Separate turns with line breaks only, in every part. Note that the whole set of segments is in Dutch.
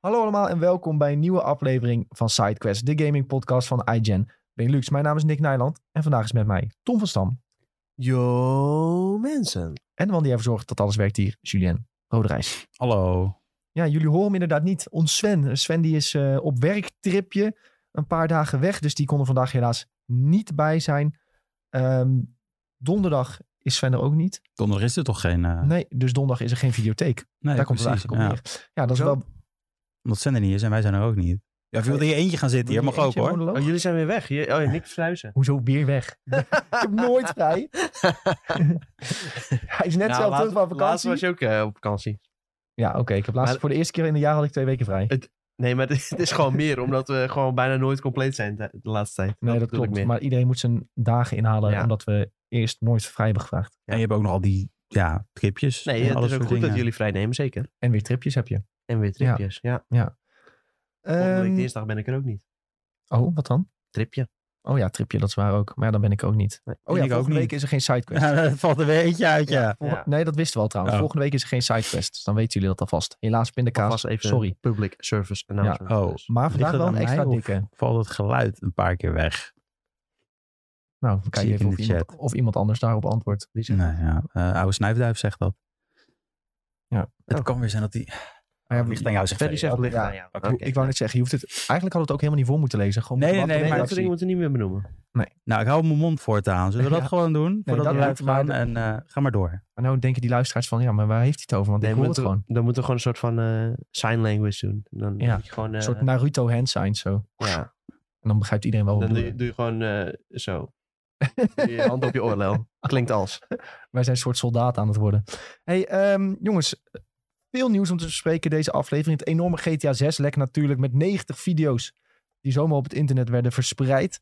Hallo allemaal en welkom bij een nieuwe aflevering van SideQuest, de gaming podcast van iGen Benelux. Mijn naam is Nick Nijland en vandaag is met mij Tom van Stam
Yo, mensen.
en de man die ervoor zorgt dat alles werkt hier, Julien Roderijs.
Hallo.
Ja, jullie horen hem inderdaad niet. Ons Sven. Sven die is eh, op werktripje een paar dagen weg, dus die kon er vandaag helaas niet bij zijn. Ehm, donderdag is Sven er ook niet.
Donderdag is er toch geen... eh,
Nee, dus donderdag is er geen videotheek.
nee,
Daar komt het
precies,
eigenlijk op
ja.
neer. Ja, dat is
Zo.
wel...
Omdat Sender niet is en wij zijn er ook niet. Ja, of je wilt in je eentje gaan zitten hier, mag ook
Eentje
hoor.
monoloog?
Oh, jullie zijn weer weg. Je, oh, ja, Nick Sluizen.
Hoezo weer weg? ik heb nooit vrij. Hij is net
Nou,
zelf terug van
Nou, Laatst
vakantie.
was je ook eh, op vakantie.
Ja, oké. ik heb laatst
Maar-
voor de eerste keer in een jaar had ik twee weken vrij.
Nee, maar het, het is gewoon meer, omdat we gewoon bijna nooit compleet zijn de, de laatste tijd.
Nee, dat
bedoel ik
klopt.
meer.
Maar iedereen moet zijn dagen inhalen
Ja.
omdat we eerst nooit vrij hebben gevraagd.
En je hebt ook nog al die ja, tripjes.
nee,
en
het
alle
is ook goed
soort dingen.
dat jullie vrij nemen, zeker.
En weer tripjes heb je.
En weer tripjes, ja. Volgende week
Ehm,
dinsdag ben ik er ook niet.
oh, wat dan?
Tripje.
Oh ja, tripje, dat is waar ook. Maar ja, dan ben ik ook niet.
Nee,
oh
ik
ja,
ook
volgende
niet.
week is er geen sidequest.
Ja, dat valt er weer eentje uit, ja.
Volg-
Ja.
Nee, dat wisten we al trouwens.
Oh.
Volgende week is er geen sidequest. Dus dan weten jullie dat alvast. Helaas pindakaas.
Alvast even
Sorry.
public service announcement.
Oh.
Dus
Maar vandaag
Ligt het
wel
aan
een extra
mij of
dikke.
Valt het geluid een paar keer weg.
Nou, we kijken
ik
even
in
of
de
iemand, of iemand anders daarop antwoordt.
wie zegt
Nee,
dat?
ja. Eh, oude snuifduif zegt dat.
Ja.
Het
Oh.
kan weer zijn dat die...
Maar ja,
Ligt aan jou, zegt
Verder
Ferry.
zegt licht
Ja.
aan jou.
Oké.
Oké.
Ik wou net zeggen, je hoeft het... Eigenlijk hadden we het ook helemaal niet voor moeten lezen. Gewoon
Nee,
wat
nee,
de
nee,
Nee,
maar-
dat soort
reactie-
dingen moeten we niet meer benoemen.
Nou, ik hou mijn mond voortaan. Zullen we dat
Ja.
gewoon doen? Voordat
dat
we live
niet, maar
gaan.
dat-
En eh, ga maar door.
Maar nou denken die luisteraars van, ja, maar waar heeft hij het over? Want
Nee,
ik
maar
hoor het
dan-
gewoon.
Dan moeten we gewoon een soort van eh, sign language doen. Dan
Ja.
moet je gewoon... eh,
Een soort Naruto hand signs zo.
ja.
En dan begrijpt iedereen wel wat we
Dan doe je,
bedoelen.
doe je gewoon eh, zo. Doe je hand op je oorlel. Klinkt als.
Wij zijn een soort soldaat aan het worden. hey, ehm, jongens. Veel nieuws om te bespreken deze aflevering. Het enorme GTA 6 lek natuurlijk met 90 video's die zomaar op het internet werden verspreid.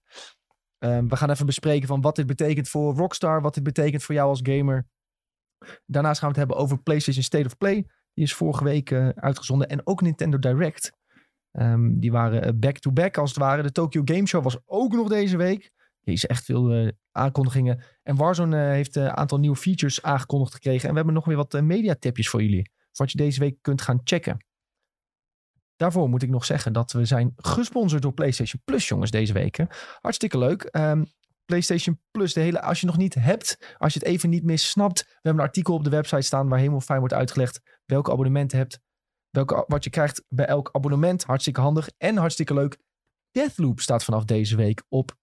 Ehm, we gaan even bespreken van wat dit betekent voor Rockstar, wat dit betekent voor jou als gamer. Daarnaast gaan we het hebben over PlayStation State of Play. Die is vorige week eh, uitgezonden. En ook Nintendo Direct. Ehm, die waren eh, back-to-back als het ware. De Tokyo Game Show was ook nog deze week. Jezus, echt veel eh, aankondigingen. En Warzone eh, heeft eh, een aantal nieuwe features aangekondigd gekregen. En we hebben nog weer wat eh, mediatipjes voor jullie. Wat je deze week kunt gaan checken. Daarvoor moet ik nog zeggen dat we zijn gesponsord door PlayStation Plus, jongens, deze week. hè. Hartstikke leuk. Ehm, PlayStation Plus, de hele, als je het nog niet hebt, als je het even niet meer snapt. We hebben een artikel op de website staan waar helemaal fijn wordt uitgelegd welke abonnementen je hebt. Welke, wat je krijgt bij elk abonnement. Hartstikke handig en hartstikke leuk. Deathloop staat vanaf deze week op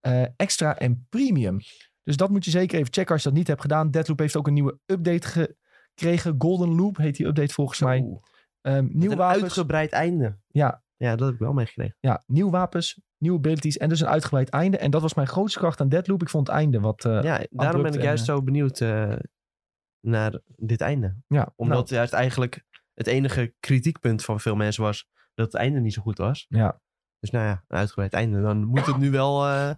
eh, extra en premium. Dus dat moet je zeker even checken als je dat niet hebt gedaan. Deathloop heeft ook een nieuwe update gekregen. Golden Loop heet die update volgens mij.
Oeh,
Ehm
met
nieuw
een
wapens.
uitgebreid einde.
Ja.
Ja, dat heb ik wel meegekregen.
Ja, nieuw wapens, nieuwe abilities en dus een uitgebreid einde. En dat was mijn grootste kracht aan Deadloop. Ik vond het einde wat... eh,
ja, daarom ben ik
en,
juist
eh,
zo benieuwd eh, naar dit einde.
ja, nou,
Omdat juist eigenlijk het enige kritiekpunt van veel mensen was dat het einde niet zo goed was.
Ja.
Dus nou ja, een uitgebreid einde. Dan moet het nu wel eh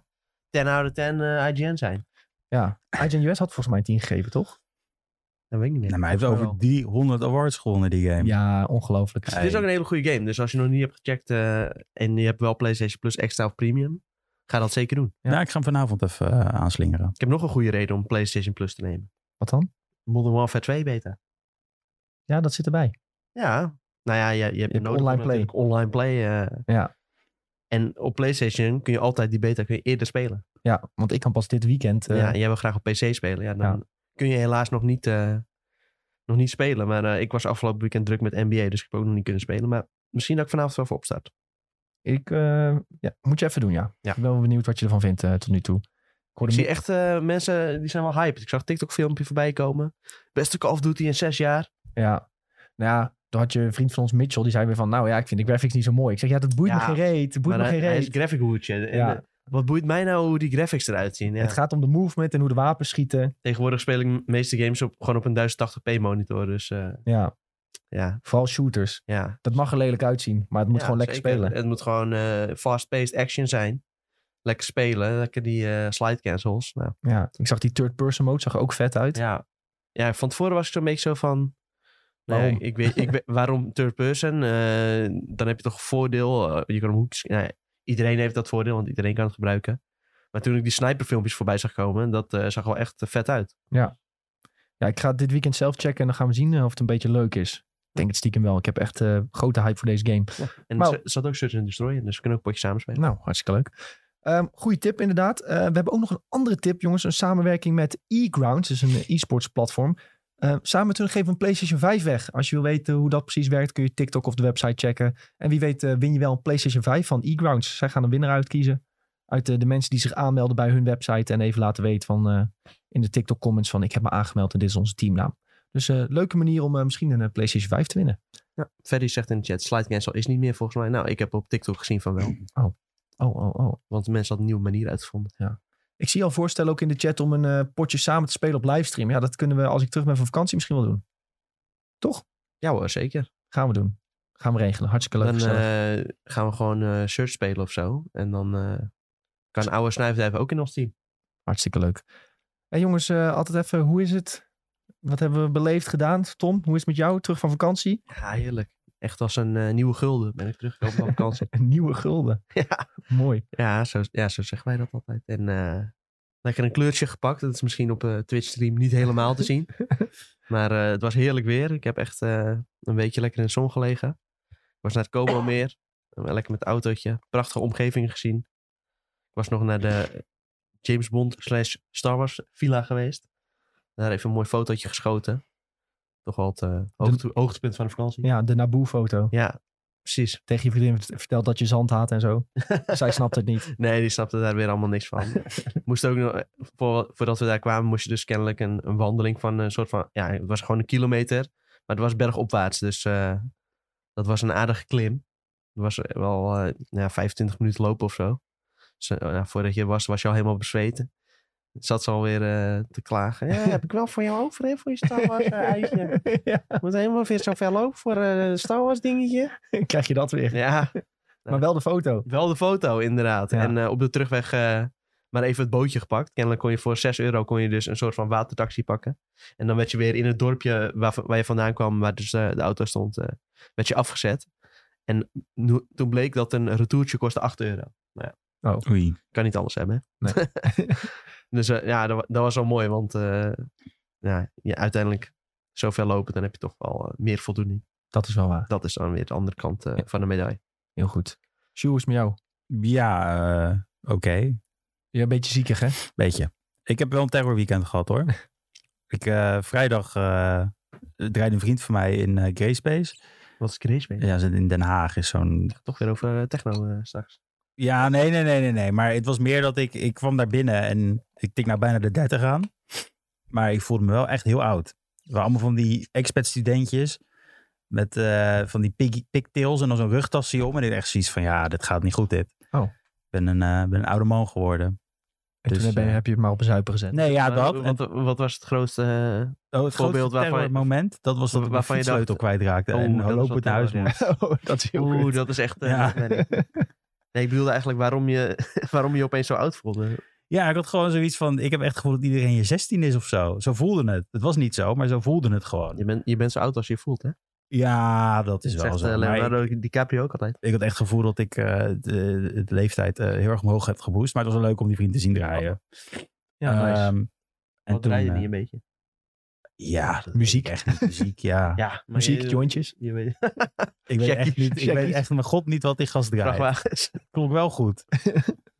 10 out of 10 eh, IGN zijn.
nou, ja. IGN US had volgens mij 10 gegeven, toch?
Dat weet ik niet meer.
Nou, maar hij heeft
Volgens mij
over die 100 awards gewonnen, die game.
Ja, ongelooflijk.
Het is ook een hele goede game. Dus als je nog niet hebt gecheckt eh, en je hebt wel PlayStation Plus Extra of Premium, ga dat zeker doen.
Ja.
Ja, Nou, ik ga hem vanavond even eh, aanslingeren.
Ik heb nog een goede reden om PlayStation Plus te nemen.
Wat dan?
Modern Warfare 2 beta.
Ja, dat zit erbij.
Ja. Nou ja, je, je hebt
hebt
nodig om
online play.
natuurlijk online play. eh,
Ja.
En op PlayStation kun je altijd die beta kun je eerder spelen.
Ja, want ik kan pas dit weekend... eh,
ja, en jij wil graag op PC spelen. Ja, dan kun je helaas nog niet, eh, nog niet spelen. Maar eh, ik was afgelopen weekend druk met NBA, dus ik heb ook nog niet kunnen spelen. Maar misschien dat ik vanavond wel voor opstart.
Ik, eh, ja, moet je even doen, ja.
Ja.
Ik ben wel benieuwd wat je ervan vindt eh, tot nu toe. Ik
Ik
hoorde
zie
me-
echt eh, mensen die zijn wel hyped. Ik zag een TikTok-filmpje voorbij komen. Beste Call of Duty in zes jaar.
Ja. Nou ja, toen had je een vriend van ons, Mitchell, die zei weer van... Nou ja, ik vind de graphics niet zo mooi. Ik zeg, ja, dat boeit
Ja,
me geen reet. Het boeit me
maar
geen
hij, hij is
reet.
graphic hoedje. En,
Ja.
eh, wat boeit mij nou hoe die graphics eruit zien? Ja.
Het gaat om de movement en hoe de wapens schieten.
Tegenwoordig speel ik de meeste games op, gewoon op een 1080p monitor. Dus eh,
Ja,
ja,
vooral shooters.
ja.
Dat mag er lelijk uitzien, maar het moet
Ja,
gewoon lekker
zeker.
spelen.
Het moet gewoon eh, fast-paced action zijn. Lekker spelen. Lekker die eh, slide cancels. Nou,
Ja, ik zag die third-person mode, zag er ook vet uit.
ja. ja, van tevoren was ik zo'n beetje zo van... nou ja,
Waarom?
ik weet, ik weet, waarom third person? Eh, dan heb je toch voordeel. eh, je kan hem hoek... nou ja, iedereen heeft dat voordeel, want iedereen kan het gebruiken. Maar toen ik die sniperfilmpjes voorbij zag komen, dat eh, zag wel echt eh, vet uit.
Ja, ik ga het dit weekend zelf checken en dan gaan we zien eh, of het een beetje leuk is. denk het stiekem wel. Ik heb echt eh, grote hype voor deze game.
En
Maar-
er zat ook Search and Destroy in, dus we kunnen ook een potje samenspelen.
Nou, hartstikke leuk. Ehm goede tip inderdaad. Eh, we hebben ook nog een andere tip, jongens. Een samenwerking met eGrounds, dus een eh, e-sports platform. Eh, samen met hun geven we een PlayStation 5 weg. Als je wil weten hoe dat precies werkt, kun je TikTok of de website checken. En wie weet eh, win je wel een PlayStation 5 van eGrounds. Zij gaan een winnaar uitkiezen. Uit eh, de mensen die zich aanmelden bij hun website. En even laten weten van, eh, in de TikTok comments van ik heb me aangemeld en dit is onze teamnaam. Dus eh, leuke manier om eh, misschien een eh, PlayStation 5 te winnen.
Ja. Ferry zegt in de chat, slide cancel is niet meer volgens mij. Nou, ik heb op TikTok gezien van wel.
Oh, oh, oh.
Want mensen hadden een nieuwe manier uitgevonden.
Ik zie al voorstellen ook in de chat om een eh, potje samen te spelen op livestream. Ja, dat kunnen we als ik terug ben van vakantie misschien wel doen.
Ja hoor, zeker.
Gaan we doen. Gaan we regelen. Hartstikke leuk.
Dan
gezellig.
eh, gaan we gewoon eh Search spelen of zo. En dan eh, kan oude snuifduiven ook in ons team.
Hartstikke leuk. Hey jongens, eh, altijd even, hoe is het? Wat hebben we beleefd gedaan? Tom, hoe is het met jou? Terug van vakantie?
Ja, heerlijk. Echt als een eh, nieuwe gulden ben ik teruggekomen van vakantie.
Een nieuwe gulden.
Ja.
Mooi.
Ja zo, ja, zo zeggen wij dat altijd. En eh, lekker een kleurtje gepakt. Dat is misschien op eh Twitch stream niet helemaal te zien. Maar eh, het was heerlijk weer. Ik heb echt eh, een weekje lekker in de zon gelegen. Ik was naar het Como meer. Eh, Lekker met het autootje. Prachtige omgeving gezien. Ik was nog naar de James Bond slash Star Wars villa geweest. Daar even een mooi fotootje geschoten. Toch wel het eh, hoogte- hoogtepunt van de vakantie.
Ja, de Naboe-foto.
ja precies.
Tegen je vriendin vert- verteld dat je zand haat en zo. Zij snapt het niet.
Nee, die snapte daar weer allemaal niks van. moest ook nog, voor, voordat we daar kwamen, moest je dus kennelijk een, een wandeling van een soort van. Ja, het was gewoon een kilometer. Maar het was bergopwaarts. Dus eh, dat was een aardige klim. Het was wel eh, ja, 25 minuten lopen of zo. Dus, eh, ja, voordat je er was, was je al helemaal bezweten. Zat ze alweer eh, te klagen. Ja, heb ik wel voor jou over, hè? Voor je Star Wars eh, uitje.
ja,
Moet helemaal weer zo ver lopen voor eh Star Wars dingetje.
krijg je dat weer.
Ja,
Maar wel de foto.
wel de foto, inderdaad.
Ja.
En eh, op de terugweg eh, maar even het bootje gepakt. Kennelijk kon je voor 6 euro kon je dus een soort van watertaxi pakken. En dan werd je weer in het dorpje waar, waar je vandaan kwam, waar dus eh, de auto stond, eh, werd je afgezet. En nu- toen bleek dat een retourtje kostte 8 euro.
Oei.
Kan niet alles hebben. hè? dus eh, ja, dat, wa- dat was wel mooi, want eh, ja, je uiteindelijk zoveel lopen, dan heb je toch wel eh, meer voldoening.
Dat is wel waar.
Dat is dan weer de andere kant eh,
Ja.
van de medaille.
Heel goed. Sjoe, hoe is het met jou?
Ja, eh, oké.
Je bent een beetje ziekig, hè?
Beetje. Ik heb wel een terrorweekend gehad hoor. Ik, eh, vrijdag eh draaide een vriend van mij in eh Grayspace.
Wat is Grace mee?
Ja, ze- in Den Haag is zo'n
Toch weer over eh, techno eh, straks.
Ja, nee, nee, nee, nee, nee. Maar het was meer dat ik, ik kwam daar binnen en ik tik nou bijna de 30 aan. Maar ik voelde me wel echt heel oud. We waren allemaal van die expat studentjes met eh, van die pig- pigtails en dan zo'n rugtasje om. En ik had echt zoiets van, ja, dit gaat niet goed dit.
Oh.
Ik ben een, eh, ben een oude man geworden.
En
Dus,
toen ben je-
eh,
heb je het maar op een zuipen gezet.
Nee, ja,
Maar
dat. oh,
Wat,
En,
Eh, wat was het grootste? eh,
oh, het
voorbeeld
voorbeeld
waarvan-
waarvan het moment, dat was dat ik mijn
waarvan je dacht-
fietssleutel kwijtraakte
oh,
en
dat is wel
lopend naar huis
terror,
moest.
Oh, dat is heel
Oeh,
goed.
dat is echt. eh,
Ja.
nee, nee. Nee, ik bedoelde eigenlijk waarom je, waarom je opeens zo oud voelde.
Ja, ik had gewoon zoiets van, ik heb echt het gevoel dat iedereen je 16 is of zo. Zo voelde het. Het was niet zo, maar zo voelde het gewoon.
Je, bent je bent zo oud als je je voelt, hè?
Ja, dat is wel
Zegt
zo.
eh,
Maar
Leonardo
ik,
DiCaprio ook altijd.
ik had echt het gevoel dat ik eh, de, de leeftijd eh, heel erg omhoog heb geboost. Maar het was wel leuk om die vriend te zien draaien.
Ja, nice.
Ehm, en
Wat draai je
eh,
niet een beetje?
Ja, dat weet
Muziek.
ik Echt niet. Muziek, ja.
Ja, maar
Muziek,
je,
jointjes.
je weet
Ik weet echt
Jackies,
niet. Ik weet
Jackies.
echt mijn god niet wat die gast draait.
vrachtwagens.
Klonk wel goed.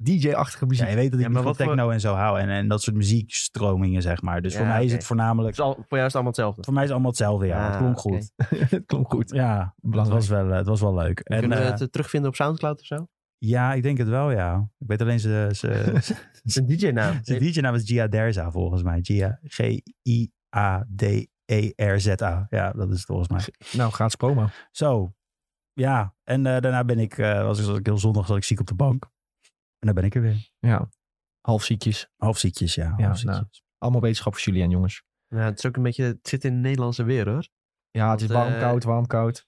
DJ-achtige muziek.
Ja, je weet dat ik
Ja, maar
niet van
wat voor-
techno en zo hou. En, en dat soort muziekstromingen, zeg maar. Dus
Ja,
voor mij is
oké.
het voornamelijk...
Het is al- voor jou is het allemaal hetzelfde.
Voor mij is het allemaal hetzelfde, ja. het
Ah,
klonk
oké.
goed.
Het klonk goed.
Ja, het
Belangrijk.
was wel, eh, het was wel leuk. En,
Kunnen we
eh,
het eh, terugvinden op Soundcloud of zo?
ja, ik denk het wel, ja. Ik weet alleen ze, ze,
Het is een DJ-naam.
Zijn DJ naam is Gia Derza volgens mij. Gia, E G-I-A-D-E-R-Z-A. Ja, dat is het volgens mij.
Nou, gratis promo.
Zo, ja. En eh, daarna ben ik, eh, was, ik, was ik heel zondag zat ik ziek op de bank. En dan ben ik er weer.
Ja. Halfziekjes.
Halfziekjes, ja.
Ja,
halfziekjes.
nou. Allemaal wetenschap voor Julian, jongens.
Ja, het, is ook een beetje, het zit in de Nederlandse weer, hoor.
Ja, het is
Want,
warm,
eh,
koud, warm, koud.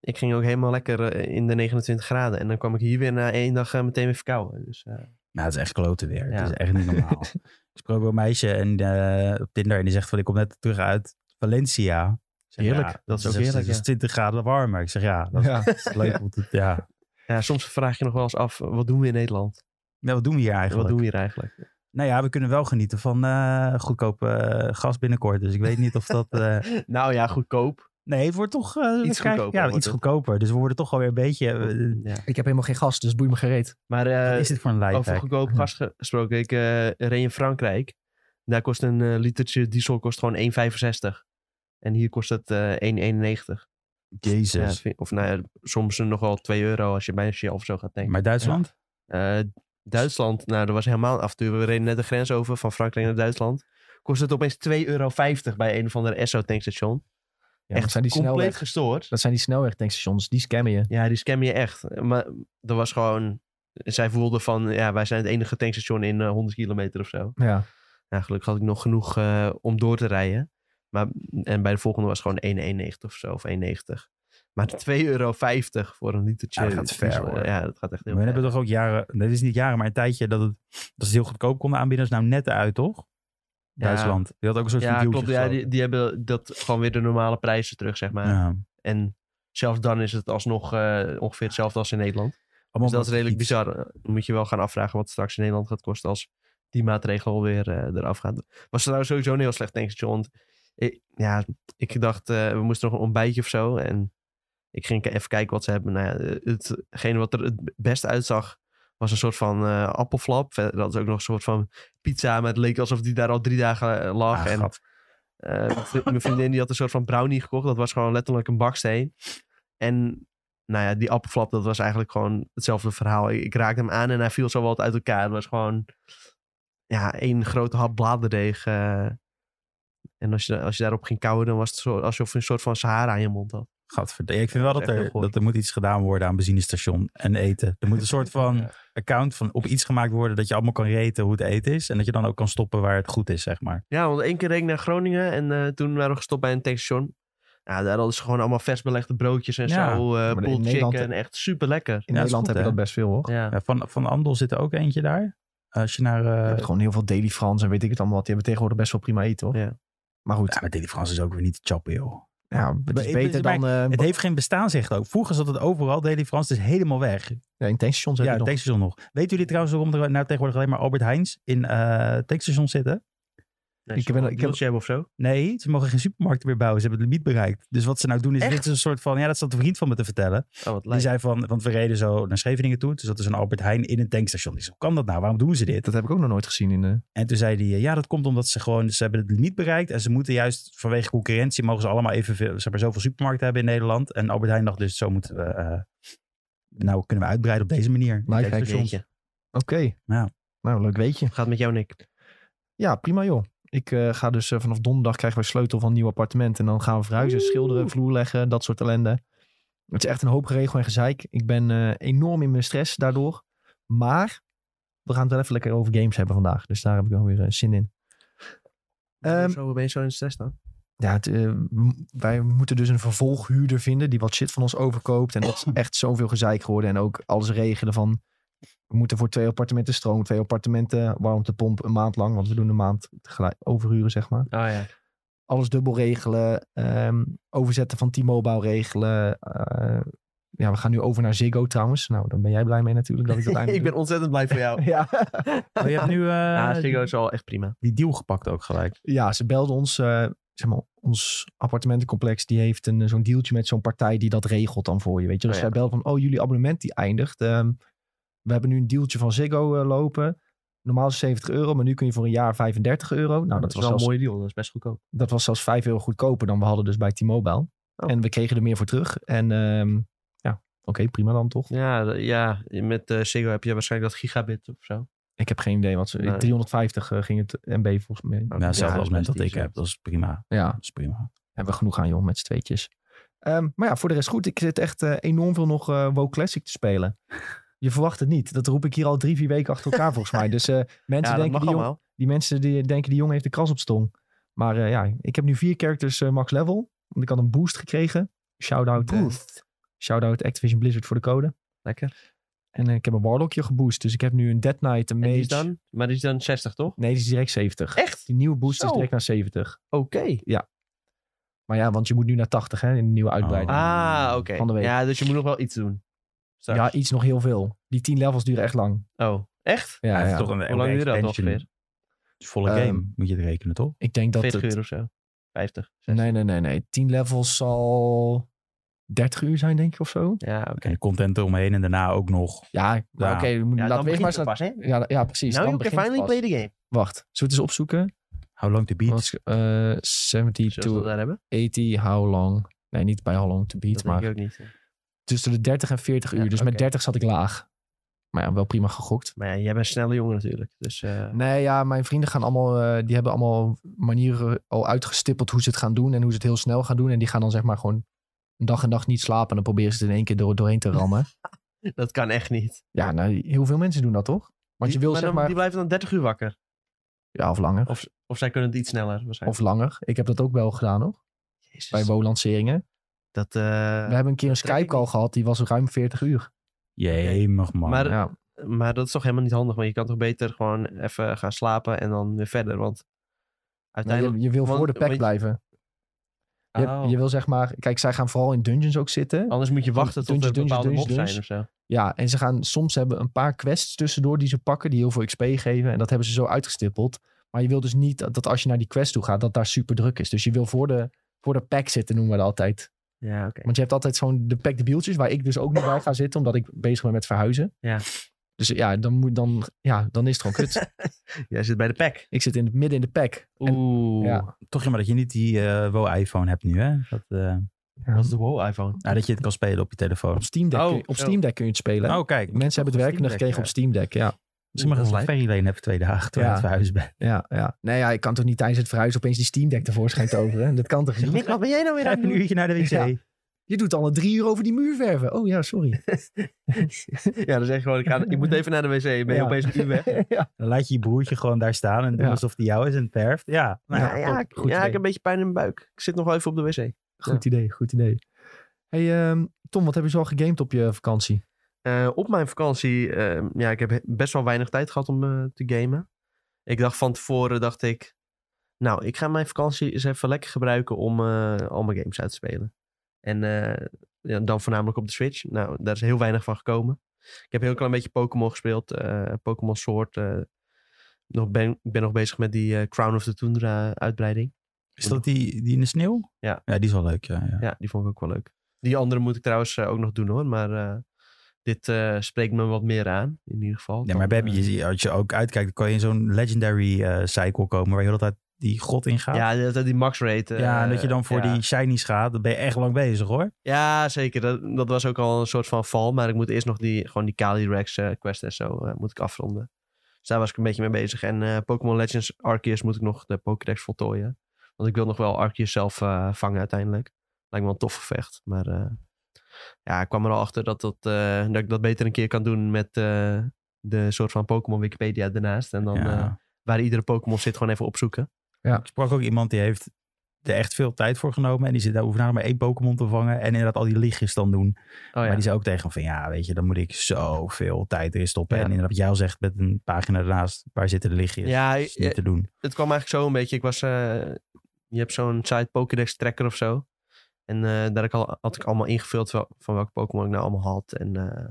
Ik ging ook helemaal lekker eh, in de 29 graden. En dan kwam ik hier weer na één dag eh, meteen weer verkouden. Dus eh,
Nou, het is echt klote weer.
Ja.
Het is echt niet normaal. ik sprak wel een meisje en, eh, op Tinder en die zegt van ik kom net terug uit Valencia. Ik zeg,
Heerlijk,
ja, dus
dat is ook heerlijk,
Het is
ja.
20 graden warmer. Ik zeg ja, dat is
Ja.
leuk. want het- ja.
ja, soms vraag je nog wel eens af, wat doen we in Nederland?
ja, wat doen we hier eigenlijk?
Wat doen we hier eigenlijk?
Nou ja, we kunnen wel genieten van eh goedkoop eh, gas binnenkort. Dus ik weet niet of dat... eh,
Nou ja, goedkoop.
Nee, het wordt toch... eh, we krijgen-
goedkoper
Ja,
wordt
iets
het.
goedkoper. Dus we worden toch alweer een beetje... eh,
Ja.
Ik heb helemaal geen gas, dus boei me gereed.
Maar eh,
wat is dit voor een lijf?
over goedkoop gas ge- gesproken. Ik eh, reed in Frankrijk. Daar kost een eh, litertje diesel kost gewoon 1,65. En hier kost het eh 1,91. Ja, dat
Jezus.
vind- of nou ja, soms nog wel 2 euro als je bij een Shell of zo gaat denken.
Maar Duitsland?
Duitsland, nou dat was helemaal een avontuur. We reden net de grens over van Frankrijk naar Duitsland. Kost het opeens 2,50 euro bij een of ander Esso tankstation.
Echt,
echt
zijn die
compleet
snelweg,
gestoord.
dat zijn die snelwegtankstations, die scammen je.
Ja, die scam je echt. Maar er was gewoon... Zij voelden van, ja, wij zijn het enige tankstation in eh, 100 kilometer of zo.
Ja.
Nou, gelukkig had ik nog genoeg eh, om door te rijden. Maar, en bij de volgende was het gewoon 1,91 of zo, of 1,90. Maar 2,50 euro voor een litertje.
Ja, dat gaat ver,
diesel,
hoor.
Ja, dat gaat echt heel
Maar we
ver.
hebben toch ook jaren, nee, dit is niet jaren, maar een tijdje dat, het, dat ze heel goedkoop konden aanbieden. Dat is nou net uit, toch? Duitsland. Die had ook een soort
Ja,
van
klopt.
dealtje
Ja, die,
gesloten.
die hebben dat gewoon weer de normale prijzen terug, zeg maar.
Ja.
En zelfs dan is het alsnog eh, ongeveer hetzelfde als in Nederland. Dus
Allemaal
dat is redelijk
iets-
bizar. Eh, Dan moet je wel gaan afvragen wat het straks in Nederland gaat kosten als die maatregel weer eh, eraf gaat. Was trouwens sowieso een heel slecht tankstation. Want ik, ja, ik dacht, eh, we moesten nog een ontbijtje of zo. En ik ging even kijken wat ze hebben. Nou ja, hetgene wat er het best uitzag was een soort van eh, appelflap. Verder hadden ze ook nog een soort van pizza. Maar het leek alsof die daar al drie dagen eh, lag.
Ah,
en
gat.
eh, mijn vri- mijn vriendin die had een soort van brownie gekocht. Dat was gewoon letterlijk een baksteen. En nou ja, die appelflap, dat was eigenlijk gewoon hetzelfde verhaal. Ik, ik raakte hem aan en hij viel zo wat uit elkaar. Het was gewoon ja, één grote hap bladerdeeg. eh. en als je, als je daarop ging kauwen, dan was het zo, alsof je een soort van Sahara in je mond had.
Gadverd- Ja, ik vind wel
Dat
dat
is echt
er,
heel goor.
dat er moet iets gedaan worden aan benzinestation en eten. Er moet een soort van account van op iets gemaakt worden dat je allemaal kan reten hoe het eten is. En dat je dan ook kan stoppen waar het goed is, zeg maar.
Ja, want één keer reed ik naar Groningen en eh, toen waren we gestopt bij een tankstation. Ja, daar hadden ze gewoon allemaal vers belegde broodjes en
Ja,
zo. eh
in
pulled chicken,
Nederland- eh,
echt super lekker.
In
Ja, dat is
Nederland
goed,
heb je
hè?
dat best veel, hoor.
Ja.
Ja, Eh, van, van Andel zit er ook eentje daar. Als je naar...
Je
eh
hebt gewoon heel veel Daily Frans en weet ik het allemaal wat. Die hebben tegenwoordig best wel prima eten, hoor.
Ja.
Maar
ja,
goed,
maar Deli Frans is ook weer niet te chappen, joh.
ja, het
Maar
is
ik-
beter
maar
dan... eh
Het heeft geen bestaansrecht ook. Vroeger zat het overal. Deli Frans is helemaal weg.
ja, in tankstations heb
Ja,
je nog.
tankstation nog. Weet jullie trouwens waarom er nou tegenwoordig alleen maar Albert Heijns in eh tankstation zitten?
Nee,
Ik
ze
ben-
wel
ik
deals
heb-
hebben of zo.
Nee, ze mogen geen supermarkten meer bouwen. Ze hebben het limiet bereikt. Dus wat ze nou doen is,
Echt?
dit is een soort van, ja dat zat een vriend van me te vertellen.
Oh, wat
Die zei van, want we reden zo naar Scheveningen toe. Toen zat er zo'n Albert Heijn in een tankstation. Ik zei, hoe kan dat nou? Waarom doen ze dit?
Dat heb ik ook nog nooit gezien in... eh,
En toen zei hij, eh, ja dat komt omdat ze gewoon, ze hebben het limiet bereikt. En ze moeten juist vanwege concurrentie, mogen ze allemaal evenveel, zeg maar zoveel supermarkten hebben in Nederland. En Albert Heijn dacht dus, zo moeten we, eh, nou kunnen we uitbreiden op deze manier.
Lifehack.
Tankstations.
Jeetje.
Oké.
Ja.
Nou, leuk weet je.
Gaat met jou, Nick.
Ja, prima joh. Ik eh, ga dus eh, vanaf donderdag krijgen wij sleutel van een nieuw appartement. En dan gaan we verhuizen, schilderen, vloer leggen, dat soort ellende. Het is echt een hoop geregel en gezeik. Ik ben eh, enorm in mijn stress daardoor. Maar we gaan het wel even lekker over games hebben vandaag. Dus daar heb ik wel weer eh, zin in. Ehm,
zo ben je zo in de stress dan?
Ja, het, eh, m- wij moeten dus een vervolghuurder vinden die wat shit van ons overkoopt. En dat is echt zoveel gezeik geworden. En ook alles regelen van, we moeten voor twee appartementen stroom, twee appartementen warmtepomp een maand lang. Want we doen een maand tegelijk overhuren, zeg maar.
Oh ja.
Alles dubbel regelen, ehm, overzetten van T-Mobile regelen. eh, ja, we gaan nu over naar Ziggo trouwens. Nou, daar ben jij blij mee natuurlijk. Dat ik, dat
ik
eindelijk
ben ontzettend blij voor jou.
doe. Ja.
Oh, je hebt nu eh,
ja, Ziggo is al echt prima.
die deal gepakt ook gelijk.
ja, ze belden ons, eh, zeg maar, ons appartementencomplex, die heeft een, eh, zo'n dealtje met zo'n partij die dat regelt dan voor je. Weet je, dus
Oh ja.
zij belden van, oh, jullie abonnement die eindigt. Ehm, we hebben nu een dealtje van Ziggo eh, lopen. Normaal is het 70 euro, maar nu kun je voor een jaar 35 euro. Nou, dat, was zelfs,
mooie deal. Dat is best goedkoop.
dat was zelfs 5 euro goedkoper dan we hadden dus bij T-Mobile.
Oh.
En we kregen er meer voor terug. En ehm, ja, oké, prima dan toch.
Ja, d- ja met eh Ziggo heb je waarschijnlijk dat gigabit of zo.
Ik heb geen idee wat ze...
Nee.
350 eh, ging het MB volgens mij.
Nou,
Nou, hetzelfde
ja,
als
dat is
met dat
best
ik heb.
decent.
Dat is prima.
Ja,
Dat is prima.
Hebben we genoeg aan, joh, met z'n tweetjes. Ehm, maar ja, voor de rest goed. Ik zit echt eh, enorm veel nog eh WoW Classic te spelen. Je verwacht het niet. Dat roep ik hier al drie, vier weken achter elkaar volgens mij. Dus eh, mensen
Ja, dat
denken
mag
die, jong-
allemaal.
die mensen die denken die jongen heeft de kras op stong. Maar eh, ja, ik heb nu vier characters eh, max level. Want ik had een boost gekregen. Shout-out, eh, shout-out Activision Blizzard voor de code.
Lekker.
En eh, ik heb een Warlockje geboost. Dus ik heb nu een Dead Knight, een
En
Mage.
die is dan? Maar die is dan 60, toch?
Nee, die is direct 70.
Echt?
Die nieuwe boost is
Zo.
direct naar 70.
Oké.
Maar ja, want je moet nu naar 80 hè, in de nieuwe uitbreiding.
Ah, oké.
Van de week.
Ja, dus je moet nog wel iets doen. Straks.
Ja, iets nog heel veel. Die 10 levels duren echt lang.
Oh, echt?
Ja,
Hij heeft
ja.
toch een
Hoe lang duurt dat
expansion.
ongeveer?
Het is Volle
Ehm,
game moet je het rekenen, toch?
Ik denk dat
40
het...
uur of zo. 50, 60.
Nee, nee, nee, nee. 10 levels zal 30 uur zijn, denk ik, of zo.
Ja, oké.
En content eromheen en daarna ook nog.
Ja, maar
Ja.
oké, we moeten-
Ja,
laten
dan
we eerst maar
begint het
eens...
pas, hè?
laten- Ja, ja, precies.
Now
dan
you can
begint het
finally
pas.
play the game.
Wacht, zullen we het eens opzoeken?
How long to beat?
Oh.
Was, eh 70
Zullen we dat
to
daar hebben?
80, how long? Nee, niet bij how long to beat,
Dat denk
maar
ik ook niet.
tussen de 30 en 40 uur.
Ja,
dus met
oké.
30 zat ik laag. Maar ja, wel prima gegokt.
Maar ja, jij bent een snelle jongen natuurlijk. Dus eh,
Nee, ja, mijn vrienden gaan allemaal, eh, die hebben allemaal manieren al uitgestippeld hoe ze het gaan doen en hoe ze het heel snel gaan doen. En die gaan dan zeg maar gewoon een dag en nacht niet slapen en dan proberen ze het in één keer door, doorheen te rammen.
dat kan echt niet.
ja, nou, heel veel mensen doen dat toch? Want je
Die-
wil
maar
zeg
dan-
maar,
Die Oh, blijven dan 30 uur wakker.
ja, of langer.
Of, of zij kunnen het iets sneller waarschijnlijk.
Of langer. Ik heb dat ook wel gedaan nog,
Jezus,
bij WO-lanceringen.
dat, eh,
We hebben een keer een
dat trek ik
Skype-call
niet.
gehad, die was ruim 40 uur.
Jemig man.
Maar-
Ja,
Maar dat is toch helemaal niet handig. Want je kan toch beter gewoon even gaan slapen en dan weer verder. Want
Nee,
uiteindelijk...
je, je wil
want-
voor de pack
want je-
blijven. Je,
Oh.
je wil zeg maar, kijk, zij gaan vooral in dungeons ook zitten.
Anders moet je wachten tot
Dungeons,
er bepaalde
dungeons,
mobs zijn
dungeons.
of zo.
Ja, en ze gaan soms hebben een paar quests tussendoor die ze pakken, die heel veel XP geven. En dat hebben ze zo uitgestippeld. Maar je wil dus niet dat, dat als je naar die quest toe gaat, dat daar super druk is. Dus je wil voor de, voor de pack zitten, noemen we dat altijd.
Ja, oké.
Want je hebt altijd zo'n de pack de bieltjes, waar ik dus ook niet bij ga zitten, omdat ik bezig ben met verhuizen.
Ja.
Dus ja, dan, moet, dan, ja, dan is het gewoon kut.
Jij zit bij de pack.
ik zit in het midden in de pack. En-
Oeh.
ja.
Toch jammer dat je niet die eh WoW-iPhone hebt nu, hè? Dat, eh,
Dat is de wow-iPhone.
nou, dat je het kan spelen op je telefoon.
op Steam Deck,
Oh,
kun, je- op
zo.
Steam Deck kun je het spelen.
Oh, kijk.
Mensen hebben het werkende
Steam Deck,
gekregen
ja.
op Steam Deck, ja.
Misschien mag je
Oeh,
een ferryleen hebben twee dagen terwijl
Ja.
je aan het verhuizen bent.
Ja, ja. Nee, ja, ik kan toch niet tijdens het verhuizen opeens die Steam Deck tevoorschijn toveren? Dat kan toch niet?
Mick, wat ben jij nou weer aan
Even
het
een
doen?
uurtje naar de wc.
Ja. Je doet al een drie uur over die muur verven. Oh ja, sorry.
ja, dan zeg je gewoon, ik, ga, ik moet even naar de wc. Ben je
Ja.
opeens een uur weg?
ja.
Dan laat je je broertje gewoon daar staan en doen
Ja.
alsof die jou is en het verft. Ja, nou
Ja,
ja,
ja,
top.
ik,
goed
ja, ik
idee.
heb een beetje pijn in mijn buik. Ik zit nog wel even op de wc.
Goed idee, goed idee. Hey ehm, Tom, wat heb je zo al gegamed op je vakantie?
Eh, op mijn vakantie, eh, ja, ik heb he- best wel weinig tijd gehad om eh, te gamen. Ik dacht van tevoren, dacht ik, nou, ik ga mijn vakantie eens even lekker gebruiken om eh, al mijn games uit te spelen. En eh, ja, dan voornamelijk op de Switch. Nou, daar is heel weinig van gekomen. Ik heb een heel klein beetje Pokémon gespeeld, eh, Pokémon Sword. eh. nog ben, ik ben nog bezig met die eh, Crown of the Tundra uitbreiding.
Is dat die, die in de sneeuw?
Ja.
Ja, die is wel leuk, ja. ja.
Ja, die vond ik ook wel leuk. Die andere moet ik trouwens eh, ook nog doen hoor, maar... eh, dit eh, spreekt me wat meer aan, in ieder geval.
Ja, maar
Dan,
Beb,
eh,
je, als je ook uitkijkt, dan kan je in zo'n legendary eh, cycle komen waar je heel de tijd die grot in gaat.
Ja, dat, dat die max rate. eh,
Ja, en dat je dan voor
ja.
die shinies gaat, dan ben je echt lang bezig hoor.
Ja, zeker. Dat, dat was ook al een soort van val. Maar ik moet eerst nog die, gewoon die Kali Rex eh, quest en zo eh, moet ik afronden. Dus daar was ik een beetje mee bezig. En eh, Pokémon Legends Arceus moet ik nog de Pokédex voltooien. Want ik wil nog wel Arceus zelf eh, vangen uiteindelijk. Lijkt me wel een tof gevecht. Maar eh, ja, ik kwam er al achter dat, dat, eh, dat ik dat beter een keer kan doen met eh, de soort van Pokémon Wikipedia daarnaast. En dan
ja.
eh, waar iedere Pokémon zit gewoon even opzoeken.
Ik sprak ook iemand die heeft er echt veel tijd voor genomen. En die zit daar hoeft maar één Pokémon te vangen. En inderdaad al die lichtjes dan doen.
Oh,
Maar die zei ook tegen hem van ja, weet je, dan moet ik zoveel tijd erin stoppen.
Ja.
En inderdaad, wat jij al zegt met een pagina ernaast, waar zitten de lichtjes?
Ja,
Dat is niet
eh,
te doen.
het kwam eigenlijk zo een beetje. Ik was, eh, je hebt zo'n site Pokédex tracker of zo. En eh, daar had ik, al, had ik allemaal ingevuld wel- van welke Pokémon ik nou allemaal had. En eh,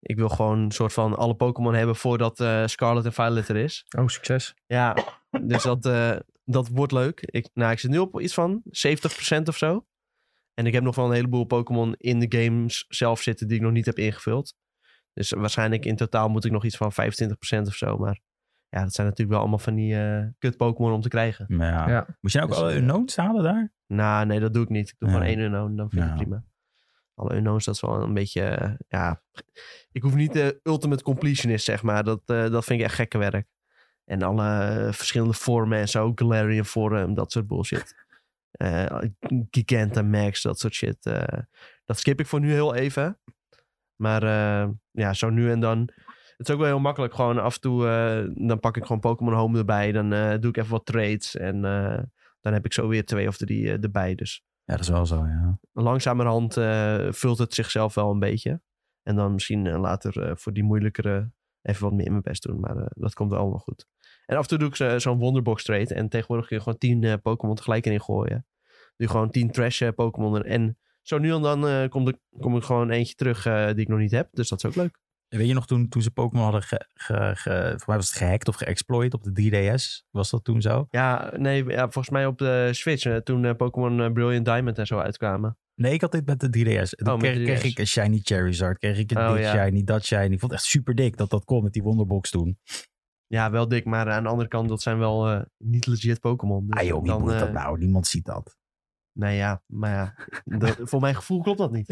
ik wil gewoon een soort van alle Pokémon hebben voordat eh, Scarlet en Violet er is.
Oh, succes.
Ja, dus dat, eh, dat wordt leuk. Ik, nou, ik zit nu op iets van 70% of zo. En ik heb nog wel een heleboel Pokémon in de games zelf zitten die ik nog niet heb ingevuld. Dus waarschijnlijk in totaal moet ik nog iets van 25% of zo. Maar ja, dat zijn natuurlijk wel allemaal van die eh, kut Pokémon om te krijgen.
Maar ja.
Ja.
Moet je nou ook
Dus,
alle
eh,
unknowns halen daar?
Nou, nee, dat doe ik niet. Ik doe
Ja.
gewoon één unknown, dan vind ik
Ja.
het prima. Alle unknowns, dat is wel een beetje, eh, ja... Ik hoef niet de ultimate completionist, zeg maar. Dat, eh, dat vind ik echt gekke werk. En alle eh, verschillende vormen en zo. Galarian vorm, dat soort bullshit. Eh Gigantamax, dat soort shit. eh, dat skip ik voor nu heel even. Maar eh, ja, zo nu en dan. Het is ook wel heel makkelijk. Gewoon af en toe, eh, dan pak ik gewoon Pokémon Home erbij. Dan eh, doe ik even wat trades. En eh, dan heb ik zo weer twee of drie eh, erbij. Dus
Ja, dat is wel zo, ja.
langzamerhand eh, vult het zichzelf wel een beetje. En dan misschien eh, later eh, voor die moeilijkere even wat meer mijn best doen. Maar eh, dat komt allemaal wel goed. En af en toe doe ik zo- zo'n Wonderbox trade. En tegenwoordig kun je gewoon tien eh, Pokémon tegelijk erin gooien. Doe je gewoon tien trash eh, Pokémon. er- En zo nu en dan eh, komt er- kom, ik gewoon eentje terug eh, die ik nog niet heb. Dus dat is ook leuk.
Weet je nog toen, toen ze Pokémon hadden ge, ge, ge- voor mij was het gehackt of geëxploit op de 3DS? Was dat toen zo?
Ja, nee, ja, volgens mij op de Switch. eh, toen eh, Pokémon eh, Brilliant Diamond en zo uitkwamen.
Nee, ik had dit met de 3DS. Dan
Oh, met
kreeg,
de
kreeg
3DS.
ik een shiny Charizard. Kreeg ik een
Oh,
dit
ja.
shiny, dat shiny. Ik vond het echt super dik dat dat kon met die Wonderbox toen.
Ja, wel dik, maar aan de andere kant, dat zijn wel eh, niet legit Pokémon. Dus
ah joh, wie
dan,
moet dat
eh,
nou? Niemand ziet dat.
Nou ja, maar ja, dat- voor mijn gevoel klopt dat niet.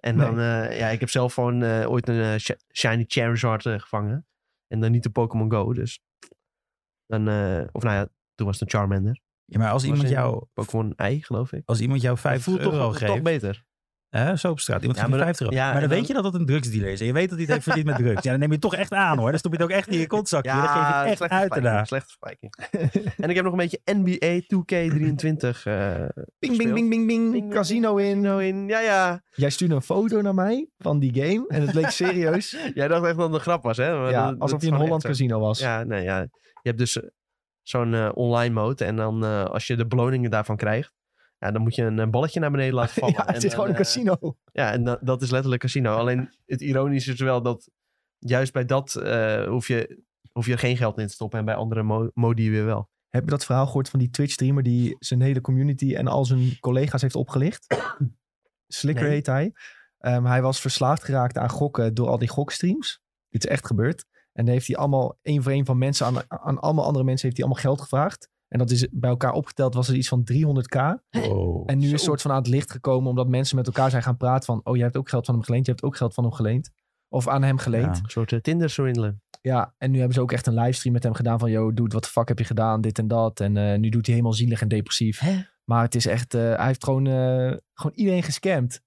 En
Nee.
dan, eh, ja, ik heb zelf gewoon eh, ooit een eh, shi- shiny Charizard eh, gevangen. En dan niet de Pokémon Go, dus. Dan, eh, of nou ja, toen was het een Charmander.
Ja, maar als
Was
iemand
in-
jou,
Pokémon Ei, geloof ik.
als iemand jou
Het
50
voelt
euro
toch,
geeft...
toch beter.
Hè, zo op straat. Iemand
Ja,
geeft je
maar
50 euro.
ja,
maar
en
dan,
dan-
weet je dat het een drugsdealer is. En je weet dat hij het heeft verdiend met drugs. Ja, dan neem je het toch echt aan hoor. Dan stop je het ook echt in je kontzakje. dan geef je het echt
slechte
uit
vergelijking,
daarna.
Slechte vergelijking. en ik heb nog een beetje NBA 2K23. eh,
Bing, bing, bing, bing, bing,
Bing,
Casino in.
zo in. Ja, ja.
Jij stuurde een foto naar mij van die game. En het leek serieus.
Jij dacht echt dat het een grap was, hè? Maar dat-
ja,
dat
alsof
is
die een
gewoon
Holland
echt zo.
casino was.
Ja, nee, ja. Je hebt dus eh, zo'n eh, online mode. En dan eh, als je de beloningen daarvan krijgt. Ja, dan moet je een eh, balletje naar beneden laten vallen.
Ja, het
En
is
dan,
gewoon een
eh,
casino.
Ja, en da- dat is letterlijk casino. Alleen het ironische is wel dat juist bij dat eh, hoef, je, hoef je er geen geld in te stoppen. En bij andere mo- modi weer wel.
Heb je dat verhaal gehoord van die Twitch-streamer die zijn hele community en al zijn collega's heeft opgelicht? Slicker
Nee.
heet hij. Ehm, hij was verslaafd geraakt aan gokken door al die gokstreams. Dit is echt gebeurd. En daar heeft hij allemaal één voor één van mensen, aan, aan allemaal andere mensen heeft hij allemaal geld gevraagd. En dat is bij elkaar opgeteld was het iets van 300k.
Wow.
En nu is
Zo.
het soort van aan het licht gekomen omdat mensen met elkaar zijn gaan praten van, oh jij hebt ook geld van hem geleend, je hebt ook geld van hem geleend. Of aan hem geleend.
Ja.
Een soort eh, Tinder-swindler.
Ja, en nu hebben ze ook echt een livestream met hem gedaan van... yo, dude, wat de fuck heb je gedaan, dit en dat. En eh, nu doet hij helemaal zielig en depressief.
Hè?
Maar het is echt... eh, hij heeft gewoon, eh, gewoon iedereen gescamd.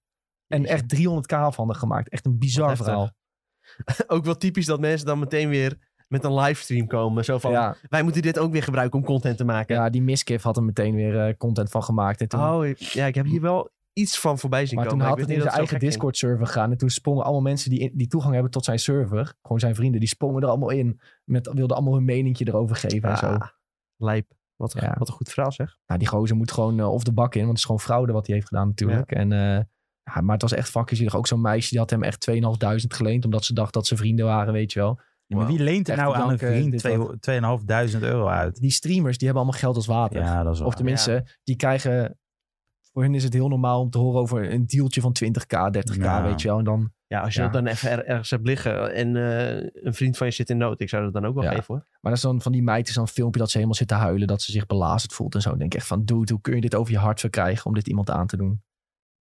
En
Jezus.
echt 300k van hem gemaakt. Echt een bizar
Wat heftig.
verhaal.
ook wel typisch dat mensen dan meteen weer met een livestream komen. Zo van,
Ja,
wij moeten dit ook weer gebruiken om content te maken.
ja, die miskif had er meteen weer eh, content van gemaakt. En toen,
oh, ik- ja, ik heb hier wel iets van voorbij zien
maar toen
komen.
had
ik
het
weet
in zijn
niet dat
eigen
het zo gek
Discord-server gegaan. En toen sprongen allemaal mensen die, in- die toegang hebben tot zijn server... gewoon zijn vrienden, die sprongen er allemaal in. Met, wilden allemaal hun meningje erover geven en zo.
ging. Ah, lijp. Wat een,
Ja.
wat een goed verhaal zeg.
Nou, die gozer moet gewoon eh, of de bak in, want het is gewoon fraude wat hij heeft gedaan natuurlijk. En, eh, ja, maar het was echt fucking zielig. Ook zo'n meisje, die had hem echt 2.500 geleend, omdat ze dacht dat ze vrienden waren, weet je wel.
Ja, maar wie leent er
Echt
nou
een
aan een
blanke,
vriend
dit,
twee- 2500 euro uit?
Die streamers, die hebben allemaal geld als water.
Ja, dat is
of
waar.
tenminste, die krijgen, voor hen is het heel normaal om te horen over een dealtje van 20k, 30k,
Ja.
weet je wel. En dan,
Ja, als je
Ja.
dat dan even er- ergens hebt liggen en eh, een vriend van je zit in nood. Ik zou dat dan ook wel
Ja.
geven hoor.
maar dat is dan van die meid, is dan een filmpje dat ze helemaal zit te huilen, dat ze zich belazerd voelt en zo. Dan denk ik echt van, dude, hoe kun je dit over je hart verkrijgen om dit iemand aan te doen?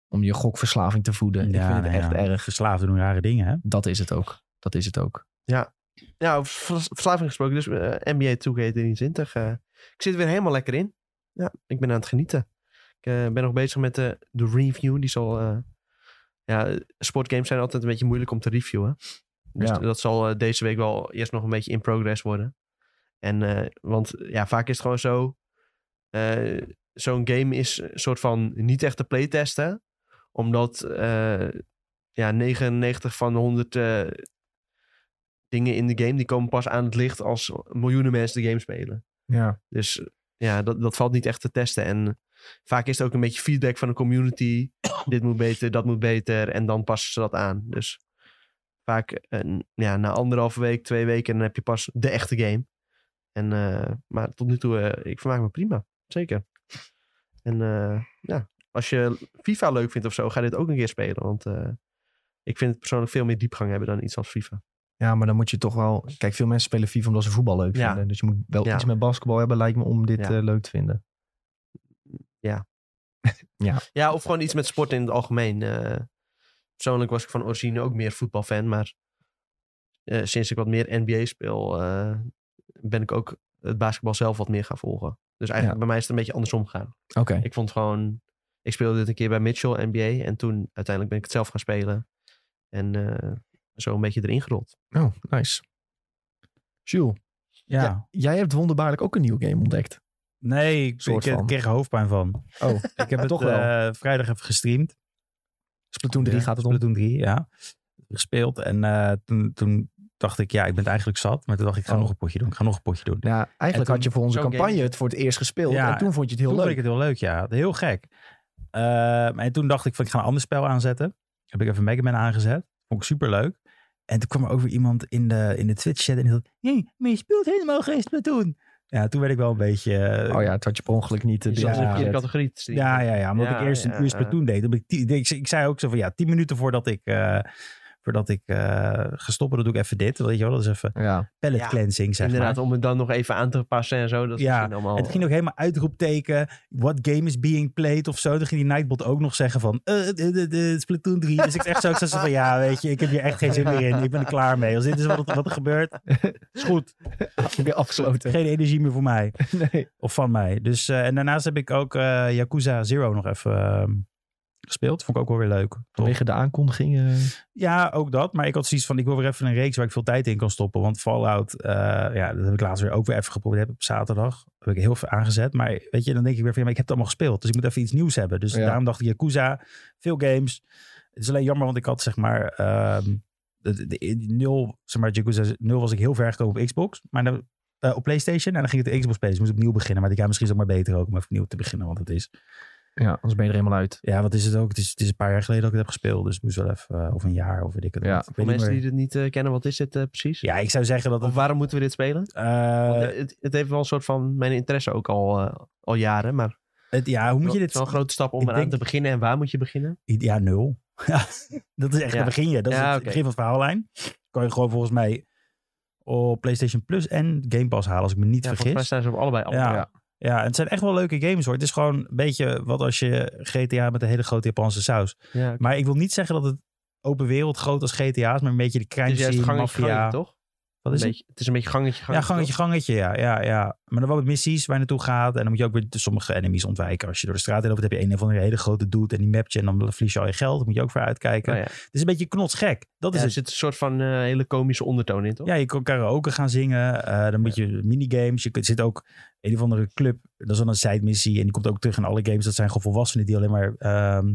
Om je gokverslaving te voeden. ik vind het
nou
echt
ja.
erg.
Verslaafden doen rare dingen, hè?
Dat is het ook. Dat is het ook.
Ja, over vers- verslaving gesproken. Dus eh, NBA 2K23. eh, ik zit weer helemaal lekker in. Ja, ik ben aan het genieten. Ik eh, ben nog bezig met de de review. Die zal... eh, ja, sportgames zijn altijd een beetje moeilijk om te reviewen. Dus
Ja.
dat zal eh, deze week wel eerst nog een beetje in progress worden. En, eh, want ja, vaak is het gewoon zo... eh, Zo'n game is een soort van niet echt te playtesten. Omdat eh, ja, 99 van de 100 eh, dingen in de game... die komen pas aan het licht als miljoenen mensen de game spelen.
Ja.
Dus eh, ja, dat, dat valt niet echt te testen. En vaak is het ook een beetje feedback van de community. Dit moet beter, dat moet beter. En dan passen ze dat aan. Dus vaak een, ja, na anderhalve week, twee weken, dan heb je pas de echte game. En, eh, maar tot nu toe, eh, ik vermaak me prima. Zeker. En eh, ja, als je FIFA leuk vindt of zo, ga dit ook een keer spelen. Want eh, ik vind het persoonlijk veel meer diepgang hebben dan iets als FIFA.
Ja, maar dan moet je toch wel... Kijk, veel mensen spelen FIFA omdat ze voetbal leuk
Ja.
vinden. Dus je moet wel
Ja.
iets met basketbal hebben, lijkt me, om dit
Ja.
eh, leuk te vinden.
Ja, of gewoon iets met sport in het algemeen. Eh, persoonlijk was ik van origine ook meer voetbalfan, maar eh, sinds ik wat meer NBA speel, eh, ben ik ook het basketbal zelf wat meer gaan volgen. Dus eigenlijk
Ja.
bij mij is het een beetje andersom gegaan.
Oké.
Ik vond gewoon, ik speelde dit een keer bij Mitchell NBA en toen uiteindelijk ben ik het zelf gaan spelen en eh, zo een beetje erin gerold.
Oh, nice. Jules,
Ja.
jij hebt wonderbaarlijk ook een nieuwe game ontdekt.
Nee, ik,
Soort
ik, ik
van.
kreeg er hoofdpijn van.
Oh,
Ik heb het
Toch wel.
eh, vrijdag even gestreamd.
Splatoon 3 gaat het om.
Splatoon 3, ja. Gespeeld. En eh, toen, toen dacht ik, ja, ik ben het eigenlijk zat. Maar toen dacht ik, ik ga
Oh.
nog een potje doen. Ik ga nog een potje doen.
Nou, eigenlijk
toen-
had je voor onze
zo'n
campagne
game.
het voor het eerst gespeeld.
Ja,
en toen vond je het heel
toen
leuk.
vond ik het heel leuk, ja. Heel gek. Ehm, en toen dacht ik van, ik ga een ander spel aanzetten. Heb ik even Mega Man aangezet. Vond ik superleuk. En toen kwam er ook weer iemand in de, in de Twitch-chat en die had... Nee, maar je speelt helemaal geen Splatoon. Ja, toen werd ik wel een beetje... eh,
Oh ja, het had je per ongeluk niet. eh,
Je
dit
zat in de
opgezet.
verkeerde categorie te streamen.
Ja, ja, ja. Omdat
Ja,
ik eerst een
ja,
uur
ja.
Splatoon deed. heb Ik, ti- ik, ik zei ook zo van ja, tien minuten voordat ik, eh, voordat ik eh, ga stoppen, dan doe ik even dit. Weet je wel, dat is even
Ja.
pallet
Ja,
cleansing, zeg
Inderdaad,
maar.
om het dan nog even aan te passen en zo. Dat is
Ja,
misschien allemaal...
En het ging ook helemaal uitroepteken. What game is being played of zo. Toen ging die Nightbot ook nog zeggen van eh eh, eh, eh, Splatoon 3. Dus ik echt zo, ik zei zo van ja, weet je, ik heb hier echt geen zin meer in. Ik ben er klaar mee. Als dit is wat, wat er gebeurt, is goed.
Weer afgesloten.
Geen energie meer voor mij.
Nee.
Of van mij. Dus, eh, en daarnaast heb ik ook eh, Yakuza Zero nog even eh, gespeeld. Vond ik ook wel weer leuk. Toch?
Vanwege de aankondiging. eh,
Ja, ook dat. Maar ik had zoiets van, ik wil weer even een reeks waar ik veel tijd in kan stoppen. Want Fallout, eh, ja, dat heb ik laatst weer ook weer even geprobeerd. Heb op zaterdag heb ik heel veel aangezet. Maar weet je, dan denk ik weer van, ja, maar ik heb het allemaal gespeeld. Dus ik moet even iets nieuws hebben. Dus
Ja.
daarom dacht ik, Yakuza, veel games. Het is alleen jammer, want ik had zeg maar... ehm, de, de, de- nul, zeg maar, Yakuza 0 was ik heel ver gekomen op Xbox. Maar dan, eh, op Playstation. En dan ging ik de Xbox spelen. Dus ik moest opnieuw beginnen. Maar ik ja, misschien is het maar beter ook om even opnieuw te beginnen. Want het is...
ja, anders ben je er helemaal uit.
Ja, wat is het ook? Het is, het is een paar jaar geleden dat ik het heb gespeeld. Dus het moest wel even... eh, of een jaar, of weet ik het
Ja.
niet. Ik
Voor
weet niet
mensen
meer.
die het niet eh, kennen, wat is dit eh, precies?
Ja, ik zou zeggen dat het.
Of waarom moeten we dit spelen?
eh,
Want, eh, het, het heeft wel een soort van mijn interesse ook al, eh, al jaren. Maar
het, ja, hoe moet je
Het is wel een
dit.
grote stap om
ik
eraan
denk-
te beginnen. En waar moet je beginnen?
Ja, nul. Ja, dat is echt.
Ja.
Daar begin je. Dat is
Ja,
het
oké.
begin van het verhaallijn. Kan je gewoon volgens mij op PlayStation Plus en Game Pass halen, als ik me niet
Ja, volgens mij
vergis.
staan ze op allebei. af.
Ja.
ja.
Ja, en het zijn echt wel leuke games hoor. Het is gewoon een beetje wat als je GTA met een hele grote Japanse saus.
Ja.
Maar ik wil niet zeggen dat het open wereld groot als GTA is, maar een beetje de crime
Het is juist
scene,
gangetje,
maffia.
gangetje, toch?
Wat
Een
is het?
beetje, het is een beetje gangetje, gangetje.
ja, gangetje, gangetje, ja, ja, ja. Maar dan wel met missies waar je naartoe gaat. En dan moet je ook weer sommige enemies ontwijken. Als je door de straat heen loopt, heb je een of andere hele grote dude en die mapt je. En dan verlies je al je geld. Dan moet je ook voor uitkijken.
toch? Nou ja.
Het is een beetje knotsgek. Dat is
Ja, er zit
het.
een soort van eh, hele komische ondertoon in, toch?
Ja, je kan karaoke gaan zingen. eh, dan moet je minigames. Je kunt, zit ook een of andere club. Dat is dan een side missie. En die komt ook terug in alle games. Dat zijn gewoon volwassenen die alleen maar ehm,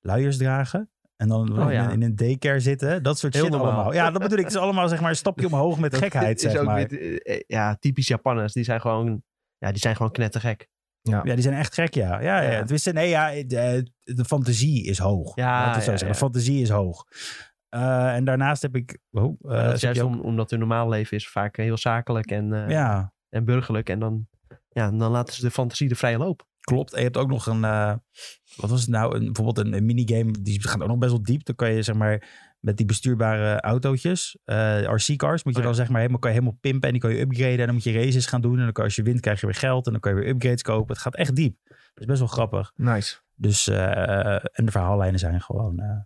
luiers dragen. En dan
Oh, ja.
in, in een daycare zitten. Dat soort
Heel
shit
normaal.
allemaal. Ja, dat bedoel ik. Het is allemaal zeg maar een stapje omhoog met
Dat
gekheid.
is
Zeg
ook
maar.
weer- eh, ja, typisch Japanners. Die zijn gewoon, ja, die zijn gewoon knettergek.
Ja, die zijn echt gek, ja. Ja, ja.
Ja.
Tenminste, nee, ja, de, de fantasie is hoog.
Ja,
Laten we het zo
ja,
zeggen.
ja.
De fantasie is hoog. Eh, en daarnaast heb ik... Oh, eh,
Maar dat is
heb
juist
je ook-
om, omdat hun normaal leven is vaak heel zakelijk en, eh,
Ja,
en burgerlijk. En dan, ja, dan laten ze de fantasie de vrije loop.
klopt. En je hebt ook nog een... eh, wat was het nou? Een, bijvoorbeeld een, een minigame. Die gaat ook nog best wel diep. Dan kan je zeg maar... Met die bestuurbare autootjes, eh, RC-cars, moet je
Oh,
dan
ja.
zeg maar helemaal, kan je helemaal pimpen en die kan je upgraden. En dan moet je races gaan doen. En dan kan, als je wint, krijg je weer geld. En dan kan je weer upgrades kopen. Het gaat echt diep. Dat is best wel grappig.
Nice.
Dus, eh, en de verhaallijnen zijn gewoon eh,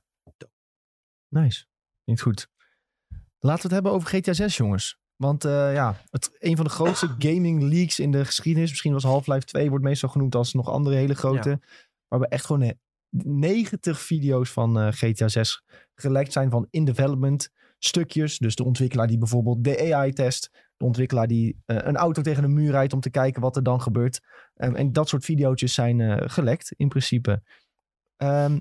Nice. Niet goed. Laten we het hebben over GTA 6, jongens. Want eh, ja, het, een van de grootste gaming leaks in de geschiedenis. Misschien was Half-Life 2, wordt meestal genoemd als nog andere hele grote. Waar we echt gewoon eh, 90 video's van eh, GTA 6 gelekt zijn van in development stukjes. Dus de ontwikkelaar die bijvoorbeeld de AI test. De ontwikkelaar die eh, een auto tegen een muur rijdt om te kijken wat er dan gebeurt. Ehm, en dat soort video's zijn eh, gelekt in principe. Ehm,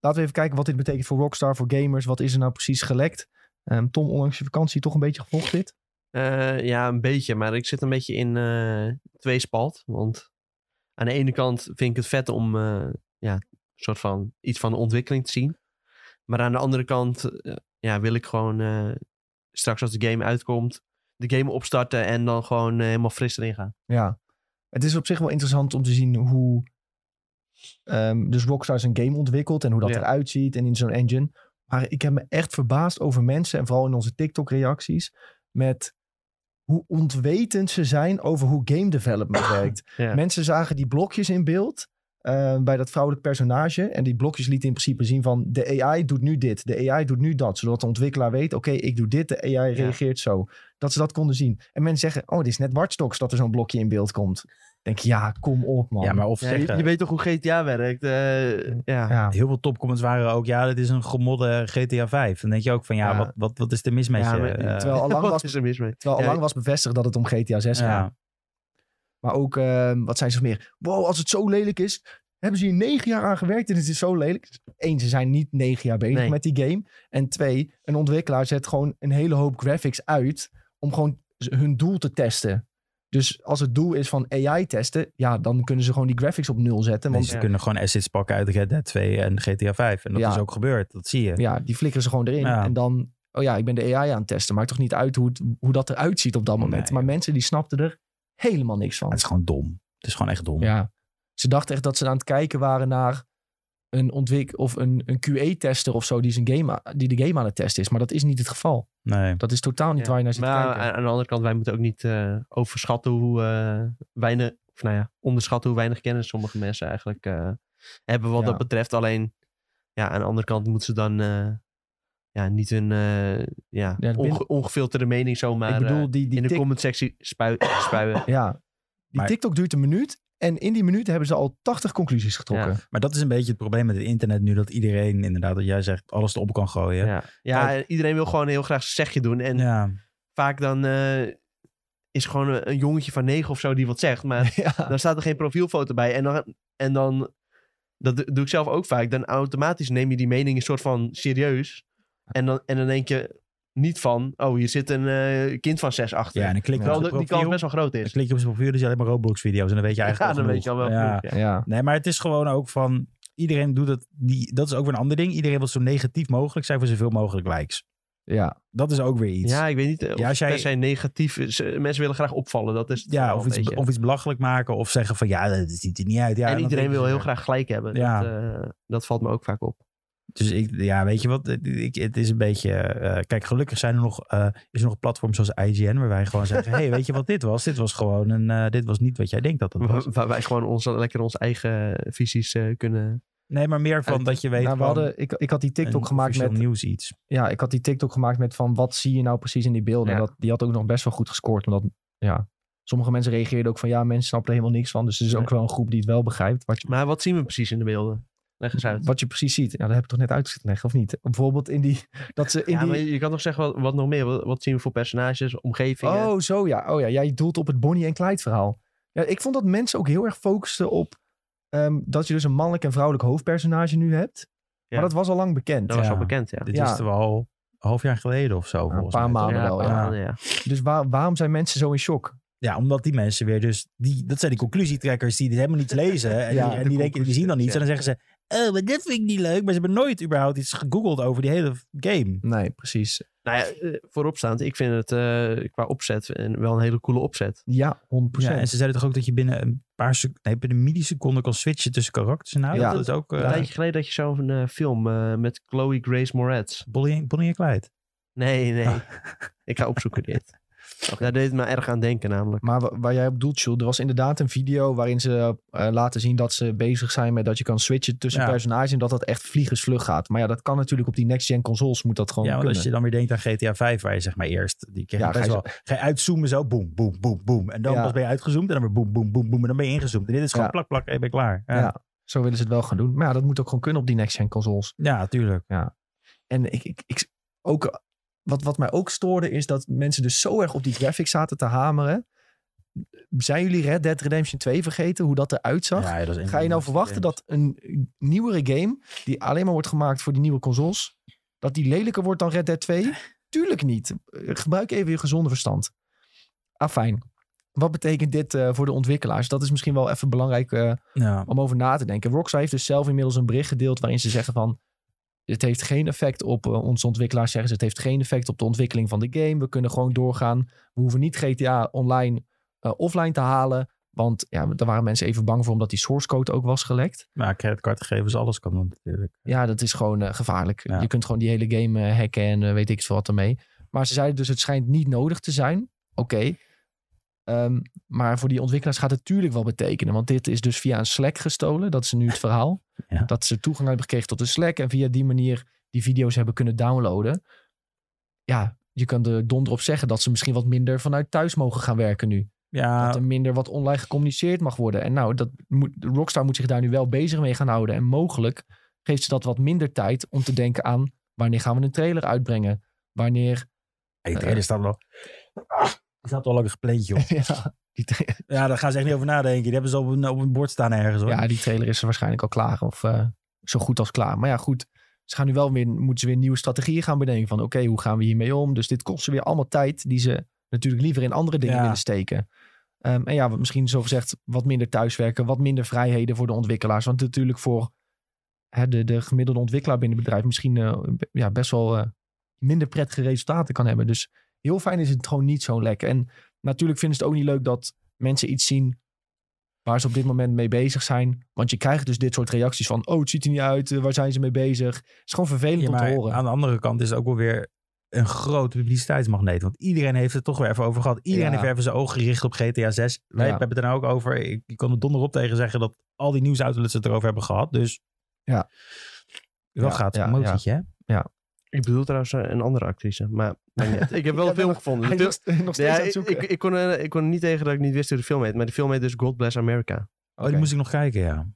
Laten we even kijken wat dit betekent voor Rockstar, voor gamers. Wat is er nou precies gelekt? Ehm, Tom, onlangs je vakantie toch een beetje gevolgd dit?
Eh, ja, een beetje. Maar ik zit een beetje in eh tweespalt. Want aan de ene kant vind ik het vet om eh, ja, een soort van iets van de ontwikkeling te zien. Maar aan de andere kant eh, ja, wil ik gewoon eh, straks als de game uitkomt, de game opstarten en dan gewoon eh, helemaal fris erin gaan.
Ja. Het is op zich wel interessant om te zien hoe... ehm, dus Rockstar zijn game ontwikkelt en hoe dat
Ja.
eruit ziet en in zo'n engine. Maar ik heb me echt verbaasd over mensen en vooral in onze TikTok-reacties... met hoe ontwetend ze zijn over hoe game development werkt.
Ja.
Mensen zagen die blokjes in beeld eh, bij dat vrouwelijk personage. En die blokjes lieten in principe zien van de AI doet nu dit, de AI doet nu dat. Zodat de ontwikkelaar weet, oké, ik doe dit, de AI
Ja.
reageert zo. Dat ze dat konden zien. En mensen zeggen, oh, dit is net Watch Dogs dat er zo'n blokje in beeld komt. Denk ik, ja, kom op man.
Ja, maar of
Ja, je,
zeggen,
je weet toch hoe GTA werkt? eh, ja.
ja.
heel veel topcomments waren ook, ja, dit is een gemodde GTA 5. Dan denk je ook van, ja,
Ja.
Wat, wat, wat is er mis met
Ja,
je?
maar-
Eh,
terwijl al lang
Wat
was-
is er mis mee?
Terwijl al
Ja,
lang was bevestigd dat het om GTA 6
ja.
gaat. Maar ook, ehm, wat zijn ze nog meer? Wow, als het zo lelijk is, hebben ze hier negen jaar aan gewerkt en het is zo lelijk. Eén, ze zijn niet negen jaar bezig
Nee.
met die game. En twee, een ontwikkelaar zet gewoon een hele hoop graphics uit om gewoon z- hun doel te testen. Dus als het doel is van AI testen, ja, dan kunnen ze gewoon die graphics op nul zetten.
Want
Want
ze
Ja.
kunnen gewoon assets pakken uit Red Dead 2 en GTA 5. En dat
Ja.
is ook gebeurd, dat zie je.
ja, die flikkeren ze gewoon erin.
Ja.
En dan oh ja, ik ben de AI aan het testen. Maakt toch niet uit hoe, het, hoe dat eruit ziet op dat moment.
Nee.
maar mensen die snapten er helemaal niks van.
Het is gewoon dom. Het is gewoon echt dom.
Ja. Ze dachten echt dat ze aan het kijken waren naar een ontwik of een, een QA-tester of zo die, zijn game, a- die de game aan het testen is. Maar dat is niet het geval.
Nee.
Dat is totaal niet
Ja.
waar je naar zit te
maar eh,
kijken.
aan, aan de andere kant, wij moeten ook niet eh, overschatten hoe eh, weinig, of nou ja, onderschatten hoe weinig kennis sommige mensen eigenlijk eh, hebben wat
Ja.
dat betreft. Alleen, ja, aan de andere kant moeten ze dan eh, ja, niet hun eh, ja,
binnen-
onge- ongefilterde mening zomaar
ik bedoel,
eh,
die, die
in de
tik-
commentsectie spui- spuien.
Ja. Die
Maar-
TikTok duurt een minuut. En in die minuut hebben ze al 80 conclusies getrokken.
Maar dat is een beetje het probleem met het internet nu. Dat iedereen inderdaad, wat jij zegt, alles erop kan gooien.
Ja, ja en iedereen wil gewoon heel graag zijn zegje doen. En
Ja.
vaak dan eh, is gewoon een, een jongetje van negen of zo die wat zegt. Maar
Ja.
dan staat er geen profielfoto bij. En dan, en dan dat do- doe ik zelf ook vaak, dan automatisch neem je die mening een soort van serieus. En dan, en dan denk je niet van, oh, hier zit een eh, kind van zes achter.
ja, en dan klik je
Ja.
op
Terwijl
zijn
de- die
profiel.
kans best wel groot
Dan
is.
klik je op zijn profiel, dan zie je alleen maar Roblox-video's. En dan weet je
Ja,
eigenlijk
dan
al
weet je al
genoeg.
wel.
Ja.
genoeg, ja.
Ja.
Nee, maar het is gewoon ook van... Iedereen doet het... Die, dat is ook weer een ander ding. Iedereen wil zo negatief mogelijk zijn voor zoveel mogelijk likes.
ja.
Dat is ook weer iets.
Ja, ik weet niet eh, of
Ja, als
het per
jij-
se negatief is. Eh, Mensen willen graag opvallen. Dat is het
Ja,
wel
of
een
iets,
beetje.
of iets belachelijk maken. Of zeggen van ja, dat ziet er niet uit. Ja,
en
dan
iedereen wil
denken ze
heel
weer.
graag gelijk hebben.
Ja.
Dat, eh, dat valt me ook vaak op.
Dus ik, ja, weet je wat? Ik, het is een beetje... eh, kijk, gelukkig zijn er nog, eh, is er nog een platform zoals IGN... waar wij gewoon zeggen... hey, weet je wat dit was? Dit was gewoon een... eh, dit was niet wat jij denkt dat het was.
Waar waar wij gewoon onze, lekker onze eigen visies eh, kunnen...
Nee, maar meer van
Uit-
dat je weet...
Nou, we
van
hadden, ik, ik had die
een
TikTok gemaakt
officieel
met...
nieuws iets.
Ja, ik had die TikTok gemaakt met van wat zie je nou precies in die beelden.
Ja.
En dat, die had ook nog best wel goed gescoord. Omdat, ja, sommige mensen reageerden ook van ja, mensen snappen er helemaal niks van. Dus er is ook wel een groep die het wel begrijpt. Wat je,
Maar wat zien we precies in de beelden? Leg eens uit.
wat je precies ziet. Ja, dat heb ik toch net uitgelegd, of niet? Bijvoorbeeld in die... Dat ze in
ja,
die...
maar je kan toch zeggen wat, wat nog meer? Wat, wat zien we voor personages, omgevingen?
Oh, zo ja. Oh ja, jij doelt op het Bonnie en Clyde verhaal. Ja, ik vond dat mensen ook heel erg focusten op ehm, dat je dus een mannelijk en vrouwelijk hoofdpersonage nu hebt. Maar
Ja.
dat was al lang bekend.
dat was
ja.
al bekend, ja.
Dit
Ja. Nou,
wisten we al een half jaar geleden of zo.
een
volgens
paar
mij, toch?
maanden wel,
een
ja.
paar maanden, ja.
Dus waar- waarom zijn mensen zo in shock?
Ja, omdat die mensen weer dus... Die, dat zijn die conclusietrekkers die dit helemaal niet lezen. En,
Ja,
die, en
de
die, denken, die zien dan iets. En dan zeggen ze... Oh, maar dat vind ik niet leuk. Maar ze hebben nooit überhaupt iets gegoogeld over die hele game.
Nee, precies.
Nou ja, eh, vooropstaand, ik vind het eh, qua opzet en wel een hele coole opzet.
Ja, 100%.
Ja, en ze zeiden toch ook dat je binnen een paar sec- nee, binnen een milliseconde kan switchen tussen karakters. en Nou,
Ja.
dat is ook... eh,
Een tijdje geleden dat je zo'n eh, film eh, met Chloe Grace Moretz.
Bonnie, en- Bonnie en Clyde.
Nee, nee.
Ah.
Ik ga opzoeken dit. Daar deed het me erg aan denken namelijk.
Maar wa- waar jij op doelt, Jules, er was inderdaad een video waarin ze eh, laten zien dat ze bezig zijn met dat je kan switchen tussen
Ja.
personages en dat dat echt vliegensvlug gaat. Maar ja, dat kan natuurlijk op die next-gen consoles, moet dat gewoon
ja, want
kunnen.
als je dan weer denkt aan GTA 5, waar je zeg maar eerst... Die kreeg
Ja,
je best
ga je
wel, ga je uitzoomen zo, boem, boem, boem, boem. En dan
Ja.
pas ben je uitgezoomd en dan weer boem, boem, boem, boem. En dan ben je ingezoomd. En dit is gewoon
Ja.
plak, plak, en je bent klaar. Ja,
ja. zo willen ze het wel gaan doen. Maar ja, dat moet ook gewoon kunnen op die next-gen consoles.
ja tuurlijk.
En ik, ik, ik ook, wat, wat mij ook stoorde is dat mensen dus zo erg op die graphics zaten te hameren. Zijn jullie Red Dead Redemption 2 vergeten hoe dat eruit zag?
Ja, ja, dat is
Ga je nou
inderdaad
verwachten
vreemd.
dat een nieuwere game, die alleen maar wordt gemaakt voor die nieuwe consoles, dat die lelijker wordt dan Red Dead 2? Tuurlijk niet. Eh, Gebruik even je gezonde verstand. Afijn. Wat betekent dit eh, voor de ontwikkelaars? Dat is misschien wel even belangrijk eh,
Ja.
om over na te denken. Rockstar heeft dus zelf inmiddels een bericht gedeeld waarin ze zeggen van... Het heeft geen effect op eh, onze ontwikkelaars, zeggen ze. Het heeft geen effect op de ontwikkeling van de game. We kunnen gewoon doorgaan. We hoeven niet GTA online eh, offline te halen. Want ja, daar waren mensen even bang voor omdat die source code ook was gelekt.
Maar creditcardgegevens, alles kan dan natuurlijk.
Ja, dat is gewoon eh, gevaarlijk.
Ja.
Je kunt gewoon die hele game eh, hacken en eh, weet ik veel wat ermee. Maar ze zeiden dus het schijnt niet nodig te zijn. Oké. Ehm, maar voor die ontwikkelaars gaat het natuurlijk wel betekenen. Want dit is dus via een Slack gestolen. Dat is nu het verhaal.
Ja.
Dat ze toegang hebben gekregen tot de Slack. En via die manier die video's hebben kunnen downloaden. Ja, je kunt er donder op zeggen dat ze misschien wat minder vanuit thuis mogen gaan werken nu.
Ja,
Dat er minder wat online gecommuniceerd mag worden. En nou, dat moet, Rockstar moet zich daar nu wel bezig mee gaan houden. En mogelijk geeft ze dat wat minder tijd om te denken aan... wanneer gaan we een trailer uitbrengen? Wanneer...
hey, er staat wel. Er staat wel een gepleentje op.
Ja, die, tra-
Ja, daar gaan ze echt niet over nadenken. Die hebben ze op een, op een bord staan ergens hoor.
ja, die trailer is er waarschijnlijk al klaar. Of eh, zo goed als klaar. Maar ja, goed. Ze gaan nu wel weer, moeten ze weer nieuwe strategieën gaan bedenken. Van oké, hoe gaan we hiermee om? Dus dit kost ze weer allemaal tijd... die ze natuurlijk liever in andere dingen
Ja.
willen steken. Ehm, en ja, wat misschien zo gezegd wat minder thuiswerken, wat minder vrijheden voor de ontwikkelaars. Want natuurlijk voor hè, de, de gemiddelde ontwikkelaar binnen het bedrijf misschien eh, b- ja, best wel eh, minder prettige resultaten kan hebben. Dus heel fijn is het gewoon niet zo lekker. En natuurlijk vinden ze het ook niet leuk dat mensen iets zien waar ze op dit moment mee bezig zijn. Want je krijgt dus dit soort reacties van, oh, het ziet er niet uit, eh, waar zijn ze mee bezig? Het is gewoon vervelend
Ja,
om te
maar
horen.
aan de andere kant is het ook wel weer een groot publiciteitsmagneet. Want iedereen heeft het toch weer even over gehad. Iedereen
Ja.
heeft even zijn ogen gericht op GTA 6. Wij
Ja.
hebben het er nou ook over. Ik, ik kan er donderop tegen zeggen dat al die nieuwsoutlets het erover hebben gehad. Dus
Ja.
wel
Ja,
gaat
ja,
het emotietje, hè?
Ik bedoel trouwens eh, een andere actrice, maar maakt niet uit. ik heb wel een
Ik ben
film
nog-
gevonden.
Hij
De
is
film-
nog steeds- nog steeds
Ja,
aan het
ik,
zoeken.
ik, ik kon, er- ik kon er niet tegen dat ik niet wist hoe de film heet, maar de film heet dus God Bless America.
Oh, die moest ik nog kijken, ja.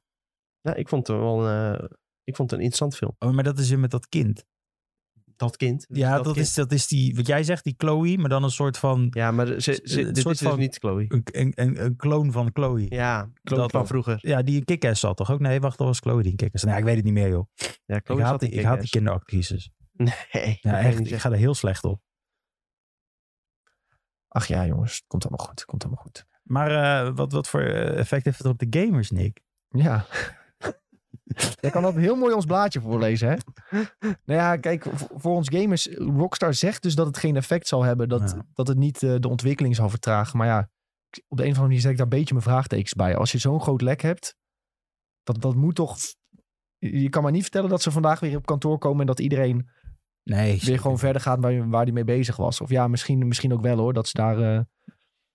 Ja, ik vond het wel een, eh, ik vond het een interessant film.
Oh, maar dat is weer met dat kind.
Dus Dat kind.
Ja, dat,
kind.
is, dat is die, wat jij zegt, die Chloe, maar dan een soort van,
Ja, maar ze, ze,
Een soort
dit is dus
van-
niet Chloe.
een, een, een, een kloon van Chloe. Ja.
Ja, Chloe
Dat
van
ook.
vroeger.
die in Kick-Ass zat toch ook? Nee, wacht, dat was Chloe die in Kick-Ass. Nou, ik weet het niet meer, joh.
Ja,
Ik
Chloe
haat,
zat
die,
in
ik haat die
Kick-Ass.
kinderactrices.
Nee,
Ja,
dat kan je
echt,
niet
ik
zeggen.
ga er heel slecht op.
Ach ja, jongens, het komt allemaal goed. het Komt allemaal goed.
Maar eh, wat, wat voor eh, effect heeft het op de gamers, Nick?
Ja. Jij kan dat heel mooi ons blaadje voorlezen, hè? Nou ja, kijk, v- voor ons gamers, Rockstar zegt dus dat het geen effect zal hebben, dat,
Ja.
dat het niet eh, de ontwikkeling zal vertragen. Maar ja, ik- op de een of andere manier zet ik daar een beetje mijn vraagtekens bij. Als je zo'n groot lek hebt, dat, dat moet toch... Je kan maar niet vertellen dat ze vandaag weer op kantoor komen en dat iedereen
Nee,
weer gewoon verder gaat waar, waar die mee bezig was. Of ja, misschien, misschien ook wel hoor, dat ze daar eh,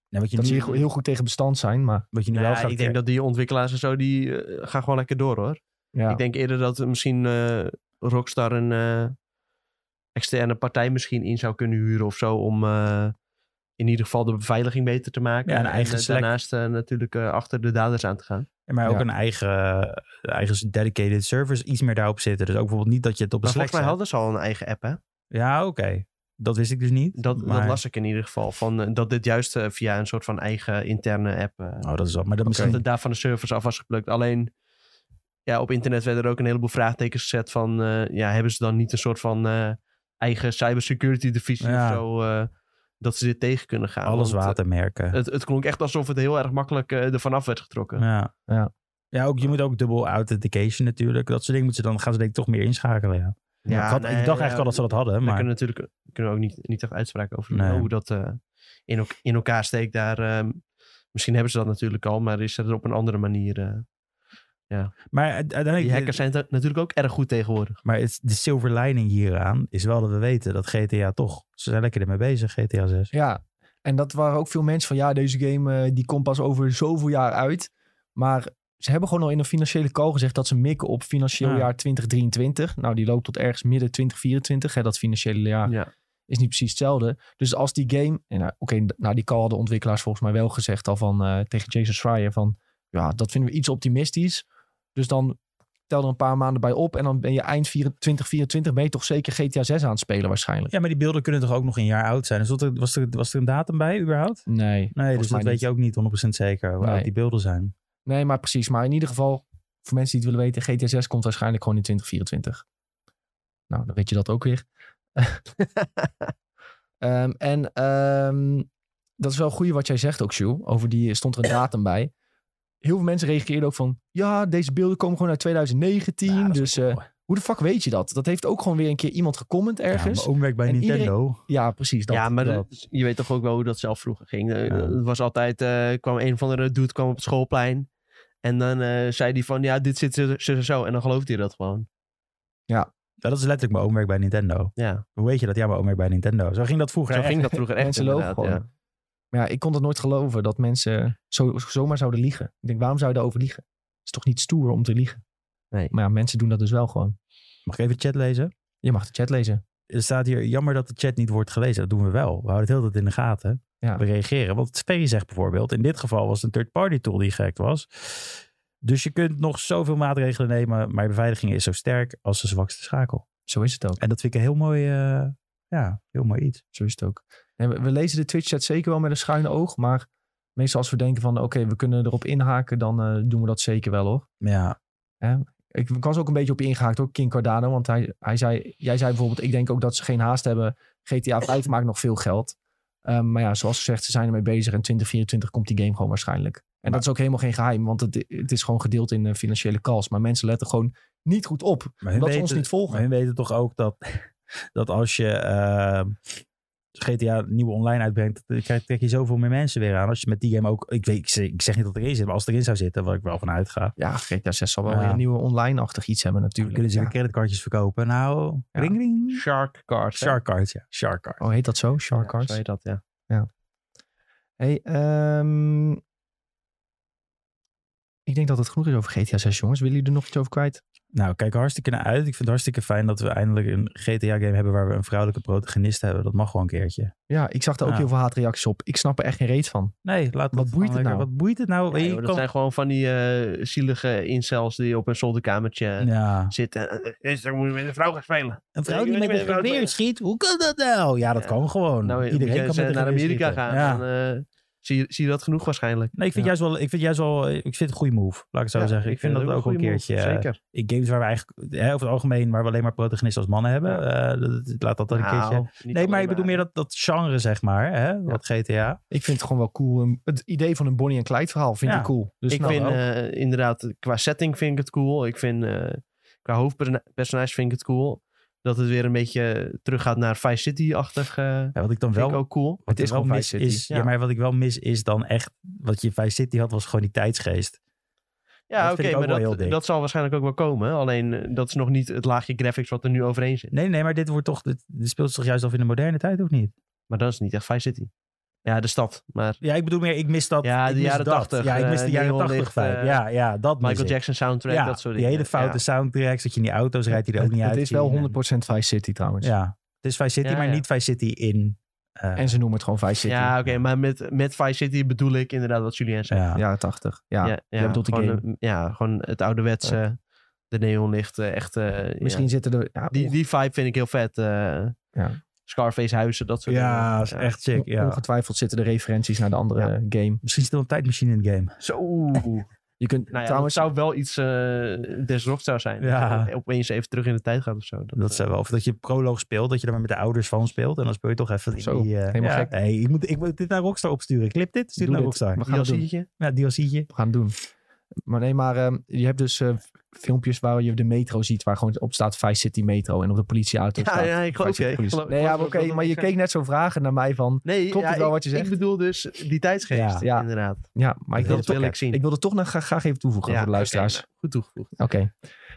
nee, wat je
dat ze
nu,
heel, heel goed tegen bestand zijn. Maar
wat je nu wel
Nou,
gaat
ik denk dat die ontwikkelaars en zo, die eh, gaan gewoon lekker door hoor.
ja.
Ik denk eerder dat er misschien eh, Rockstar een eh, externe partij misschien in zou kunnen huren of zo. Om eh, in ieder geval de beveiliging beter te maken.
Ja, een eigen
en, eh,
select-
daarnaast eh, natuurlijk eh, achter de daders aan te gaan.
maar ook
ja.
een eigen, eh, eigen dedicated service iets meer daarop zitten. Dus ook bijvoorbeeld niet dat je het op een
Maar volgens
slecht
mij hadden ze al een eigen app hè.
Ja, oké. Dat wist ik dus niet.
Dat, dat
maar-
las ik in ieder geval. Van, eh, dat dit juist eh, via een soort van eigen interne app... eh,
Oh, dat is wel. Maar dat
dat
misschien...
het daar van de servers af was geplukt. Alleen ja, op internet werden er ook een heleboel vraagtekens gezet van... eh, ja, hebben ze dan niet een soort van eh, eigen cybersecurity divisie
Ja.
of zo... eh, dat ze dit tegen kunnen gaan.
alles
Want, eh,
watermerken.
Het, het klonk echt alsof het heel erg makkelijk eh ervan af werd getrokken.
ja.
Ja.
Ja, ook, je moet ook dubbel authentication natuurlijk. Dat soort dingen moeten ze dan, gaan ze denk ik toch meer inschakelen, ja.
Ja,
ik, had,
nee,
ik dacht
ja,
eigenlijk al dat ze dat hadden,
Daar
maar...
kunnen we natuurlijk kunnen we ook niet, niet echt uitspraken over doen,
Nee.
hè, hoe dat eh, in, elk- in elkaar steekt daar. ehm, misschien hebben ze dat natuurlijk al, maar is dat er op een andere manier. eh.
Maar uiteindelijk...
die hackers zijn er natuurlijk ook erg goed tegenwoordig.
Maar het, de silver lining hieraan is wel dat we weten dat GTA toch... Ze zijn lekker ermee bezig, GTA 6.
Ja, en dat waren ook veel mensen van ja, deze game eh, die komt pas over zoveel jaar uit. Maar ze hebben gewoon al in een financiële call gezegd dat ze mikken op financieel
Ja.
jaar 2023. Nou, die loopt tot ergens midden 2024. Hè, dat financiële jaar
ja.
is niet precies hetzelfde. Dus als die game. En nou, Oké, nou die call hadden ontwikkelaars volgens mij wel gezegd al van eh, tegen Jason Schreier van ja, dat vinden we iets optimistisch. Dus dan tel er een paar maanden bij op en dan ben je eind 24 2024 ben je toch zeker GTA 6 aan het spelen waarschijnlijk.
Ja, maar die beelden kunnen toch ook nog een jaar oud zijn? Dus dat er- was, er, was er een datum bij überhaupt?
Nee,
Nee, dus
volgens
dat
mij
weet je ook niet 100% zeker hoe oud
Nee.
die beelden zijn.
Nee, maar precies. Maar in ieder geval, voor mensen die het willen weten, GTA 6 komt waarschijnlijk gewoon in 2024. Nou, dan weet je dat ook weer. Ehm, en ehm, dat is wel goed wat jij zegt ook, Sjoe. Over die eh, stond er een datum bij. Heel veel mensen reageerden ook van... Ja, deze beelden komen gewoon uit 2019.
Ja, dat is
dus
ook
eh,
mooi.
hoe de fuck weet je dat? Dat heeft ook gewoon weer een keer iemand gecomment
Ja,
ergens.
mijn
Ja,
oom werkt bij
En
Nintendo.
precies. Dat,
ja, maar
dat.
dat- je weet toch ook wel hoe dat zelf vroeger ging. Eh,
Ja.
Het was altijd, eh, kwam een van de dude kwam op het schoolplein. En dan eh, zei hij van, ja, dit zit zo, zo, zo. En dan geloofde hij dat gewoon.
Ja, dat is letterlijk mijn oom werkt bij Nintendo.
Ja,
Hoe weet je dat? Ja, mijn oom werkt bij Nintendo. Zo ging dat vroeger
zo
echt.
ging dat vroeger echt
mensen logen
inderdaad.
gewoon.
Ja.
Maar ja, ik kon dat nooit geloven dat mensen zo, zomaar zouden liegen. Ik denk, waarom zou je daarover liegen? Het is toch niet stoer om te liegen?
Nee.
Maar ja, mensen doen dat dus wel gewoon.
Mag ik even de chat lezen?
Je mag de chat lezen.
Er staat hier, jammer dat de chat niet wordt gelezen. Dat doen we wel. We houden het heel de tijd in de gaten.
Ja.
We reageren. Want Sperry zegt bijvoorbeeld, in dit geval was het een third-party tool die gehackt was. Dus je kunt nog zoveel maatregelen nemen, maar je beveiliging is zo sterk als de zwakste schakel.
Zo is het ook.
En dat vind ik een heel mooi, eh, ja, heel mooi iets.
Zo is het ook. En we, we lezen de Twitch-chat zeker wel met een schuin oog. Maar meestal als we denken van, oké, we kunnen erop inhaken. Dan eh, doen we dat zeker wel, hoor.
Ja,
Ik ik was ook een beetje op ingehaakt, hoor, King Cardano. Want hij, hij zei, jij zei bijvoorbeeld, ik denk ook dat ze geen haast hebben. GTA 5 maakt nog veel geld. Ehm, maar ja, zoals gezegd, ze zijn ermee bezig. En 2024 komt die game gewoon waarschijnlijk. En dat is ook helemaal geen geheim. Want het, het is gewoon gedeeld in eh, financiële calls. Maar mensen letten gewoon niet goed op.
maar
Omdat
hun
ze
weten-
ons niet volgen.
Maar hun weten toch ook dat dat als je eh, GTA nieuwe online uitbrengt, dan krijg- trek je zoveel meer mensen weer aan. Als je met die game ook, ik, weet, ik zeg- ik zeg niet dat het erin zit, maar als het erin zou zitten, waar ik wel van uitga,
Ja, GTA 6 zal wel
Ja.
weer een nieuwe online-achtig iets hebben
dan
natuurlijk.
kunnen ze
Ja.
weer creditcardjes verkopen. Nou,
Ja.
ring ring.
Shark Cards. hè?
Shark cards, ja. Shark cards.
Oh, heet dat zo? Shark
Ja,
Cards?
zei je dat, ja.
Hey, ehm, ik denk dat het genoeg is over GTA 6, jongens. Willen jullie er nog iets over kwijt?
Nou, kijk er hartstikke naar uit. Ik vind het hartstikke fijn dat we eindelijk een GTA-game hebben waar we een vrouwelijke protagonist hebben. Dat mag gewoon een keertje.
Ja, ik zag daar ook
Ja.
heel veel haatreacties op. Ik snap er echt geen reet van.
Nee, laat dat
Wat boeit
gewoon
het
lekker-
nou?
Wat boeit het nou?
Ja,
Je
joh, dat
kan-
zijn gewoon van die eh, zielige incels die op een zolderkamertje
ja.
zitten. Eh, eh, dan moet je met een vrouw gaan spelen.
Een
vrouw die met een geweer
schiet, hoe kan dat nou? Ja, dat
Ja.
kan gewoon.
Nou,
Iedereen kan
moet
met
je
een
eens, eh, naar
geweer
Amerika
schieten.
gaan.
Ja.
Dan, eh, zie, je- zie je dat genoeg waarschijnlijk.
nee, ik vind
Ja.
juist wel, ik vind juist wel, ik vind het een goede move. Laat ik het zo
Ja,
zeggen. Ik, vind,
het
dat ook wel
goede
een
move,
keertje. eh,
Zeker.
In games waar we eigenlijk, hè, over het algemeen, waar we alleen maar protagonisten als mannen hebben. eh, dat- dat- laat dat dan een
Nou,
keertje. Nee, maar ik bedoel meer dat, dat genre, zeg maar. Hè, wat GTA.
Ik vind het gewoon wel cool. Een- Het idee van een Bonnie en Clyde verhaal vind
Ja.
ik cool. Dus
ik
nou,
vind
ook.
eh, inderdaad, qua setting vind ik het cool. Ik vind, eh, qua hoofdpersonage vind ik het cool. Dat het weer een beetje teruggaat naar Vice City-achtig. eh,
Ja, wat ik dan
vind
wel
ik ook cool.
Wat
Het
ik
is
wel
gewoon
mis
Vice City.
is, ja.
Ja.
maar wat ik wel mis is dan echt, wat je in Vice City had, was gewoon die tijdsgeest.
Ja,
dat vind
oké,
ik ook wel
maar
heel
dat,
dik.
dat zal waarschijnlijk ook wel komen. Alleen eh, dat is nog niet het laagje graphics wat er nu overheen zit.
Nee, nee, maar dit wordt toch, dit, dit speelt zich juist af in de moderne tijd, of niet?
Maar dat is niet echt Vice City. Ja, de stad. Maar
Ja, ik bedoel meer, ik mis dat.
Ja,
ik
de
mis
jaren
dat.
80,
Ja, ik mis
eh,
de jaren
neonlicht,
80 vibe.
eh,
ja, ja, dat mis
Michael
ik.
Jackson soundtrack,
ja,
dat soort
die
dingen.
hele foute soundtracks, dat je in die auto's rijdt die er ook niet uit
Het is wel 100% Vice City trouwens.
Ja, het is Vice City,
Ja,
maar
ja.
niet Vice City in... eh,
En ze noemen het gewoon Vice City.
Ja, oké, maar met, met Vice City bedoel ik inderdaad wat Julien zei.
ja.
Jaren 80. Ja,
ja,
je bedoelt de
gewoon,
game.
eh, ja, gewoon het ouderwetse, de neonlichten, echt. eh,
Misschien
ja.
zitten er... Ja,
die, die vibe vind ik heel vet. eh,
Ja.
Scarface huizen, dat soort
Ja, is
dingen.
echt sick. Ja.
Ongetwijfeld zitten er referenties naar de andere
Ja.
game.
Misschien zit er wel een tijdmachine in het game.
Zo. nou
Je kunt
ja,
trouwens...
trouwens, zou wel iets eh Des Rock zou zijn.
Ja.
Dat je opeens even terug in de tijd gaat of zo. Dat,
Dat
eh,
zou wel. Of dat je proloog speelt, dat je dan maar met de ouders van speelt. En dan speel je toch even in
Zo,
die... eh,
helemaal
ja.
gek.
Hey, ik, moet, ik moet dit naar Rockstar opsturen. Clip dit, stuur
Doe
het naar
dit.
Rockstar.
We gaan het doen.
DLC'tje.
Ja, DLC'tje.
gaan doen. Maar nee, maar ehm, je hebt dus eh, filmpjes waar je de metro ziet, waar gewoon op staat Vice City Metro en op de politieauto
Ja,
staat.
ja, ik
Vice
geloof
City
je, ik
Police.
geloof-
nee,
ik
ja,
geloof
maar oké,
dat dat
maar je
ik zeg.
keek net zo vragen naar mij van,
Nee,
Klopt het wel
ik-
wat je zegt?
Ik bedoel dus die tijdsgeest,
Ja.
Ja.
inderdaad.
ja, maar ik
Dat
wilde
wil
toch,
ik zien.
ik wilde toch nog gra- graag even toevoegen
Ja,
voor de
oké,
luisteraars.
nou, goed toegevoegd.
Oké.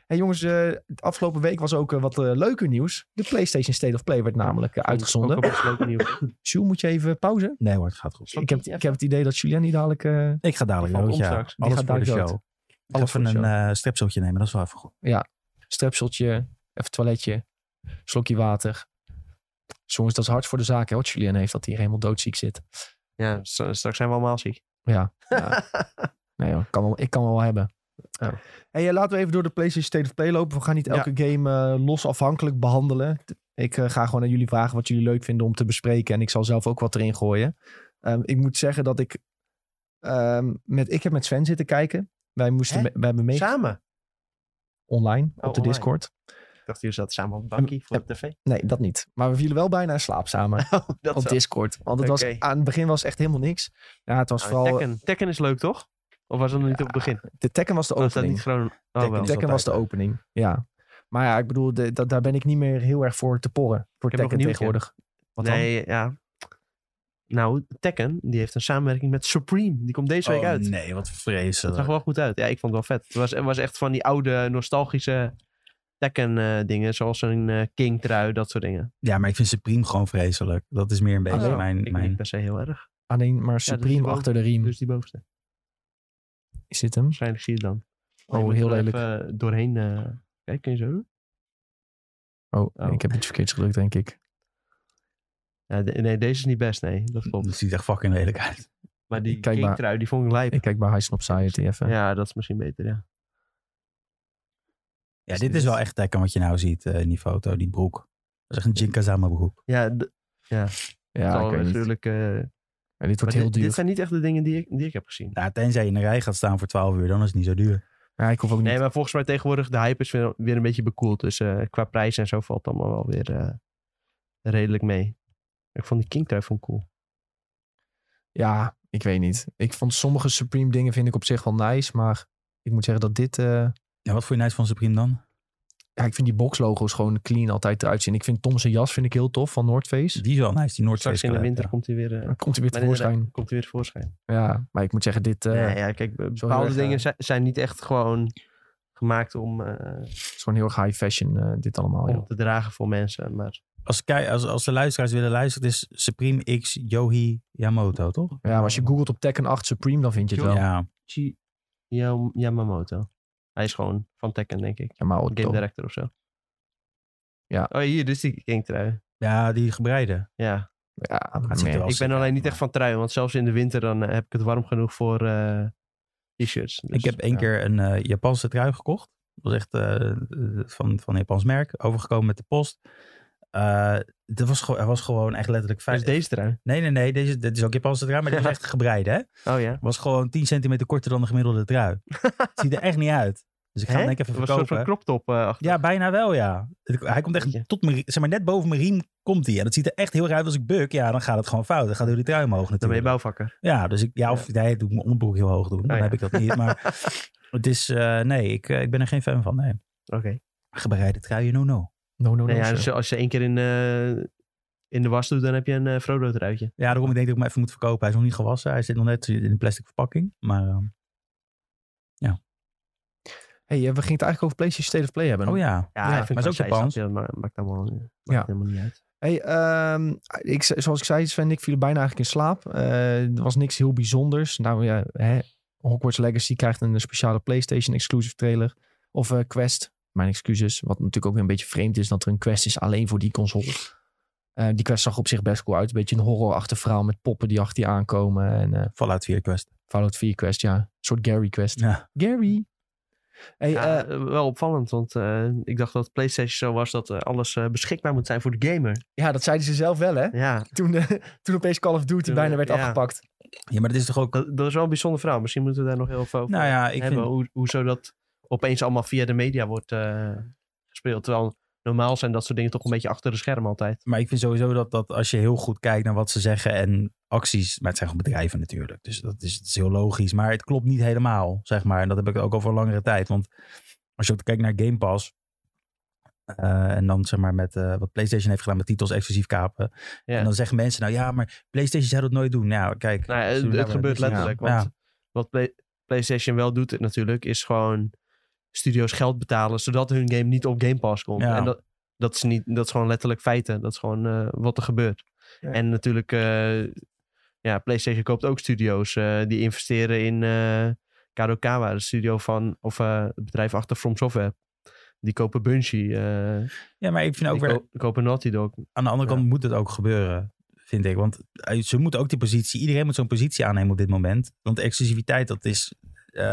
Hey jongens, eh, de afgelopen week was ook eh, wat eh, leuker nieuws. De PlayStation State of Play werd namelijk eh, uitgezonden.
Ook op gesloten nieuws.
Jules, moet je even pauze?
Nee hoor, het gaat goed.
Ik heb, ik heb het idee dat Julien niet dadelijk... eh,
Ik ga dadelijk
Die valt
dood,
om
ja.
straks. Die
Alles
gaat
voor de
dadelijk
show.
dood.
Ik ga
Alles voor
even
de
een eh strepseltje nemen, dat is wel even goed.
strepseltje, even toiletje, slokje water. Soms dat is hard voor de zaak, hè, wat Julian heeft, dat hij hier helemaal doodziek zit.
Ja, stra- straks zijn we allemaal ziek.
Ja. ja. nee hoor, kan wel, ik kan wel hebben.
Oh.
Hey, eh, laten we even door de PlayStation State of Play lopen. We gaan niet
Ja.
elke game eh, los afhankelijk behandelen. T- Ik eh, ga gewoon aan jullie vragen wat jullie leuk vinden om te bespreken. En ik zal zelf ook wat erin gooien. Ehm, ik moet zeggen dat ik... ehm, met, ik heb met Sven zitten kijken. Wij, moesten
Hè?
me- wij hebben mee
Samen.
online op de
online.
Discord.
Ik dacht, jullie zaten samen op een bankie voor de tv.
Nee, dat niet. Maar we vielen wel bijna in slaap samen.
dat
op
zo.
Discord. Want het
Oké.
was, aan het begin was echt helemaal niks. Ja, het was
Nou,
vooral...
Tekken. Tekken is leuk, toch? Of was dat nog niet op het begin?
De Tekken was de
Of was dat
opening.
niet gewoon... Oh,
Tekken
wel.
is
Tekken was de
altijd,
opening, ja. Maar ja, ik bedoel, de, dat- daar ben ik niet meer heel erg voor te porren. Voor
Ik heb nog
Tekken
een nieuwtje.
tegenwoordig. Wat dan?
nee, ja. Nou, Tekken, die heeft een samenwerking met Supreme. Die komt deze week uit.
Oh, nee, wat
Dat zag er
vreselijk.
wel goed uit. Ja, ik vond het wel vet. Het was, het was echt van die oude, nostalgische Tekken eh, dingen. Zoals een eh, King trui, dat soort dingen.
Ja, maar ik vind Supreme gewoon vreselijk. Dat is meer een beetje
zo.
mijn...
Ik
mijn...
niet per se heel erg.
Alleen maar
dat is
Supreme
wel-
achter de riem
Dus die bovenste.
is zit hem.
Waarschijnlijk zie je het dan.
Oh,
Je moet
heel
er
lelijk.
even doorheen. eh, kijk, kun je zo doen?
Oh,
Oh.
ik heb iets verkeerds gedrukt, denk ik.
Ja, de- nee, deze is niet best. Nee, dat klopt.
Dat ziet er echt fucking lelijk uit.
Maar die
Kijk maar.
King trui, die vond ik lijp.
Ik kijk bij High Snob Society even.
Ja, dat is misschien beter, ja.
Ja, dit is wel echt Tekken wat je nou ziet eh, in die foto, die broek. Dat is echt een Jinkazama broek.
Ja, d-
Ja,
zal
ik weet niet.
natuurlijk... eh,
Ja, dit
maar
wordt
dit,
heel duur.
dit zijn niet echt de dingen die ik, die ik heb gezien.
Nou, tenzij je in een rij gaat staan voor 12 uur, dan is het niet zo duur.
Ja, ik hoef ook niet.
Nee, maar volgens mij tegenwoordig de hype is weer, weer een beetje bekoeld. Dus eh, qua prijs en zo valt het allemaal wel weer eh, redelijk mee. Ik vond die King trui vond ik cool.
Ja, ik weet niet. Ik vond sommige Supreme dingen vind ik op zich wel nice, maar ik moet zeggen dat dit... eh,
En wat vond je nice van Supreme nou dan?
ja, ik vind die boxlogo's gewoon clean altijd eruit zien. Ik vind Tom zijn jas vind ik heel tof van Noordface.
Die is wel nice, die
Straks
Noordface
in de
kleur,
winter
ja.
komt hij weer, eh,
Dan komt hij weer
maar inderdaad,
tevoorschijn.
komt hij weer voorschijn.
Ja, maar ik moet zeggen, dit eh,
nee, ja, kijk, be- bepaalde
erg, eh,
dingen zijn, zijn niet echt gewoon gemaakt om, eh,
is gewoon heel erg high fashion, eh, dit allemaal.
om
joh.
te dragen voor mensen. Maar
Als, kei- als, als de luisteraars willen luisteren, het is Supreme X Yohi Yamoto, toch?
Ja, maar als je googelt op Tekken 8 Supreme, dan vind je het wel. Ja,
Ja,
Chi Yam- Yamamoto. Hij is gewoon van Tekken, denk ik.
maar oh,
Game
tof.
director of zo.
Ja.
Oh, hier, dus die King-trui.
ja die gebreide.
Ja,
ja,
het ziet
man.
er wel-
ik
Als
ben
ik-
alleen niet echt van truien, want zelfs in de winter dan eh, heb ik het warm genoeg voor eh, t-shirts. Dus,
ik heb één
ja.
keer een eh, Japanse trui gekocht. Dat was echt eh, eh, van, van een Japans merk. Overgekomen met de post. Eh er, was gewoon, er was gewoon echt letterlijk
Dus
vijf...
deze trui.
Nee, nee, nee. Deze, dit is ook Japanse trui, maar die was echt gebreid, hè?
Oh ja.
Was gewoon 10 centimeter korter dan de gemiddelde trui. Het ziet er echt niet uit. Dus ik ga
Hè?
hem denk ik even
Dat was een soort van
verkopen.
crop top eh, achter.
Ja, bijna wel, ja. Het- Hij komt
Weet
echt
je.
tot mijn, rie- zeg maar, net boven mijn riem komt hij. En dat ziet er echt heel raar uit. Als ik buk, ja, dan gaat het gewoon fout. Dan gaat heel die trui omhoog
Dan ben je
natuurlijk.
bouwvakker.
Ja, dus ik, ja, of nee, doe ik mijn onderbroek heel hoog doen. Dan
Oh, ja.
heb ik dat niet. Maar het is, eh, nee, ik, eh, ik ben er geen fan van, nee.
Oké.
Gebreide truien, no, no.
No, no, no.
Nee, ja,
sir.
dus als je één keer in, eh, in de was doet, dan heb je een eh, Frodo-truitje.
Ja, daarom ik denk dat ik hem even moet verkopen. Hij is nog niet gewassen. Hij zit nog net in een plastic verpakking. Maar, eh,
hey, eh, we gingen het eigenlijk over PlayStation State of Play hebben.
oh ja.
Ja,
Ja,
ik vind
maar
het
is ook Japans.
Dat maakt allemaal maakt
Ja.
helemaal niet uit.
Hey, ehm, ik, zoals ik zei, Sven en ik vielen bijna eigenlijk in slaap. Eh, er was niks heel bijzonders. Nou ja, hè, Hogwarts Legacy krijgt een speciale PlayStation exclusive trailer. Of eh, Quest, mijn excuses. Wat natuurlijk ook weer een beetje vreemd is dat er een Quest is alleen voor die console. Eh, die Quest zag op zich best cool uit. Een beetje een horrorachtig verhaal met poppen die achter je aankomen. En eh,
Fallout 4 Quest.
Fallout 4 Quest, ja. Een soort Gary Quest.
Ja.
Gary! Hey,
Ja,
eh,
eh, wel opvallend, want eh, ik dacht dat PlayStation zo was dat eh, alles eh, beschikbaar moet zijn voor de gamer.
ja, dat zeiden ze zelf wel, hè?
Ja,
Toen, eh, toen eh, opeens Call of Duty
Toen,
bijna werd
ja.
afgepakt.
ja, maar dat is toch ook...
dat, dat is wel een bijzonder verhaal. Misschien moeten we daar nog heel veel over
Nou ja, ik
hebben.
vind...
Hoe, hoezo dat opeens allemaal via de media wordt eh, gespeeld. Terwijl normaal zijn dat soort dingen toch een beetje achter de schermen altijd.
Maar ik vind sowieso dat, dat als je heel goed kijkt naar wat ze zeggen en acties. Maar het zijn gewoon bedrijven natuurlijk. Dus dat is, het is heel logisch. Maar het klopt niet helemaal, zeg maar. En dat heb ik ook over langere tijd. Want als je ook kijkt naar Game Pass. eh, en dan zeg maar met eh, wat PlayStation heeft gedaan met titels exclusief kapen.
Ja.
En dan zeggen mensen nou ja, maar PlayStation zou dat nooit doen. Nou kijk.
Nou ja,
zullen
het,
we
het
daar
gebeurt
wel-
letterlijk.
Ja.
Want wat Play- PlayStation wel doet natuurlijk, is gewoon studio's geld betalen, zodat hun game niet op Game Pass komt.
Ja.
En dat, dat, is niet, dat is gewoon letterlijk feiten. Dat is gewoon eh, wat er gebeurt.
Ja.
En natuurlijk, eh, ja, PlayStation koopt ook studio's eh, die investeren in eh Kadokawa, de studio van, of eh, het bedrijf achter From Software. Die kopen Bungie, eh,
Ja, maar ik vind ook
die
weer
ko- kopen Naughty Dog.
aan de andere
Ja.
kant moet het ook gebeuren, vind ik. Want eh, ze moeten ook die positie, iedereen moet zo'n positie aannemen op dit moment. Want exclusiviteit, dat is, eh,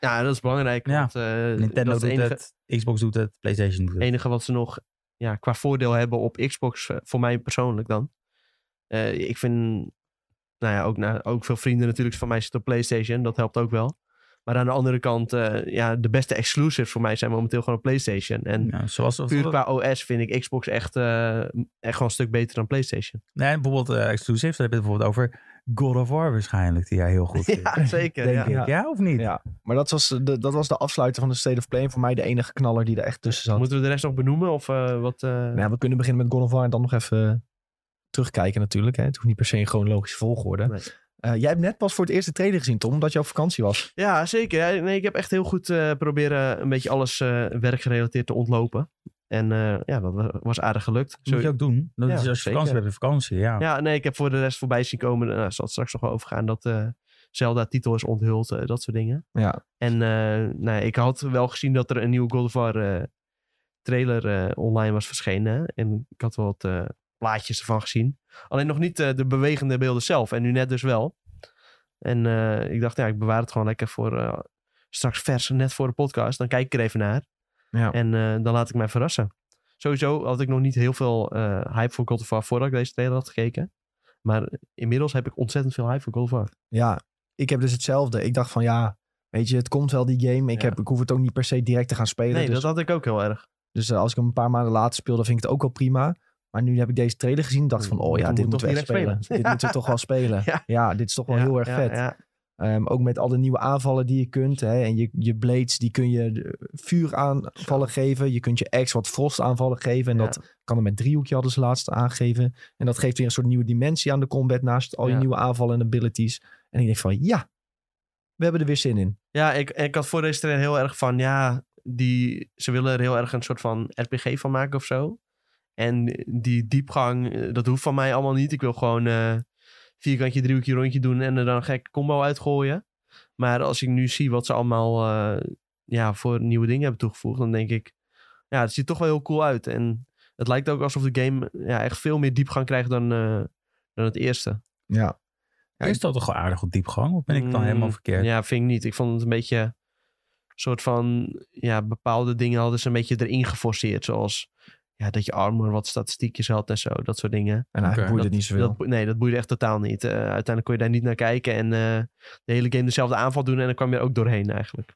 Ja, dat is belangrijk.
Ja.
Want, eh,
Nintendo
dat is
doet
de enige-
het, Xbox doet het, PlayStation doet het.
Het enige wat ze nog ja, qua voordeel hebben op Xbox, eh, voor mij persoonlijk dan. Eh, ik vind, nou ja, ook, na, ook veel vrienden natuurlijk van mij zitten op PlayStation. Dat helpt ook wel. Maar aan de andere kant, eh, ja, de beste exclusives voor mij zijn momenteel gewoon op PlayStation. En
Ja, zoals dat.
puur qua OS vind ik Xbox echt, eh, echt gewoon een stuk beter dan PlayStation.
Nee, bijvoorbeeld eh exclusief. Daar heb je het bijvoorbeeld over God of War waarschijnlijk, die jij heel goed vindt.
Ja, zeker.
Denk
Ja.
ja.
ik. Ja, of niet?
Ja. Maar dat was, de, dat was de afsluiter van de State of Play. En voor mij de enige knaller die er echt tussen zat.
Moeten we de rest nog benoemen? Of eh, wat? eh,
Nou ja, we kunnen beginnen met God of War en dan nog even eh, terugkijken natuurlijk. Hè. Het hoeft niet per se in chronologische volgorde.
Nee.
Eh, jij hebt net pas voor het eerst de trailer gezien, Tom, omdat je op vakantie was.
Ja, zeker. Ja, nee, ik heb echt heel goed eh, proberen een beetje alles eh, werkgerelateerd te ontlopen. En eh, ja, dat wa- was aardig gelukt.
Dat moet je ook doen. Dat
Ja,
is als je
zeker.
vakantie hebt, heb je vakantie. Ja.
Ja, nee, ik heb voor de rest voorbij zien komen. Nou, daar zal het straks nog wel over gaan dat eh, Zelda-titel is onthuld, eh, dat soort dingen.
Ja.
En eh, nou, ik had wel gezien dat er een nieuwe God of War eh, trailer eh, online was verschenen. En ik had wel wat eh, plaatjes ervan gezien. Alleen nog niet eh, de bewegende beelden zelf. En nu net dus wel. En eh, ik dacht, ja, ik bewaar het gewoon lekker voor eh, straks vers, net voor de podcast. Dan kijk ik er even naar.
Ja.
En eh, dan laat ik mij verrassen. Sowieso had ik nog niet heel veel eh, hype voor God of War voordat ik deze trailer had gekeken. Maar inmiddels heb ik ontzettend veel hype voor God of War.
ja, ik heb dus hetzelfde. Ik dacht van ja, weet je, het komt wel die game. Ik,
Ja.
heb, ik hoef het ook niet per se direct te gaan spelen.
Nee,
dus
dat had ik ook heel erg.
dus eh, als ik hem een paar maanden later speel, dan vind ik het ook wel prima. Maar nu heb ik deze trailer gezien en dacht van,
Hmm,
oh
dit
ja,
moet
dit
ik
moeten we
toch
echt
direct
spelen.
spelen.
dit moeten we toch wel spelen. Ja.
Ja.
dit is toch wel
Ja,
heel erg
ja,
vet.
ja.
Ehm, ook met al de nieuwe aanvallen die je kunt. Hè, en je, je blades, die kun je eh, vuuraanvallen geven. Je kunt je ex wat frostaanvallen geven. En
Ja.
dat kan er met driehoekje hadden ze laatst aangegeven. En dat geeft weer een soort nieuwe dimensie aan de combat. Naast al je
Ja.
nieuwe aanvallen en abilities. En ik denk van, ja, we hebben er weer zin in.
Ja, ik, ik had voor deze trailer heel erg van, ja, die, ze willen er heel erg een soort van RPG van maken of zo. En die diepgang, eh, dat hoeft van mij allemaal niet. Ik wil gewoon eh, vierkantje, driehoekje, rondje doen en er dan een gekke combo uitgooien. Maar als ik nu zie wat ze allemaal eh, ja, voor nieuwe dingen hebben toegevoegd, dan denk ik, ja, het ziet toch wel heel cool uit. En het lijkt ook alsof de game ja, echt veel meer diepgang krijgt dan, eh, dan het eerste.
Ja. Ja,
Is dat toch wel aardig op diepgang? Of ben ik dan helemaal
Mm,
verkeerd?
Ja, vind ik niet. Ik vond het een beetje soort van ja, bepaalde dingen hadden ze een beetje erin geforceerd. Zoals ja, dat je armor wat statistiekjes had en zo, dat soort dingen.
En eigenlijk
Oké.
boeit het niet zoveel.
Dat, boe- nee, dat boeide echt totaal niet. Eh, uiteindelijk kon je daar niet naar kijken en eh, de hele game dezelfde aanval doen en dan kwam je er ook doorheen eigenlijk.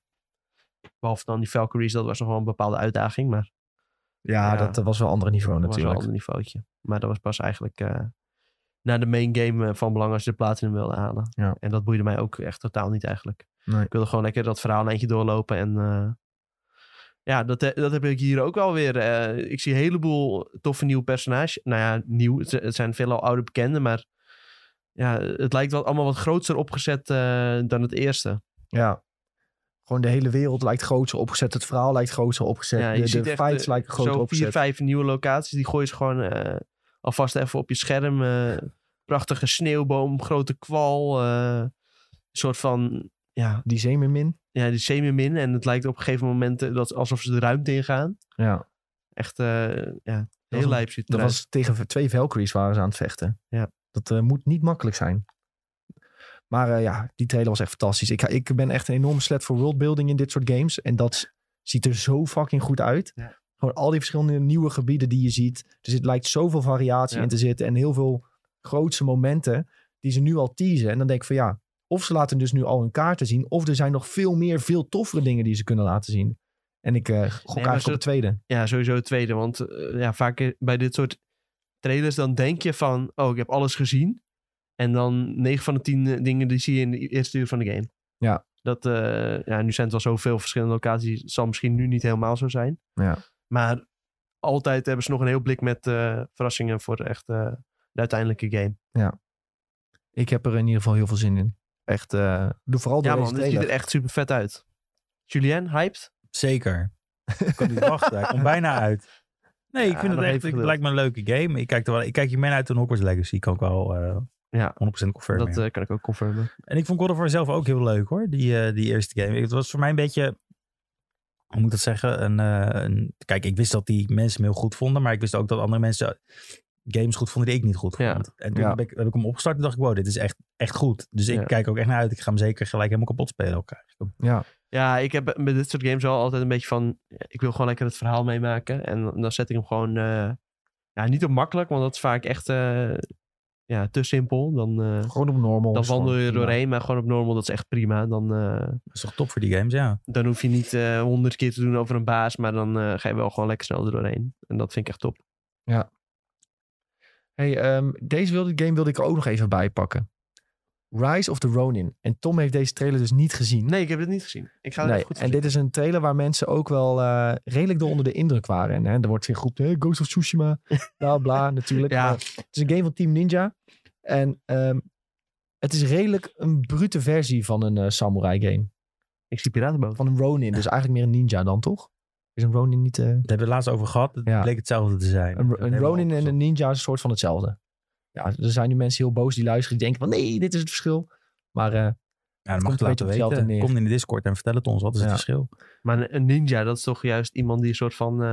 Behalve dan die Valkyries, dat was nog wel een bepaalde uitdaging, maar
ja,
ja.
dat eh, was wel een ander niveau
dat was wel een
natuurlijk.
ander niveautje. Maar dat was pas eigenlijk eh naar de main game eh, van belang als je de platinum wilde halen.
Ja.
En dat boeide mij ook echt totaal niet eigenlijk.
Nee.
Ik wilde gewoon lekker dat verhaal een eindje doorlopen. En eh, ja, dat, he- dat heb ik hier ook wel weer. Eh, ik zie een heleboel toffe nieuwe personages. Nou ja, nieuw. Het, het zijn veelal oude bekenden, maar ja, het lijkt wel allemaal wat groter opgezet eh, dan het eerste.
Ja. Gewoon de hele wereld lijkt groter opgezet. Het verhaal lijkt groter opgezet.
Ja, je
de
ziet
de
echt,
fights
eh,
lijken groter
Zo vier,
opgezet.
vijf nieuwe locaties, die gooien ze gewoon eh, alvast even op je scherm. eh, prachtige sneeuwboom, grote kwal. eh, een soort van, ja,
Die zeemermin.
ja die semi-min. En het lijkt op een gegeven moment eh, dat, alsof ze de ruimte ingaan.
Ja.
Echt, eh, ja,
was
heel
een-
lijp ziet het
Dat
eruit.
was tegen twee Valkyries waren ze aan het vechten.
Ja.
Dat eh, moet niet makkelijk zijn. Maar eh, ja, die trailer was echt fantastisch. Ik, ik ben echt een enorme slet voor worldbuilding in dit soort games. En dat s- ziet er zo fucking goed uit.
Ja.
Gewoon al die verschillende nieuwe gebieden die je ziet. Dus het lijkt zoveel variatie
Ja.
in te zitten. En heel veel grootse momenten die ze nu al teasen. En dan denk ik van ja, of ze laten dus nu al hun kaarten zien. Of er zijn nog veel meer, veel toffere dingen die ze kunnen laten zien. En ik eh gok eigenlijk
ze-
op de tweede.
Ja, sowieso het tweede. Want eh, ja, vaak bij dit soort trailers dan denk je van... Oh, ik heb alles gezien. En dan 9 van de 10 eh, dingen die zie je in de eerste uur van de game.
Ja.
Dat, eh, ja, nu zijn het wel zoveel verschillende locaties. Het zal misschien nu niet helemaal zo zijn.
Ja.
Maar altijd hebben ze nog een heel blik met eh, verrassingen voor echt eh, de uiteindelijke game.
Ik heb er in ieder geval heel veel zin in. Echt, eh, doe vooral
Ja
door
man, dus
deze
dit ziet
trailer.
er echt super vet uit. Julien, hyped?
Zeker. Ik kan niet wachten. Hij komt bijna uit. Nee, ik
Ja,
vind het
nog
echt,
even
het
geduld.
lijkt me een leuke game. Ik kijk, er wel, ik kijk hiermee uit toen Hogwarts Legacy. Kan ik wel eh,
Ja,
100% confirmen.
dat
ja.
eh, kan ik ook confirmen.
En ik vond God of War zelf ook heel leuk hoor, die, eh, die eerste game. Het was voor mij een beetje, hoe moet ik dat zeggen? Een, eh, een, kijk, ik wist dat die mensen hem heel goed vonden, maar ik wist ook dat andere mensen games goed vonden die ik niet goed
Ja.
vond. En toen
Ja.
heb, ik, heb ik hem opgestart en dacht ik, wow, dit is echt, echt goed. Dus ik
Ja.
kijk ook echt naar uit. Ik ga hem zeker gelijk helemaal kapot spelen ook eigenlijk.
Ja,
Ja, ik heb met dit soort games wel altijd een beetje van... Ik wil gewoon lekker het verhaal meemaken. En dan- dan zet ik hem gewoon... eh, ja, niet op makkelijk, want dat is vaak echt eh, ja, te simpel. Dan, eh,
gewoon op normal.
dan
is gewoon
wandel je er
prima.
doorheen, maar gewoon op normal, dat is echt prima. Dan, eh,
Dat is toch top voor die games, ja.
dan hoef je niet eh, honderd keer te doen over een baas, maar dan eh, ga je wel gewoon lekker snel er doorheen. En dat vind ik echt top.
Hey, ehm, deze wilde, game wilde ik er ook nog even bijpakken. Rise of the Ronin. En Tom heeft deze trailer dus niet gezien.
Nee, ik heb dit niet gezien. Ik ga er
Nee,
even goed
en dit is een trailer waar mensen ook wel eh, redelijk door onder de indruk waren. En hè, er wordt weer geroepen, hey, Ghost of Tsushima, bla bla, natuurlijk.
Ja.
Maar het is een game van Team Ninja. En ehm, het is redelijk een brute versie van een eh, samurai game.
Ik zie Piratenboot.
Van een Ronin, dus eigenlijk meer een ninja dan, toch? Is een Ronin niet... eh,
Daar hebben we het laatst over gehad. Het
Ja.
bleek hetzelfde te zijn. Dat
Een, een
hebben we
Ronin en
opgezocht.
een ninja is een soort van hetzelfde. Ja, er zijn nu mensen heel boos die luisteren. Die denken van nee, dit is het verschil. Maar eh,
Ja,
komt
dat mag je
een beetje
laten
op hetzelfde
weten.
neer.
Kom in de Discord en vertel het ons. Wat is het
Ja.
verschil?
Maar een- een ninja, dat is toch juist iemand die een soort van... eh,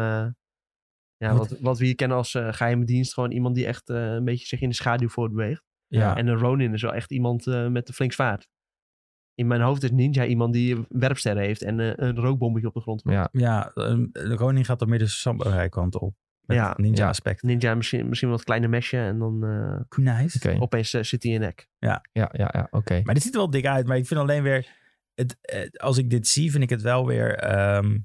ja,
Wat-
wat, wat we hier kennen als eh, geheime dienst. Gewoon iemand die echt eh, een beetje zich in de schaduw voortbeweegt.
Ja.
En een Ronin is wel echt iemand eh, met een flink zwaard. In mijn hoofd is Ninja iemand die werpsterren heeft en eh, een rookbommetje op de grond.
ja,
Ja, ehm, de koning gaat dan meer de samurai kant op. Met
Ja,
het ninja
ja.
aspect.
Ninja misschien, misschien wat kleine mesje en dan eh,
Kunais.
oké.
opeens eh, zit hij in nek.
Ja, ja, ja, oké.
Maar dit ziet er wel dik uit. Maar ik vind alleen weer... Het, eh, als ik dit zie, vind ik het wel weer... ehm,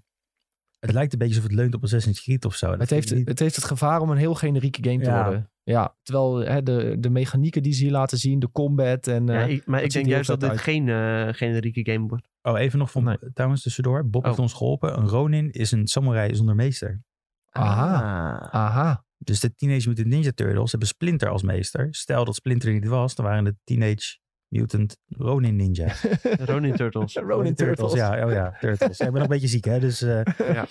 Het lijkt een beetje alsof het leunt op Assassin's Creed of zo. Dat
Het
vind
heeft,
ik niet-
het heeft het gevaar om een heel generieke game te
Ja.
worden. Ja, terwijl hè, de, de mechanieken die ze hier laten zien, de combat en...
Ja,
eh,
ik- maar
ziet
ik denk
er
juist
heel
dat dit
vet
geen eh, generieke game wordt.
Oh, even nog van
Nee.
trouwens tussendoor. Bob heeft
Oh.
ons geholpen. Een Ronin is een samurai zonder meester.
Aha.
Ah.
aha,
Dus de Teenage Mutant Ninja Turtles hebben Splinter als meester. Stel dat Splinter er niet was, dan waren de Teenage Mutant Ronin Ninja.
Ronin Turtles.
Ronin Turtles.
Ja, oh ja, Turtles. Ja, ik ben nog een beetje ziek, hè? Dus eh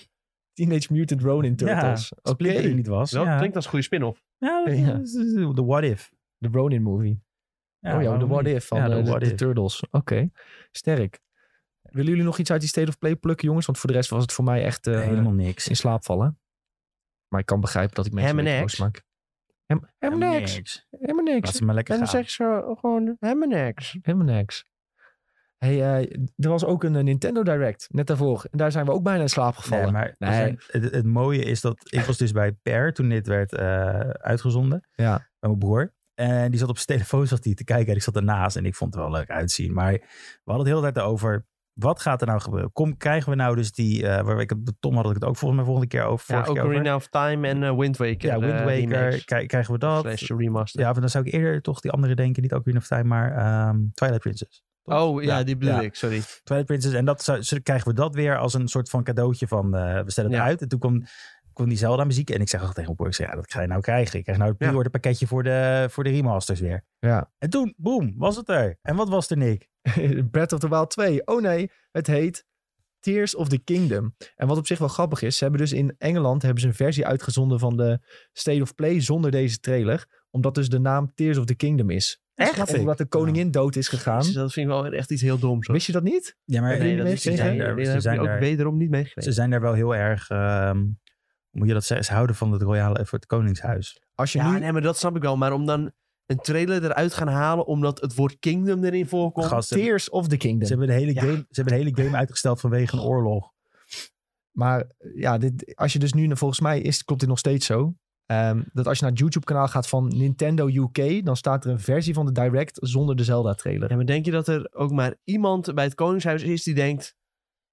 Teenage Mutant Ronin Turtles. Oké,
Splinter die niet was.
Wel,
ja.
klinkt als een goede spin-off.
Ja, dat
Ja.
is- is- is- de What If.
de Ronin movie. oh ja, de
waarom
What
niet?
If van
Ja,
eh, de,
What
de
If.
Turtles. Oké, sterk. Willen jullie nog iets uit die State of Play plukken, jongens? Want voor de rest was het voor mij echt eh,
Helemaal niks.
in slaap vallen. Maar ik kan begrijpen dat ik mensen
Hem
een
en
beetje boos
Eggs.
maak. Hem, hem
Helemaal
niks. Hem
Laat
niks.
ze maar lekker
En
gaan.
dan zeg ze gewoon helemaal niks.
Helemaal niks. Hey, eh, er was ook een eh, Nintendo Direct net daarvoor. En daar zijn we ook bijna in slaap gevallen.
Nee, maar
Nee.
er zijn- het, het mooie is dat ik was dus bij Per toen dit werd eh, uitgezonden.
Ja.
Bij mijn broer. En die zat op zijn telefoon zat die te kijken en ik zat ernaast en ik vond het wel leuk uitzien. Maar we hadden het de hele tijd over, wat gaat er nou gebeuren? Kom, krijgen we nou dus die, eh, waar ik het met Tom had ik het ook volgens mij volgende keer over.
Ja,
vorige keer over.
Ocarina of Time en eh, Wind Waker.
Ja,
eh,
Wind Waker,
remakes.
Krij- krijgen we dat?
Slash remaster.
Ja, maar dan zou ik eerder toch die andere denken, niet Ocarina of Time, maar ehm, Twilight Princess.
Oh ja, die bedoel
Ja.
ik, sorry.
Twilight Princess. En dat zou- zo krijgen we dat weer als een soort van cadeautje van eh, we stellen het
Ja.
uit. En toen kwam, kwam die Zelda muziek. En ik zeg al tegen mijn broer, ik zeg, ja, dat ga je nou krijgen. Ik krijg nou het
Ja.
pre-order pakketje voor de, voor de remasters weer.
Ja.
En toen, boem, was het er. En wat was er, Nick?
Breath of the Wild 2. Oh nee, het heet Tears of the Kingdom. En wat op zich wel grappig is, ze hebben dus in Engeland hebben ze een versie uitgezonden van de State of Play zonder deze trailer. Omdat dus de naam Tears of the Kingdom is.
Snap ik.
Omdat de koningin dood is gegaan.
Dus dat vind ik wel echt iets heel doms. hoor.
Wist je dat niet?
Ja, maar
Hebben
Nee,
jullie
dat is, nee,
meegekregen?
nee, daar
Ze
heb
zijn
je ook
daar-
wederom niet
ze
meegekregen.
zijn daar wel heel erg, ehm, hoe moet je dat zeggen, ze houden van het royale, eh, voor het koningshuis.
Als je
Ja,
nu...
nee, maar dat snap ik wel. Maar om dan een trailer eruit gaan halen omdat het woord Kingdom erin voorkomt.
Gast, ze,
Tears of the Kingdom.
ze hebben de hele
Ja.
game, ze hebben de hele game uitgesteld vanwege een oorlog.
Maar eh, ja, dit, als je dus nu, volgens mij is, klopt dit nog steeds zo. ehm, dat als je naar het YouTube-kanaal gaat van Nintendo UK, dan staat er een versie van de Direct zonder de Zelda-trailer.
Ja, maar denk je dat er ook maar iemand bij het Koningshuis is die denkt...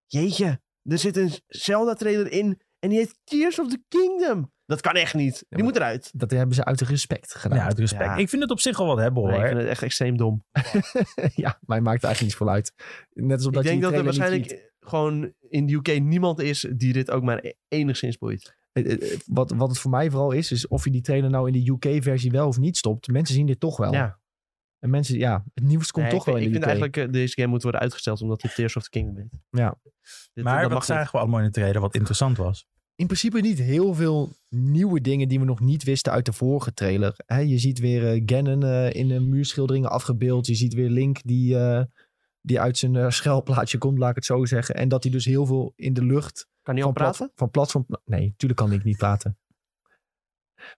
Jeetje, er zit een Zelda-trailer in en die heet Tears of the Kingdom. Dat kan echt niet. Die
maar-
moet eruit.
Dat hebben ze uit respect gedaan.
Ja, uit respect.
Ja.
Ik vind het op zich al wat hebben hoor.
Nee, ik vind het echt extreem dom.
ja, mij maakt het eigenlijk niets voor uit. Net als omdat
ik
je
denk
die
dat er
trailer niet ziet.
waarschijnlijk gewoon in de UK niemand is die dit ook maar e- enigszins boeit.
Eh, eh, eh, Wat, wat het voor mij vooral is, is of je die trailer nou in de UK-versie wel of niet stopt. Mensen zien dit toch wel.
Ja.
En mensen, ja, het nieuws komt
Nee,
toch
ik,
wel in
ik
de
vind
UK.
eigenlijk eh, deze game moet worden uitgesteld omdat het Tears of the Kingdom heet.
Ja.
Dit-
maar
dat
wat
mag niet.
zagen we allemaal in de trailer wat interessant was?
In principe niet heel veel nieuwe dingen die we nog niet wisten uit de vorige trailer. Hè, je ziet weer eh, Ganon eh, in een muurschilderingen afgebeeld. Je ziet weer Link die, eh, die uit zijn eh, schuilplaatsje komt, laat ik het zo zeggen. En dat hij dus heel veel in de lucht
Kan niet al
van,
praten?
plat- van platform. Nee, tuurlijk kan ik niet praten.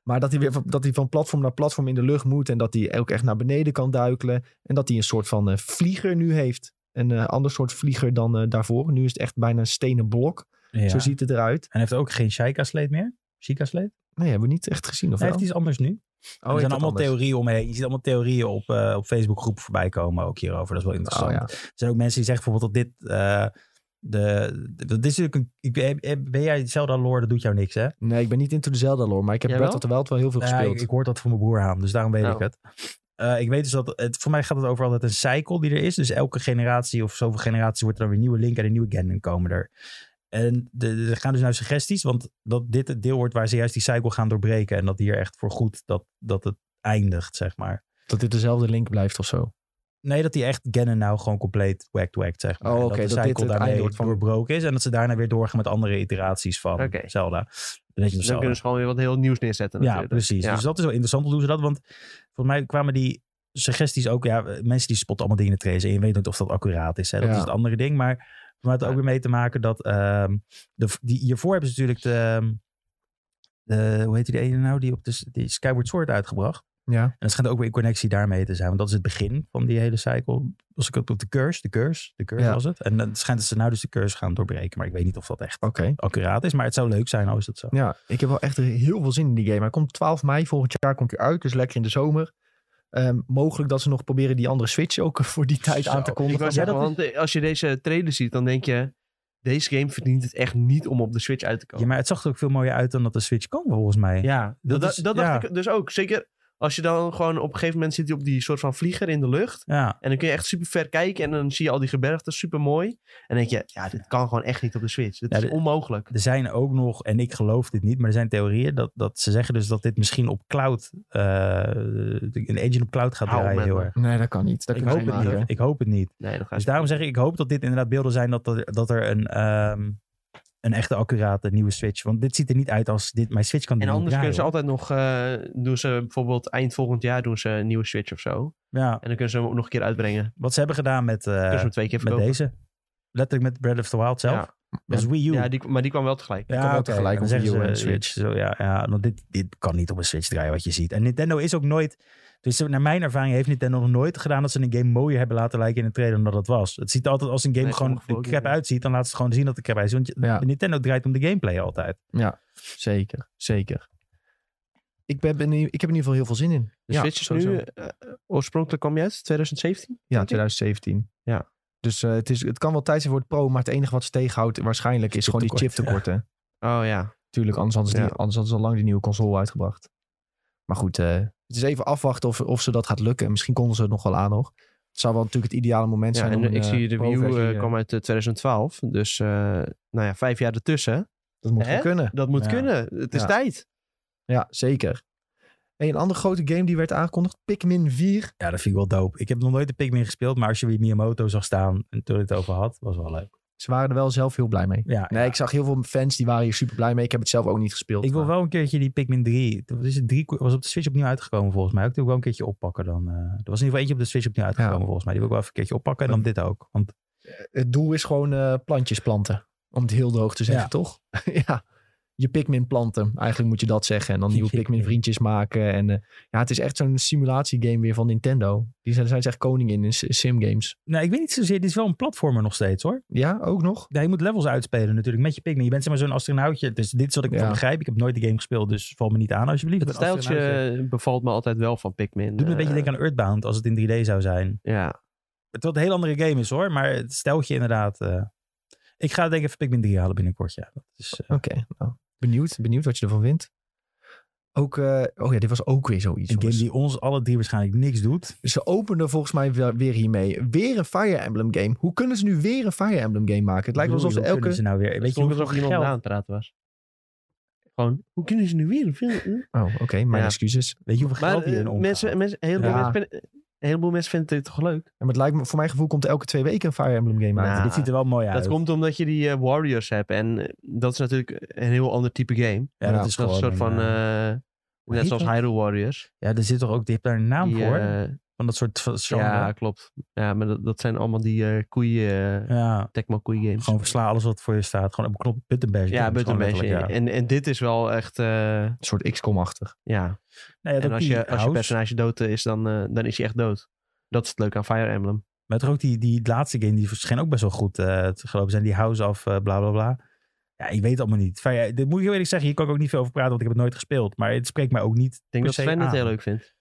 Maar dat hij, weer, van- dat hij van platform naar platform in de lucht moet. En dat hij ook echt naar beneden kan duikelen. En dat hij een soort van eh, vlieger nu heeft. Een eh, ander soort vlieger dan eh, daarvoor. Nu is het echt bijna een stenen blok. Zo ziet het eruit.
En hij heeft ook geen Shaika-sleet meer. Chica-sleet.
Nee, hebben we niet echt gezien. Of
Hij
wel?
heeft iets anders nu.
Oh,
er
heeft
zijn
dat
allemaal
anders?
theorieën omheen. Je ziet allemaal theorieën op, eh op Facebookgroepen voorbij komen ook hierover. Dat is wel interessant.
Oh, ja.
Er zijn ook mensen die zeggen bijvoorbeeld dat dit... eh, de, de- dat is natuurlijk een, ik, eh, eh, ben jij Zelda lore, dat doet jou niks hè?
Nee, ik ben niet into de Zelda-lore. Maar ik heb
Jij
Breath
wel?
of the Wild wel heel veel
Ja,
gespeeld.
ik, ik hoor dat van mijn broer aan, dus daarom weet
Oh.
ik het. Eh, ik weet dus dat, het, voor mij gaat het over altijd een cycle die er is. Dus elke generatie of zoveel generaties wordt er dan weer nieuwe Link en een nieuwe Ganon komen er. En de- de- er gaan dus nou suggesties, want dat dit het deel wordt waar ze juist die cycle gaan doorbreken. En dat hier echt voor goed dat, dat het eindigt, zeg maar.
Dat dit dezelfde link blijft of zo.
Nee, dat die echt Ganon nou gewoon compleet whacked whacked, zeg maar.
Oh,
En
oké,
dat de
dat dit
cycle
het
daarmee
einde wordt van-
doorbroken is. En dat ze daarna weer doorgaan met andere iteraties van
Oké.
Zelda. Dan weet je nog
Dus dan
Zelda.
kunnen ze gewoon weer wat heel nieuws neerzetten.
Ja,
natuurlijk.
precies.
Ja.
Dus dat is wel interessant. Hoe doen ze dat? Want volgens mij kwamen die suggesties ook. Ja, mensen die spotten allemaal dingen in de trailers. En je weet niet of dat accuraat is. Hè? Dat
Ja.
is het andere ding. Maar volgens mij had het ook weer mee te maken dat. ehm, de, die, hiervoor hebben ze natuurlijk de, ehm, de. Hoe heet die ene nou? Die op de die Skyward Sword uitgebracht.
Ja.
En dat schijnt ook weer in connectie daarmee te zijn. Want dat is het begin van die hele cycle. Was ik ook op de curse. De curse. De curse
Ja.
was het. En het schijnt dat ze nou dus de curse gaan doorbreken. Maar ik weet niet of dat echt
Oké.
accuraat is. Maar het zou leuk zijn als dat zo.
Ja, ik heb wel echt heel veel zin in die game. Hij komt 12 mei volgend jaar komt hij uit, dus lekker in de zomer. Ehm, mogelijk dat ze nog proberen die andere Switch ook voor die tijd
Zo,
aan te
ik
kondigen.
Ik wou
Ja,
zeggen,
dat
want eh, als je deze trailer ziet, dan denk je... Deze game verdient het echt niet om op de Switch uit te komen.
Ja, maar het zag er ook veel mooier uit dan dat de Switch kan, volgens mij.
Ja, dat,
dat is-
dat dacht
ja.
ik dus ook. Zeker als je dan gewoon op een gegeven moment zit je op die soort van vlieger in de lucht.
Ja.
En dan kun je echt super ver kijken en dan zie je al die gebergten super mooi. En dan denk je, ja, dit kan gewoon echt niet op de Switch. Dit
Ja,
is
dit-
onmogelijk.
Er zijn ook nog, en ik geloof dit niet, maar er zijn theorieën dat, dat ze zeggen dus dat dit misschien op cloud, eh, een engine op cloud gaat
Hou op
draaien
met
heel
me.
erg.
Nee, dat kan niet. Dat
Ik
kunnen ze
hoop, het
niet
niet,
maken.
ik hoop het niet.
Nee, dan ga
Dus
je
daarom zeg ik, ik hoop dat dit inderdaad beelden zijn dat er, dat er een, ehm, een echte accurate nieuwe Switch, want dit ziet er niet uit als dit, mijn Switch kan dit
En
niet
anders kunnen ze
draaien,
altijd nog, eh, doen ze bijvoorbeeld eind volgend jaar doen ze een nieuwe Switch of zo.
hoor. Ja,
En dan kunnen ze hem ook nog een keer uitbrengen. Dan
wat ze hebben gedaan met, eh,
kunnen ze hem twee keer
met
verkopen.
deze. Letterlijk met Breath of the Wild zelf.
Ja.
Dat is Wii U.
Ja, die, maar die kwam wel tegelijk.
kan wel
oké,
tegelijk
dan
op
zeggen
Wii U
ze
en
Switch. Zo, ja, ja, want dit, dit kan niet op een Switch draaien wat je ziet. En Nintendo is ook nooit... Dus naar mijn ervaring heeft Nintendo nog nooit gedaan... dat ze een game mooier hebben laten lijken in een trailer dan dat het was. Het ziet altijd als een game
Nee,
gewoon
sommige
de
ook
crap
niet, ja.
uitziet... dan laat ze het gewoon zien dat de crap uitziet. Want je-
Ja.
Nintendo draait om de gameplay altijd.
Zeker, zeker. Ik, ben, benie- ik heb in ieder geval heel veel zin in.
De
Ja,
Switch is
sowieso.
nu, eh, oorspronkelijk kwam die uit, 2017?
Ja, 2017.
Ja.
Dus eh, het, is, het kan wel tijd zijn voor het pro, maar het enige wat ze tegenhoudt waarschijnlijk is gewoon die
Chiptekort,
chiptekorten.
Oh ja.
Tuurlijk, anders hadden, ze die,
Ja.
anders hadden ze al lang die nieuwe console uitgebracht. Maar goed, eh, het is even afwachten of, of ze dat gaat lukken. Misschien konden ze het nog wel aan nog. Het zou wel natuurlijk het ideale moment
ja
zijn.
en
om een,
ik zie
eh,
de Wii U
pro-versie,
eh,
eh,
kwam uit eh, 2012. Dus eh, nou ja, vijf jaar ertussen.
Dat moet wel
Hè?
kunnen.
Dat moet
Ja.
kunnen. Het is
Ja.
tijd.
Ja, zeker. En een andere grote game die werd aangekondigd, Pikmin 4.
Ja, dat vind ik wel dope. Ik heb nog nooit de Pikmin gespeeld... maar als je weer Miyamoto zag staan en toen ik het over had... was wel leuk.
Ze waren er wel zelf heel blij mee.
Ja,
Nee, ik zag heel veel fans die waren hier super blij mee. Ik heb het zelf ook niet gespeeld.
Ik wil
maar-
wel een keertje die Pikmin 3. Dat is het 3 was op de Switch opnieuw uitgekomen volgens mij. Ik wil ik wel een keertje oppakken dan. eh, er was in ieder geval eentje op de Switch opnieuw uitgekomen
Ja.
volgens mij. Die wil ik wel even een keertje oppakken. En dan dit ook. Want
Het doel is gewoon eh, plantjes planten. Om het heel droog te zeggen,
Ja.
toch? ja. Je Pikmin planten. Eigenlijk moet je dat zeggen. En dan nieuwe Pikmin vriendjes maken. En eh, ja, het is echt zo'n simulatiegame weer van Nintendo. Die zijn, zijn ze echt koning in, in s- simgames.
nou, ik weet niet zozeer. Dit is wel een platformer nog steeds hoor.
Ja, ook nog?
Ja, je moet levels uitspelen natuurlijk met je Pikmin. Je bent zeg maar zo'n astronautje. Dus dit is wat ik
Ja.
ervan begrijp. Ik heb nooit de game gespeeld. Dus val me niet aan alsjeblieft.
Het
Een astronautje.
stijltje bevalt me altijd wel van Pikmin.
Doet me een
Eh,
beetje denken aan Earthbound als het in 3D zou zijn.
Ja.
Terwijl het een heel andere game is hoor. Maar het steltje inderdaad. eh, ik ga denk ik even Pikmin 3 halen binnenkort. Ja, dat is, eh,
Oké. nou, benieuwd. Benieuwd wat je ervan vindt. Ook, eh, oh ja, dit was ook weer zoiets.
een game
jongens.
die ons alle drie waarschijnlijk niks doet.
Ze openden volgens mij weer, weer hiermee. Weer een Fire Emblem game. Hoe kunnen ze nu weer een Fire Emblem game maken? Het lijkt wel
Bedoel
alsof ze
je, hoe kunnen
elke...
ze nou weer,
Weet
weet
je
je
alsof
hoeveel
iemand
geld-
aan het praten was? Gewoon, hoe kunnen ze nu weer een film-
Oh, oké. mijn
Ja.
excuses.
Weet je hoeveel
Maar
geld hierin
eh,
omgaat?
mensen, mensen, een heleboel,
Ja.
mensen, vinden- een heleboel mensen vinden dit toch leuk?
Ja, maar het lijkt me, voor mijn gevoel komt elke twee weken een Fire Emblem game uit.
Nou,
Dit ziet er wel mooi uit.
Dat komt omdat je die eh, Warriors hebt. En eh, dat is natuurlijk een heel ander type game.
ja, dat
Ja,
is
Dat
gewoon
is een soort van...
eh,
eh,
hoe
net
heet
zoals
dat?
Hyrule Warriors.
ja, er zit toch ook, die heeft daar een naam
Die,
voor.
eh,
van dat soort van genre.
ja,
Ja,
klopt. Ja, maar dat, dat zijn allemaal die eh, koeien... eh, Tecmo koeien games.
gewoon versla alles wat voor je staat. Gewoon op knop buttonbash.
ja,
doen. Gewoon
Buttonbash.
letterlijk, ja.
En, en dit is wel echt... eh,
Een soort XCOM-achtig.
ja.
Nou ja, dat
en als
die
je, als je
house,
personage dood is, dan, eh, dan is hij echt dood. Dat is het leuke aan Fire Emblem.
Maar toch ook die, die laatste game, die verscheen ook best wel goed eh, te gelopen zijn. Die house af, eh, bla bla bla. Ja, ik weet het allemaal niet. Enfin, ja, dit moet ik heel eerlijk zeggen, hier kan ik ook niet veel over praten, want ik heb het nooit gespeeld. Maar het spreekt mij ook niet
Ik denk
per
dat
se
Sven het
aan.
heel leuk vindt.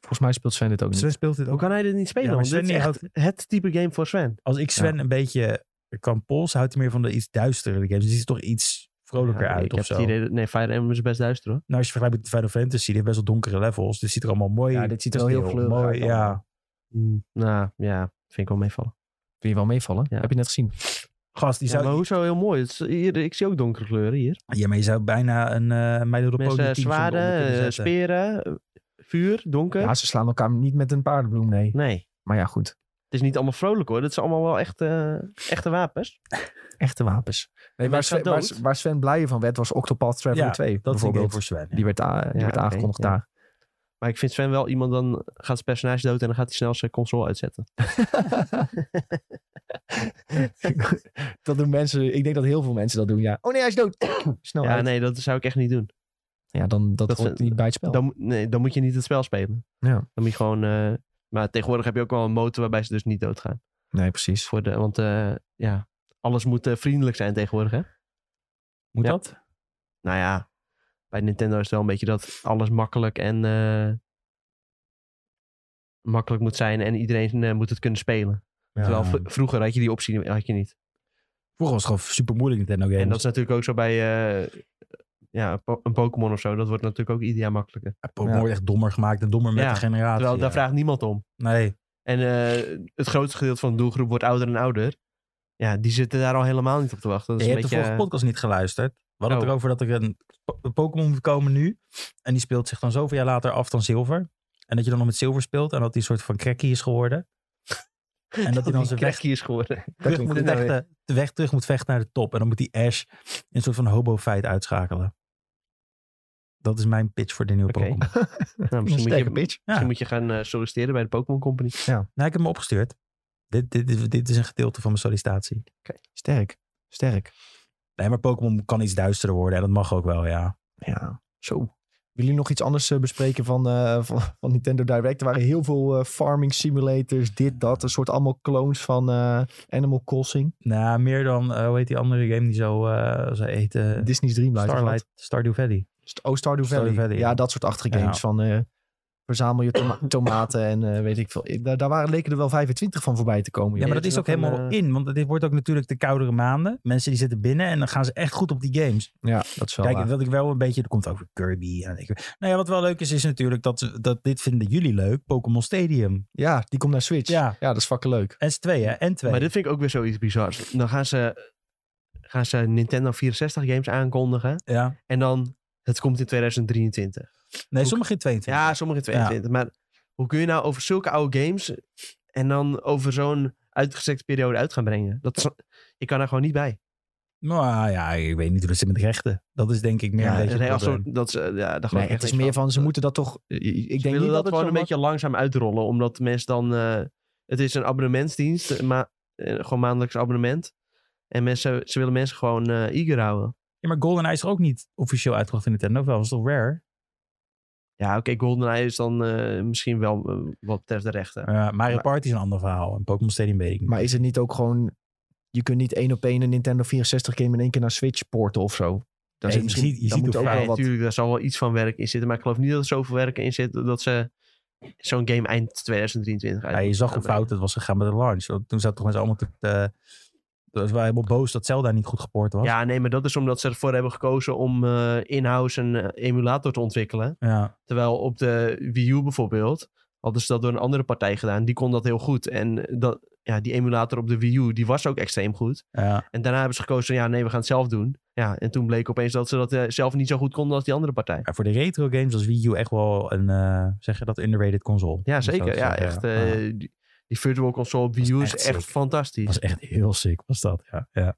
Volgens mij speelt Sven dit ook niet.
Sven speelt dit
Hoe
ook.
kan hij dit niet spelen?
Ja, maar
Want dit is
Sven,
echt
die
het type game voor Sven.
als ik Sven een beetje kan polsen, houdt hij meer van de iets duistere games. Dus die is toch iets vrolijker
Ja,
uit
ik
of
heb
zo.
het idee dat- nee, Fire Emblem is best duister hoor.
Nou, als je vergelijkt met Final Fantasy, die heeft best wel donkere levels. Dit ziet er allemaal mooi
Ja, dit ziet er wel heel
veel
fleurig
mooi.
uit
Ja.
allemaal.
Hmm.
Nou ja, vind ik wel meevallen.
Wil je wel meevallen?
Ja.
Heb je net gezien?
Gast, die
Ja,
zou...
maar hoezo heel mooi? Het is- hier, ik zie ook donkere kleuren hier.
Ja, maar je zou bijna een eh My Little Pony
Mensen,
team zonder onder kunnen
zwaarden, eh,
zetten.
speren, eh, vuur, donker.
Ja, ze slaan elkaar niet met een paardenbloem, nee.
Nee,
Maar ja, goed.
het is niet allemaal vrolijk hoor. Dat zijn allemaal wel echt, eh, echte wapens.
Echte wapens. Nee, waar,
mensen
Sven,
gaan
waar,
dood.
waar Sven blijer van werd, was Octopath Traveler
Ja,
2
Dat is een game
bijvoorbeeld.
voor Sven. ja.
Die werd, a- die
Ja,
werd
oké,
aangekondigd
ja.
daar.
Maar ik vind Sven wel iemand, dan gaat zijn personage dood en dan gaat hij snel zijn console uitzetten.
dat doen mensen, ik denk dat heel veel mensen dat doen, ja. Oh nee, hij is dood. Snel
Oh,
ja,
uit.
nee, dat zou ik echt niet doen.
Ja, dan dat,
Dat
hoort
vind-
niet bij het
Oh.
spel.
Dan, moet- nee, dan moet je niet het spel spelen.
Ja.
Dan moet je gewoon... eh, maar tegenwoordig heb je ook wel een motor waarbij ze dus niet doodgaan.
Nee, precies.
Voor de, want eh, ja, alles moet eh, vriendelijk zijn tegenwoordig hè.
Moet
Ja.
dat?
nou ja, bij Nintendo is het wel een beetje dat alles makkelijk en eh, makkelijk moet zijn en iedereen eh, moet het kunnen spelen.
Ja.
Terwijl v- vroeger had je die optie had je niet.
Vroeger was het gewoon super moeilijk Nintendo games.
En dat is natuurlijk ook zo bij eh, ja, po- een Pokémon of zo. Dat wordt natuurlijk ook ieder jaar makkelijker.
Ja, Pokémon wordt echt dommer gemaakt en dommer met
Ja,
de generatie.
Terwijl daar
ja.
vraagt niemand om.
Nee,
En eh, het grootste gedeelte van de doelgroep wordt ouder en ouder. Ja, die zitten daar al helemaal niet op te wachten. Dat is
je hebt
een beetje,
de
eh,
vorige podcast niet geluisterd. We hadden het
Oh.
erover dat er een po- een Pokémon moet komen nu. En die speelt zich dan zoveel jaar later af dan zilver. En dat je dan nog met zilver speelt en dat die een soort van cracky is geworden. en dat hij dan zijn weg
Krekkie is geworden.
terug
klinkt
moet,
goed.
eh, vechten, de weg terug moet vechten naar de top. En dan moet die Ash in een soort van hobo-fight uitschakelen. Dat is mijn pitch voor de nieuwe
Oké.
Pokémon.
Nou,
Een
misschien, moet je,
sterke pitch.
Ja.
misschien moet je gaan eh, solliciteren bij de Pokémon Company.
Nou, ik heb hem opgestuurd. Dit, dit, dit, dit is een gedeelte van mijn sollicitatie.
Sterk. Sterk.
Nee, maar Pokémon kan iets duisterder worden. En dat mag ook wel, ja.
Ja, zo. Willen jullie nog iets anders eh, bespreken van, eh, van, van Nintendo Direct? Er waren heel veel eh, farming simulators, dit, dat. Een soort allemaal clones van eh, Animal Crossing.
Nou, meer dan, eh, hoe heet die andere game die zo, eh zo heet? eh,
Disney's Dreamlight. of
Starlight, Stardew Valley.
wat? Oh, Stardew Valley.
Stardew Valley,
ja,
ja.
dat soort achtige
Ja.
games van... eh, Verzamel je toma- tomaten en eh, weet ik veel. Ik- Daar, daar waren, leken er wel 25 van voorbij te komen.
Ja,
joh.
maar dat
is
is ook
nog een,
helemaal
eh,
in. Want dit wordt ook natuurlijk de koudere maanden. Mensen die zitten binnen en dan gaan ze echt goed op die games.
Ja, dat is wel
Kijk,
waar.
wat ik wel een beetje... Er komt ook weer Kirby. En ik, nou ja, wat wel leuk is, is natuurlijk dat, dat dit vinden jullie leuk. Pokémon Stadium.
Ja, die komt naar Switch. Ja,
Ja,
dat is fucking leuk.
en 2 hè? En 2
Maar dit vind ik ook weer zoiets bizars. Dan gaan ze, gaan ze Nintendo 64 games aankondigen.
Ja.
En dan, het komt in 2023.
Nee,
Ook-
sommige in 22.
Ja, sommige in 2022. Maar hoe kun je nou over zulke oude games en dan over zo'n uitgestrekte periode uit gaan brengen? Dat is, je kan er gewoon niet bij.
Nou ja, ik weet niet hoe dat zit met rechten. Dat is denk ik meer
Ja,
een beetje het
Nee, als
probleem.
zo- dat is, eh, ja, daar geloof
Nee,
ik
het
echt
is
niks
meer van, ze moeten dat toch... eh, Ik
Ze
denk niet
willen
dat, het
dat gewoon
zo
een
was.
beetje langzaam uitrollen, omdat mensen dan... eh, het is een abonnementsdienst, eh, maar eh, gewoon maandelijks abonnement. En mensen, ze willen mensen gewoon eh eager houden.
Ja, maar GoldenEye is er ook niet officieel uitgebracht in Nintendo. Wel, was toch rare?
Ja, oké, GoldenEye is dan eh, misschien wel eh, wat betreft de rechten.
Eh, Mario
Maar-
Party is een ander verhaal. En Pokémon Stadium weet ik niet.
Maar is het niet ook gewoon... Je kunt niet één op één een Nintendo 64 game in één keer naar Switch porten of zo. Daar zit
Nee, je
misschien-
ziet- je
daar
ziet
moet
hoe
ook
Ja,
wel wat...
natuurlijk, daar zal wel iets van werk in zitten. Maar ik geloof niet dat er zoveel werk in zit dat ze zo'n game eind 2023 uit.
Ja, je zag hoe fout het was gegaan met de launch. Want Toen zaten toch mensen allemaal te... te ze waren helemaal boos dat Zelda niet goed gepoord was.
Ja, nee, maar dat is omdat ze ervoor hebben gekozen om eh, in-house een eh, emulator te ontwikkelen.
Ja.
Terwijl op de Wii U bijvoorbeeld, hadden ze dat door een andere partij gedaan. Die kon dat heel goed. En dat, ja, die emulator op de Wii U, die was ook extreem goed.
ja.
En daarna hebben ze gekozen, ja, nee, we gaan het zelf doen. Ja, en toen bleek opeens dat ze dat eh, zelf niet zo goed konden als die andere partij.
Maar voor de retro games was Wii U echt wel een, eh, zeg je dat, underrated console.
Ja,
Om zo
zeker.
te
Ja,
zeggen,
echt.
ja.
eh,
Ja.
die, die Virtual Console op Wii U is
echt
echt
sick.
fantastisch.
was echt heel sick, was dat. Ja. ja.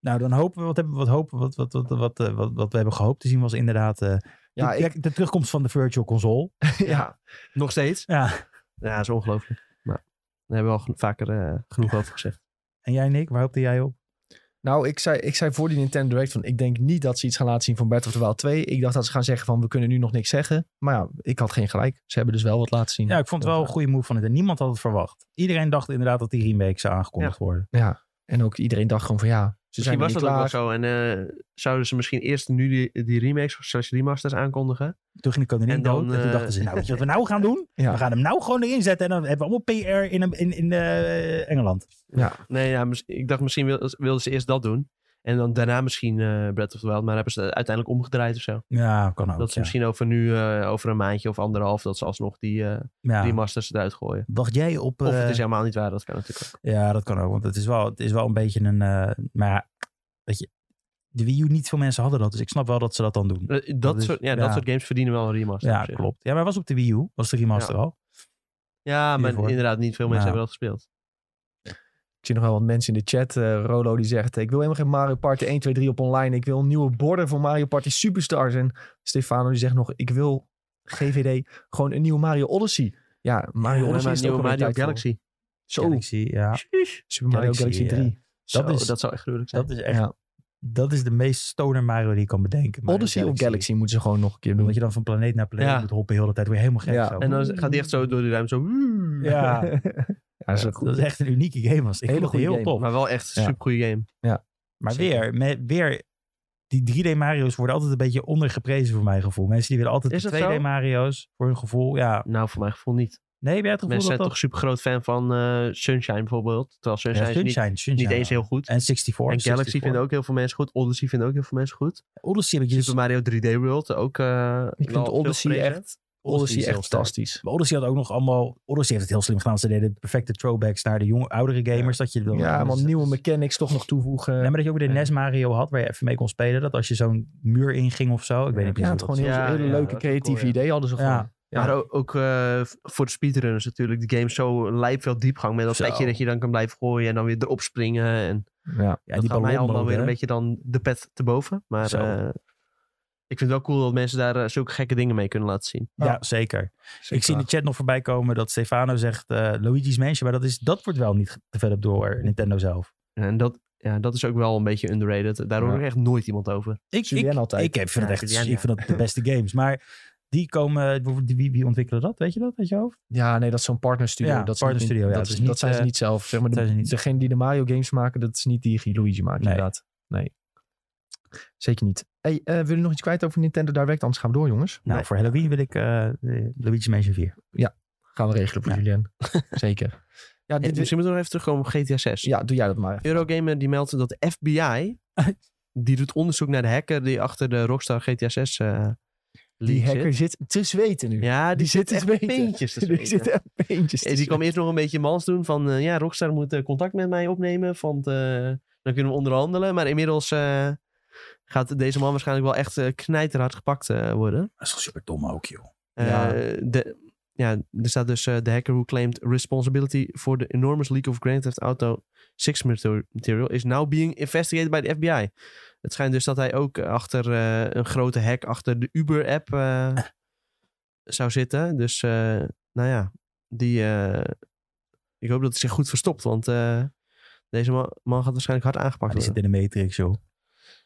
Nou, dan hopen we, wat hebben we, wat hopen, we- wat, wat, wat, wat, eh, wat, wat we hebben gehoopt te zien was inderdaad eh,
Ja,
de,
ik,
de terugkomst van de Virtual Console.
Ja, nog steeds.
Ja.
Ja, dat is ongelooflijk. Maar daar hebben we al geno- vaker eh, genoeg over gezegd.
En jij, Nick, waar hoopte jij op?
nou, ik zei, ik zei voor die Nintendo Direct van... Ik denk niet dat ze iets gaan laten zien van Breath of the Wild 2. Ik dacht dat ze gaan zeggen van, we kunnen nu nog niks zeggen. Maar ja, ik had geen gelijk. Ze hebben dus wel wat laten zien.
Ja, ik vond het wel een
Ja.
goede move van het. En niemand had het verwacht. Iedereen dacht inderdaad dat die remake zou aangekondigd worden.
Ja, en ook iedereen dacht gewoon van, ja, ze zijn
Misschien
nog niet
was dat ook
klaar.
wel zo. En eh, zouden ze misschien eerst nu die, die remakes of slash remasters aankondigen?
Toen ging de koningin
En dan,
dood. En toen
eh,
dachten ze, nou, weet je wat we nou gaan doen?
Ja.
We gaan hem nou gewoon erin zetten. En dan hebben we allemaal PR in, in, in eh, Engeland.
Nee, ja, mis- ik dacht misschien wil- wilden ze eerst dat doen. En dan daarna misschien eh Breath of the Wild. Maar hebben ze het uiteindelijk omgedraaid of zo.
Ja, kan ook.
dat dus ze
ja.
misschien over nu, eh, over een maandje of anderhalf, dat ze alsnog die eh,
Ja.
remasters eruit gooien.
Wacht jij op...
Of het
eh,
is helemaal niet waar, dat kan natuurlijk ook.
Ja, dat kan ook. Want het is wel, het is wel een beetje een... eh, maar ja, weet je, de Wii U, niet veel mensen hadden dat. Dus ik snap wel dat ze dat dan doen.
Eh, Dat,
Dat is-
soort, ja,
ja.
dat soort games verdienen wel een remaster.
Ja,
op zich.
klopt. Ja, maar was op de Wii U. Was de remaster al.
Ja, maar
Hiervoor.
inderdaad, niet veel mensen
Ja.
hebben dat gespeeld.
Ik zie nog wel wat mensen in de chat. eh, Rolo die zegt, ik wil helemaal geen Mario Party 1, 2, 3 op online. Ik wil een nieuwe border voor Mario Party Superstars. En Stefano die zegt nog, ik wil GVD gewoon een nieuwe Mario Odyssey. Ja, Mario Odyssey
Ja, maar
is er
nieuwe
ook alweer
Mario
tijd voor.
Galaxy.
Zo,
Galaxy, ja.
Jeez.
Super Mario
Galaxy,
Galaxy,
ja.
3.
Zo,
Dat is,
dat zou echt gruwelijk zijn.
dat is echt...
Ja.
Dat is de meest stoner Mario die je kan bedenken. Mario
Odyssey of Galaxy moeten ze gewoon nog een keer doen.
Omdat je dan van planeet naar planeet
Ja.
moet hoppen heel de tijd. Word je helemaal gek.
Ja.
zo.
En dan gaat hij echt zo door de ruimte zo...
Ja.
Ja, dat is ook
Dat
goed.
is echt een unieke game. Was. Ik
Hele
vond het
goede
heel
game.
tof. Maar,
Maar wel echt een
Ja.
super goede game.
Zeker.
weer, met, weer, die 3D Mario's worden altijd een beetje ondergeprezen voor mijn gevoel. Mensen die willen altijd
Is
de
dat zo?
2D Mario's voor hun gevoel. Ja,
Nou, voor mijn gevoel niet.
Nee, heb jij het gevoel
Mensen zijn
dat
toch
dat...
super groot fan van eh, Sunshine bijvoorbeeld. Terwijl Sunshine,
Ja,
is niet,
Sunshine, Sunshine.
niet eens heel goed. En,
En 64.
Galaxy
64.
vinden ook heel veel mensen goed. Odyssey vinden ook heel veel mensen goed.
Odyssey heb ik
Super
dus...
Mario 3D World ook. eh,
Ik
wel
vind
veel
Odyssey
geprezen.
echt, Odyssey
is
echt
heel sterk.
fantastisch.
Maar Odyssey had ook nog allemaal... Odyssey heeft het heel slim gedaan. Ze deden perfecte throwbacks naar de jonge, oudere gamers. Dat je wilde.
Ja, man, nieuwe mechanics toch nog toevoegen.
Nee, maar dat je ook weer de NES Mario had, waar je even mee kon spelen. Dat als je zo'n muur inging of zo. Ik weet niet
ja, het
precies
gewoon
wat-
heel,
Ja,
hele
ja,
leuke
dat is cool,
creatieve
ja.
idee hadden ze gewoon.
Ja.
Ja.
Maar ook, ook, eh, voor de speedrunners natuurlijk. De game zo lijp veel diepgang. Met dat
Zo.
petje dat je dan kan blijven gooien en dan weer erop springen. En
Ja.
Ja,
dat
die
gaat mij allemaal
ballonmode,
weer een
hè.
beetje dan de pet te boven. Maar
Zo.
eh, ik vind het wel cool dat mensen daar eh, zulke gekke dingen mee kunnen laten zien.
Ja, zeker. Ik zie in de chat nog voorbij komen dat Stefano zegt eh, Luigi's Mansion. Maar dat, is, dat wordt wel niet developed door eh, Nintendo zelf.
En dat, ja, dat is ook wel een beetje underrated. Daar hoor
Ja.
ik echt nooit iemand over.
Ik,
Julien
ik,
altijd.
ik heb- vind
Ja,
het echt
Julien, ja.
ik vind dat de beste games. Maar die komen, die- wie, wie ontwikkelen dat? Weet je dat uit je hoofd?
Ja, nee, dat is zo'n partnerstudio.
Ja,
dat is
partnerstudio,
niet,
ja,
dat,
dus
is-
niet,
dat zijn ze
eh,
niet zelf. Zeg maar, de-
zijn ze niet.
degene die de Mario games maken, dat is niet die die Luigi maakt,
Nee.
inderdaad. Nee. Zeker niet. Hey, eh, willen jullie nog iets kwijt over Nintendo Direct? Anders gaan we door, jongens.
Nou,
Nee.
voor Halloween wil ik eh, eh, Luigi's Mansion 4.
Gaan we regelen voor
Ja.
Julien. Zeker. Ja,
En
dit,
misschien moeten we nog even terugkomen op GTA 6.
ja, doe jij dat maar. even.
Eurogamer die meldt dat de FBI... die doet onderzoek naar de hacker die achter de Rockstar GTA 6 eh
Die
leak
hacker
zit.
zit te zweten nu.
Ja, die,
Die zit
zit
te
echt
zweten.
peentjes te
die
zweten.
zit echt beentjes te
En die
zweten.
kwam eerst nog een beetje mans doen van... eh, ja, Rockstar moet eh, contact met mij opnemen, want eh, dan kunnen we onderhandelen. Maar inmiddels eh, gaat deze man waarschijnlijk wel echt eh, knijterhard gepakt eh, worden.
Dat is toch super dom ook, joh.
Ja.
Eh, de, ja, er staat dus eh, de hacker who claimed responsibility for the enormous leak of Grand Theft Auto 6 mater- material is now being investigated by the FBI. Het schijnt dus dat hij ook achter eh, een grote hack achter de Uber-app eh, zou zitten. Dus eh, nou ja, die, eh, ik hoop dat hij zich goed verstopt, want eh, deze man, man gaat waarschijnlijk hard aangepakt
Maar die
worden.
zit in de Matrix, joh.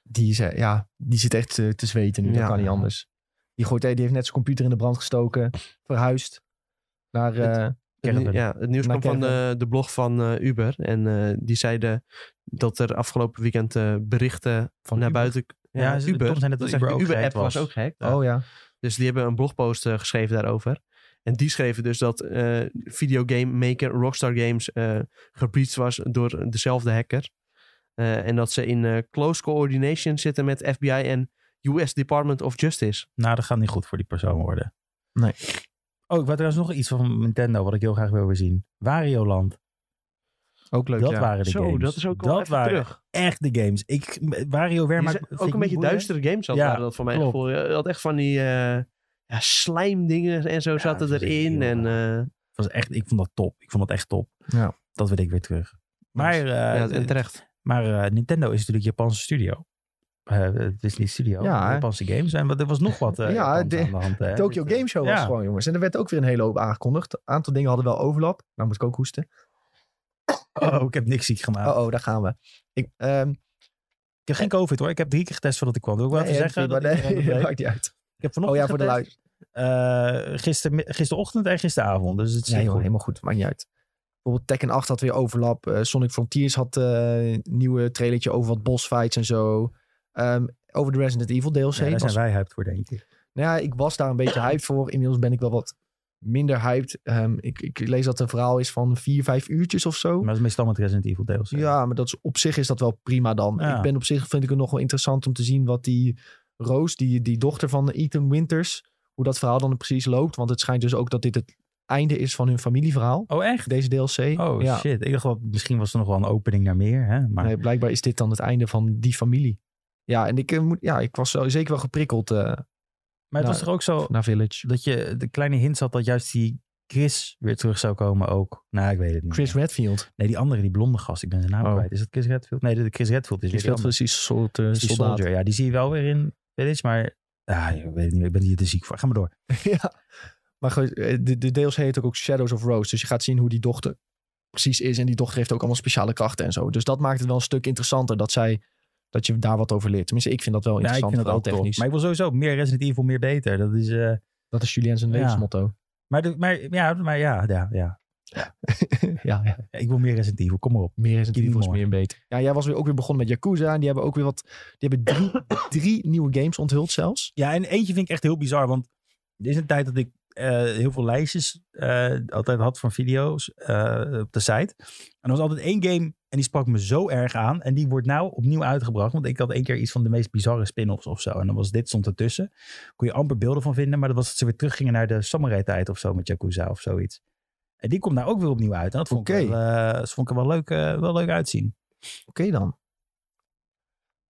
Die, ze- ja, die zit echt eh, te zweten nu. Dat
Ja.
kan niet anders. Die, gooit, die heeft net zijn computer in de brand gestoken. Verhuisd. Naar...
Het-
eh,
Het nieuw-
Caravan.
Ja, het nieuws
Naar
kwam van de, de blog van eh, Uber. En eh, die zeiden dat er afgelopen weekend eh, berichten
Van
naar
Uber?
buiten...
Ja, ze-
Uber.
Tom zei
Dat
net dat
is eigenlijk
Uber ook
de Uber-app was.
gehackt was.
ook gehackt.
Oh ja.
Dus die hebben een blogpost eh, geschreven daarover. En die schreven dus dat eh videogame maker Rockstar Games eh gebreached was door dezelfde hacker. Eh, en dat ze in eh, close coordination zitten met FBI en US Department of Justice.
Nou, dat gaat niet goed voor die persoon worden.
Nee.
Oh, ik wou trouwens nog iets van Nintendo, wat ik heel graag wil weer zien. Wario Land.
Ook leuk,
dat
ja.
waren de
Zo,
games.
dat is ook wel
Dat
even
waren
terug.
echt de games. Ik, Wario
Die
Wermaak...
zijn ook een beetje duistere games had
Ja,
waren dat voor mij
klopt.
gevoel. Je had echt van die eh ja, slijmdingen en zo zaten
dat is
erin.
heel
En, eh,
Dat was echt, ik vond dat top. Ik vond dat echt top.
Ja.
Dat wil ik weer terug. Maar, eh,
ja, en terecht.
maar eh, Nintendo is natuurlijk Japanse studio. Eh, het is niet studio,
Ja, hè?
Japanse games. En wat- er was nog wat
Ja,
eh, Japans
de-
aan de hand. hè.
Tokyo
dit, eh,
Game Show was
ja.
gewoon, jongens. En er werd ook weer een hele hoop aangekondigd. Een aantal dingen hadden wel overlap. Nou moet ik ook hoesten.
Oh, ik heb niks ziek gemaakt.
Oh, oh, daar gaan we. Ik, ehm,
Ik heb geen covid hoor. Ik heb drie keer getest voordat ik kwam. Wil ik wel
nee,
even
dat
zeggen?
vind ik wel-
dat ik-
nee, dat maakt niet uit.
Ik heb vanochtend
Oh ja, voor de
getest.
luid.
Eh, gister, gisterochtend en gisteravond. Dus het is
Nee
heel
joh,
goed.
helemaal goed. Maakt niet uit. Bijvoorbeeld Tekken 8 had weer overlap. Eh, Sonic Frontiers had eh, een nieuwe trailertje over wat boss fights en zo. Ehm, over de Resident Evil deels
Ja,
heen.
daar
Was-
zijn wij hyped voor, denk ik.
Nou ja, ik was daar een beetje hyped voor. Inmiddels ben ik wel wat minder hyped. Ehm, ik, ik lees dat het een verhaal is van vier, vijf uurtjes of zo.
Maar dat is meestal met Resident Evil DLC.
Ja, maar dat is, op zich is dat wel prima dan.
Ja.
Ik ben op zich, vind ik het nog wel interessant om te zien wat die Roos, die, die dochter van Ethan Winters, hoe dat verhaal dan precies loopt. Want het schijnt dus ook dat dit het einde is van hun familieverhaal.
Oh, echt?
Deze DLC.
Oh,
ja.
shit. Ik dacht, wel, misschien was er nog wel een opening naar meer. Hè? Maar
Nee, blijkbaar is dit dan het einde van die familie. Ja, en ik, eh, moet, ja, ik was wel, zeker wel geprikkeld eh,
Maar het
Nou,
was toch ook zo
naar Village.
dat je de kleine hint had dat juist die Chris weer terug zou komen ook. Nou, ik weet het niet.
Chris
meer.
Redfield.
Nee, die andere, die blonde gast. Ik ben zijn naam
Oh.
kwijt. Is dat Chris Redfield? Nee, de Chris Redfield is
Die
weer
speelt
die andere.
precies een soort eh,
Dat is die
soldaat.
soldier. Ja, die zie je wel weer in Village, maar... Ah, ik weet het niet. Ik ben hier te ziek voor. Ga maar door.
ja. Maar goed, eh, de, de DLC heet ook, ook Shadows of Rose. Dus je gaat zien hoe die dochter precies is. En die dochter heeft ook allemaal speciale krachten en zo. Dus dat maakt het wel een stuk interessanter dat zij dat je daar wat over leert. Tenminste, ik vind dat wel
Ja, ik
interessant.
vind dat ook
vooral
technisch. Maar ik wil sowieso meer Resident Evil, meer beter. Dat is... eh,
Dat is Julien zijn
Ja.
levensmotto.
maar, de- maar, ja, maar ja, ja, ja.
ja, ja,
Ik wil meer Resident Evil. Kom maar op.
meer is het
Keep
Evil is
more.
meer en beter. Ja, jij was weer ook weer begonnen met Yakuza. En die hebben ook weer wat. Die hebben drie, drie nieuwe games onthuld zelfs.
Ja, en eentje vind ik echt heel bizar. Want er is een tijd dat ik eh, heel veel lijstjes eh, altijd had van video's eh, op de site. En er was altijd één game en die sprak me zo erg aan. En die wordt nou opnieuw uitgebracht. Want ik had één keer iets van de meest bizarre spin-offs of zo. En dan was dit stond ertussen. Kon je amper beelden van vinden. Maar dat was dat ze weer teruggingen naar de samurai tijd of zo met Yakuza of zoiets. En die komt nou ook weer opnieuw uit. En dat vond,
Oké.
ik, wel, eh, dat vond ik er wel leuk, eh, wel leuk uitzien.
Oké dan.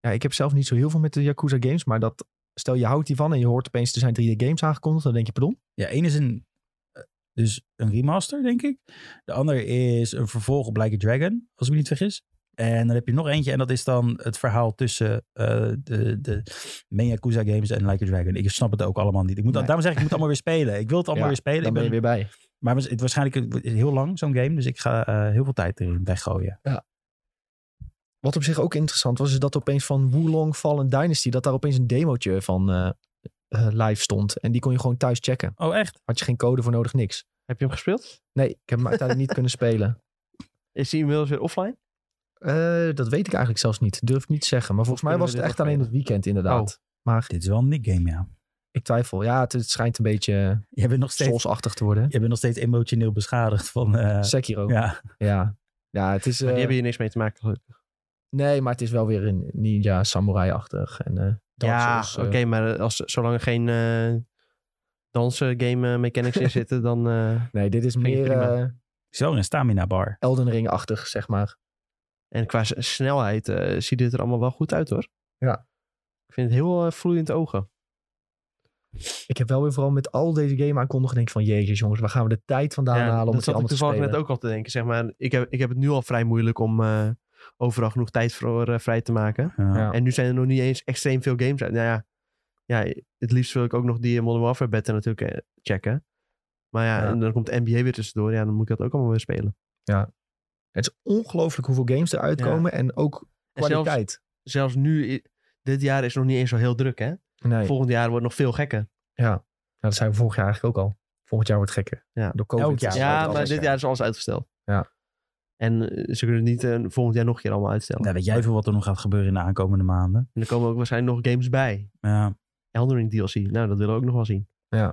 Ja, ik heb zelf niet zo heel veel met de Yakuza games, maar dat... Stel, je houdt die van en je hoort opeens er zijn 3D games aangekondigd. Dan denk je, pardon?
Ja, één is een, eh, dus een remaster, denk ik. De ander is een vervolg op Like a Dragon, als ik me niet vergis. En dan heb je nog eentje en dat is dan het verhaal tussen eh, de, de main Yakuza games en Like a Dragon. Ik snap het ook allemaal niet. Ik moet,
Nee.
Daarom zeg ik, ik moet allemaal weer spelen. Ik wil het allemaal
Ja,
weer spelen.
Dan
Ik
ben je weer bij.
Maar het is waarschijnlijk het is heel lang, zo'n game. Dus ik ga eh, heel veel tijd erin weggooien.
Wat op zich ook interessant was, is dat opeens van Wulong Fallen Dynasty, dat daar opeens een demotje van eh, eh, live stond. En die kon je gewoon thuis checken.
Oh, echt?
Had je geen code voor nodig, niks.
Heb je hem gespeeld?
Nee, ik heb hem uiteindelijk niet kunnen spelen.
Is hij inmiddels weer offline?
Eh, dat weet ik eigenlijk zelfs niet. Durf ik niet te zeggen. Maar volgens mij
Kunnen
was
we
het echt
dit nog
alleen het weekend inderdaad. Maar
Dit is wel een Nick game, ja.
ik twijfel. Ja, het, het schijnt een beetje
Je bent nog steeds,
Souls-achtig te worden.
je bent nog steeds emotioneel beschadigd van... eh,
Sekiro. Ja.
ja,
ja. het is...
Maar die
eh,
hebben hier niks mee te maken. gelukkig.
Nee, maar het is wel weer een ninja samurai-achtig. En, eh, Dark
Ja,
Souls, eh,
oké, maar als, zolang er geen eh dansen game eh, mechanics in zitten, dan... eh,
Nee, dit is meer
prima.
eh,
zo een stamina bar.
Elden Ring-achtig, zeg maar.
en qua s- snelheid eh, ziet dit er allemaal wel goed uit, hoor.
Ja.
Ik vind het heel eh, vloeiend ogen.
Ik heb wel weer vooral met al deze game aankondigingen denk ik van jezus jongens, waar gaan we de tijd vandaan
Ja,
halen om
dat
het hier
zat ik
allemaal te
toevallig
spelen?
net ook al te denken. Zeg maar, ik, heb, ik heb het nu al vrij moeilijk om eh, overal genoeg tijd voor eh, vrij te maken.
Ja.
Ja.
En nu zijn er nog niet eens extreem veel games uit. Nou ja, ja, het liefst wil ik ook nog die eh, Modern Warfare Battle natuurlijk eh, checken. Maar ja,
Ja.
en dan komt de NBA weer tussendoor. Ja, dan moet ik dat ook allemaal weer spelen.
Het is ongelooflijk hoeveel games eruit
Ja.
komen en ook
En zelfs,
kwaliteit.
zelfs nu, i- dit jaar is nog niet eens zo heel druk, hè?
Nee,
Volgend jaar wordt nog veel gekker.
nou, dat zijn we vorig jaar eigenlijk ook al. Volgend jaar wordt het gekker.
Ja.
Door COVID.
Elk jaar.
is het
Ja,
altijd
maar
anders,
dit
ja.
jaar is alles uitgesteld.
Ja.
En eh, ze kunnen het niet eh, volgend jaar nog een keer allemaal uitstellen.
Nou, weet jij veel wat er nog gaat gebeuren in de aankomende maanden?
En er komen ook waarschijnlijk nog games bij.
Ja,
Elden Ring DLC. Nou, dat willen we ook nog wel zien.
Ja.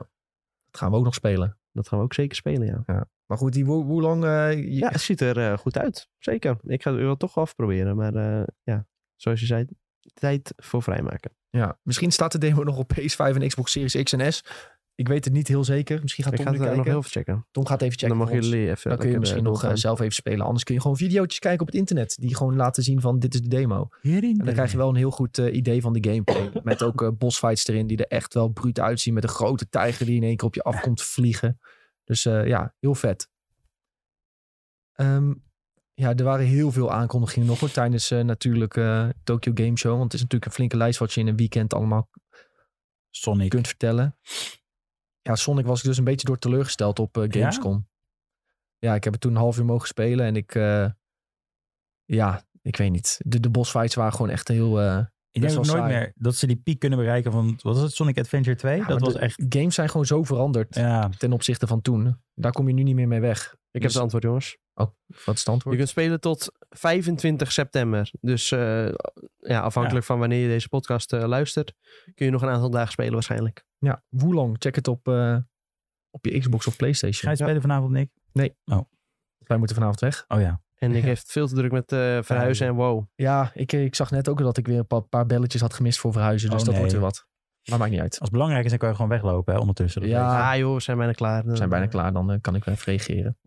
Dat gaan we ook nog spelen.
Dat gaan we ook zeker spelen, ja.
Maar goed, die Wo- Wulong, eh, je-
Ja, het ziet er eh, goed uit. Zeker. Ik ga het wel toch wel afproberen. Maar eh, ja, zoals je zei, tijd voor vrijmaken.
ja, misschien staat de demo nog op PS5 en Xbox Series X en S. Ik weet het niet heel zeker. Misschien gaat
ik
Tom
ga
nu
het eh,
kijken.
nog heel even checken.
Tom gaat even checken
dan mogen
voor ons.
jullie even
Dan kun je
lekker,
misschien
eh,
nog eh,
doorgaan.
zelf even spelen. Anders kun je gewoon videootjes kijken op het internet. Die gewoon laten zien van dit is de demo.
hierin.
En dan krijg je wel een heel goed eh, idee van de gameplay. Met ook eh, bossfights erin die er echt wel bruut uitzien. Met een grote tijger die in één keer op je af komt vliegen. Dus eh, ja, heel vet. Ehm, ja, er waren heel veel aankondigingen nog hoor. Tijdens eh, natuurlijk eh Tokyo Game Show. Want het is natuurlijk een flinke lijst wat je in een weekend allemaal
Sonic.
kunt vertellen. Ja, Sonic was ik dus een beetje door teleurgesteld op eh,
Ja?
Gamescom. Ja? ik heb het toen een half uur mogen spelen en ik... eh, ja, ik weet niet. De, de bossfights waren gewoon echt heel... eh,
Ik denk
wel
ook nooit
saai.
meer dat ze die piek kunnen bereiken van, wat was het, Sonic Adventure 2?
Ja,
dat
maar
was
de
echt,
Games zijn gewoon zo veranderd
ja.
ten opzichte van toen. Daar kom je nu niet meer mee weg.
Ik heb het antwoord, jongens.
Wat is het antwoord?
Je kunt spelen tot 25 september. Dus eh, ja, afhankelijk van wanneer je deze podcast eh, luistert, kun je nog een aantal dagen spelen waarschijnlijk.
Ja, Wulong, check het op, eh, op je Xbox of Playstation.
Ga je spelen vanavond, Nick?
Wij moeten vanavond weg.
Oh ja.
En ik
Ja.
heb het veel te druk met eh, verhuizen en wow.
Ja, ik, eh, ik zag net ook dat ik weer een pa- paar belletjes had gemist voor verhuizen. Dus
Oh,
dat
nee.
wordt weer wat. Maar maakt niet uit.
Als het belangrijk is, dan kan je gewoon weglopen hè, ondertussen. Dat
Ja.
weet
Ah joh, we zijn bijna klaar.
We zijn bijna klaar, dan eh, kan ik wel even reageren.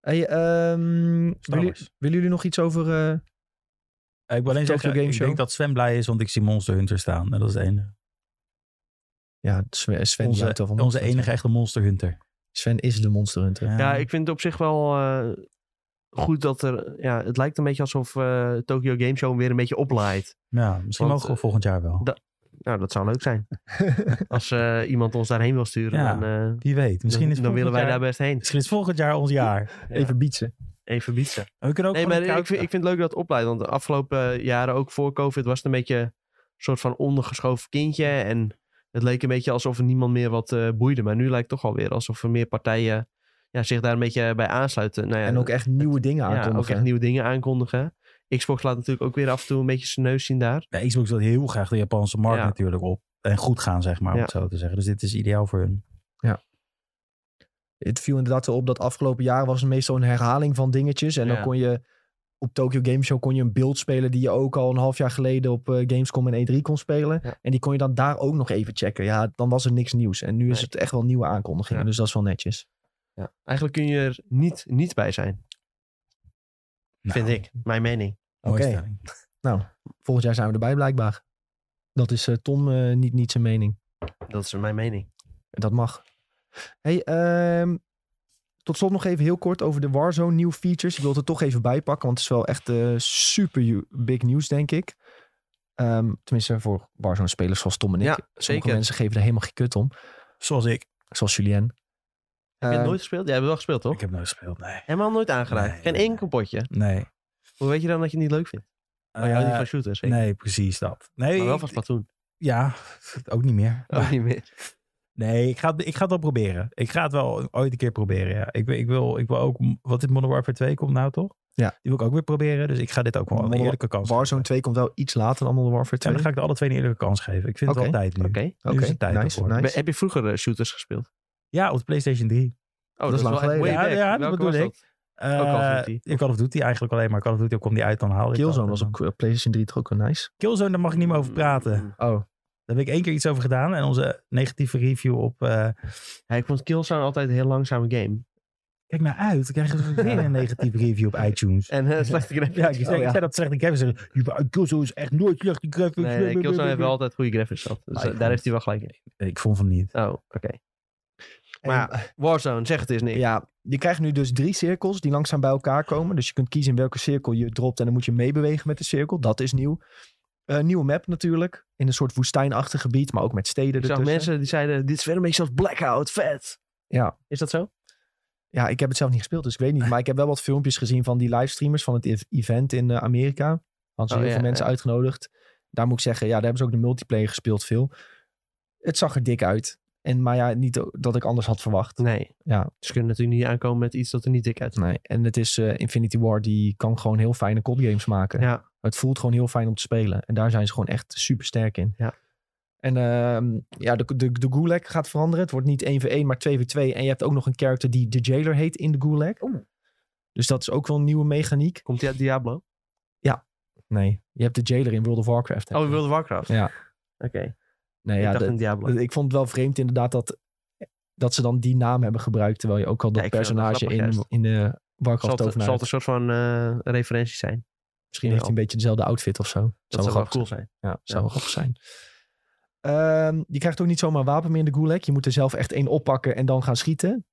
Hey, ehm, willen,
Wars.
willen jullie nog iets over... eh,
ik. Ik wil alleen
Tokyo
zeggen,
Game
ik
Show.
denk dat Sven blij is, want ik zie Monster Hunter staan. En dat is de enige.
Ja, Sven, Sven, die houdt wel
Onze,
van
onze
Monster Hunter.
enige echte Monster Hunter.
Sven is de Monster Hunter.
Ja,
Ehm.
ik vind het op zich wel eh, goed dat er... Ja, het lijkt een beetje alsof eh Tokyo Game Show weer een beetje oplaait.
Ja, misschien
Want,
mogen
eh,
we volgend jaar wel.
dat- Nou, dat zou leuk zijn. Als eh, iemand ons daarheen wil sturen,
Ja,
dan, eh,
Wie weet. Misschien
dan,
is,
dan
volgend
willen wij
jaar-
daar best heen.
misschien is volgend jaar ons jaar.
Ja.
Even bietsen.
Even bietsen.
En we kunnen ook
Nee, maar
gewoon een
ik vind, ik vind het leuk dat het opleidt. Want de afgelopen eh, jaren, ook voor COVID, was het een beetje een soort van ondergeschoven kindje. En het leek een beetje alsof er niemand meer wat eh, boeide. Maar nu lijkt het toch alweer alsof er meer partijen ja, zich daar een beetje bij aansluiten. Nou ja,
En ook echt nieuwe dingen
ja, ook
aankondigen.
echt nieuwe dingen aankondigen. Xbox laat natuurlijk ook weer af en toe een beetje zijn neus zien daar.
Ja, Xbox wil heel graag de Japanse markt
Ja.
natuurlijk op. En goed gaan, zeg maar, om
Ja.
het zo te zeggen. Dus dit is ideaal voor hun.
het viel inderdaad zo op dat afgelopen jaar was het meestal een herhaling van dingetjes. En
Ja.
dan kon je op Tokyo Game Show kon je een beeld spelen die je ook al een half jaar geleden op eh, Gamescom en E3 kon spelen.
Ja.
En die kon je dan daar ook nog even checken. Ja, dan was er niks nieuws. En nu is
Nee.
het echt wel nieuwe aankondigingen.
Ja.
Dus dat is wel netjes.
Ja. Eigenlijk kun je er niet, niet bij zijn, vind
Nou,
ik. Mijn mening.
Oké.
Oké. Volgend jaar zijn we erbij blijkbaar. Dat is eh, Tom eh, niet, niet zijn mening.
Dat is mijn mening.
Dat mag. Hey, ehm, tot slot nog even heel kort over de Warzone nieuwe features. Ik wil het er toch even bij pakken, want het is wel echt eh, super ju- big nieuws, denk ik. Ehm, tenminste, voor Warzone-spelers zoals Tom en ik.
Ja,
Sommige
zeker.
mensen geven er helemaal geen kut om,
Zoals ik.
zoals Julien.
Heb je
Ehm,
het nooit gespeeld? Jij hebt het wel gespeeld, toch?
Ik heb nooit gespeeld, nee.
Helemaal nooit aangeraakt.
Nee,
Geen
nee,
enkel potje.
Nee.
Hoe weet je dan dat je het niet leuk vindt? Maar je Oh, houdt niet van shooters, zeker?
Eh, nee, precies dat. Nee,
maar wel
ik-
van Splatoon.
Ja, ook niet meer.
Oh, niet meer.
Nee, ik ga, het- ik ga het wel proberen. Ik ga het wel ooit een keer proberen, ja. Ik, wil- ik, wil, ik wil ook... Wat in Modern Warfare 2 komt nou, toch?
Ja.
Die wil ik ook weer proberen. Dus ik ga dit ook wel een
Modern
eerlijke kans geven.
Warzone 2 komt wel iets later dan Modern Warfare
Ja,
2.
dan ga ik de alle twee een eerlijke kans geven. Ik vind het
Oké,
wel tijd nu.
Oké. Oh,
nu is het tijd
nice,
ervoor.
nice.
Maar Heb je vroeger eh, shooters gespeeld?
Ja, op de PlayStation 3.
Oh,
Dat is lang
wel echt
geleden.
way
Ja,
back.
ja, dat
Welke
bedoel
was
ik. Eh,
Call of Duty.
Ja, Call of Duty eigenlijk alleen maar. Call of Duty kwam die uit, dan haalde ik
Killzone
dat.
was op eh, PlayStation 3 toch ook wel nice.
Killzone, daar mag ik niet meer over praten.
Mm.
Oh,
Daar heb ik één keer iets over gedaan. En onze negatieve review op... eh,
Ja, ik vond Killzone altijd een heel langzame game.
kijk nou uit, dan krijgen we weer een negatieve review op iTunes.
En eh, slechte graphics.
Ja, ik zei,
Oh, ja.
ik zei dat slechte graphics. Zeggen, "Ja, maar Killzone is echt nooit slechte graphics.
Nee, Killzone heeft wel altijd goede graphics gehad. Dus eh,
Ah, ik
daar
vond-
heeft hij wel gelijk in.
Ik vond van niet.
Oh, oké.
maar
Maar Warzone, zeg het eens niet.
Ja, je krijgt nu dus drie cirkels die langzaam bij elkaar komen. Dus je kunt kiezen in welke cirkel je dropt en dan moet je meebewegen met de cirkel. Dat is nieuw. Eh, nieuwe map natuurlijk. In een soort woestijnachtig gebied, maar ook met steden
Ik zag
ertussen.
mensen die zeiden, dit is weer een beetje zoals Blackout, vet.
Ja.
Is dat zo?
Ja, ik heb het zelf niet gespeeld, dus ik weet niet. Maar ik heb wel wat filmpjes gezien van die livestreamers van het ev- event in eh, Amerika. Hadden ze
Oh,
heel
ja,
veel mensen uitgenodigd. Daar moet ik zeggen, ja, daar hebben ze ook de multiplayer gespeeld veel. Het zag er dik uit. En, maar ja, niet o- dat ik anders had verwacht.
Nee.
Ja.
Ze kunnen natuurlijk niet aankomen met iets dat er niet dik uit
Nee. En het is eh, Infinity War, die kan gewoon heel fijne COD-games maken.
Ja.
Het voelt gewoon heel fijn om te spelen. En daar zijn ze gewoon echt super sterk in.
Ja.
En ehm, ja, de, de, de Gulag gaat veranderen. Het wordt niet 1v1, maar 2v2. En je hebt ook nog een character die de Jailer heet in de Gulag. Dus dat is ook wel een nieuwe mechaniek.
Komt die uit Diablo?
Nee, je hebt de Jailer in World of Warcraft. hè?
Oh, in World of Warcraft?
Ja.
Oké.
nee,
Ik
ja,
dacht
de-
in Diablo.
de- ik vond het wel vreemd inderdaad dat, dat ze dan die naam hebben gebruikt. Terwijl je ook al dat
ik vind dat wel
personage
grappig,
in, in de
Zal
Warcraft
het,
tovenaar
zal het
hebt.
een soort van eh, referentie zijn?
Misschien heeft hij een beetje dezelfde outfit of zo.
Dat zou wel
grappig
cool zijn.
Ja, zou
Ja.
wel grappig zijn. Ehm, je krijgt ook niet zomaar een wapen meer in de Gulag. Je moet er zelf echt één oppakken en dan gaan schieten.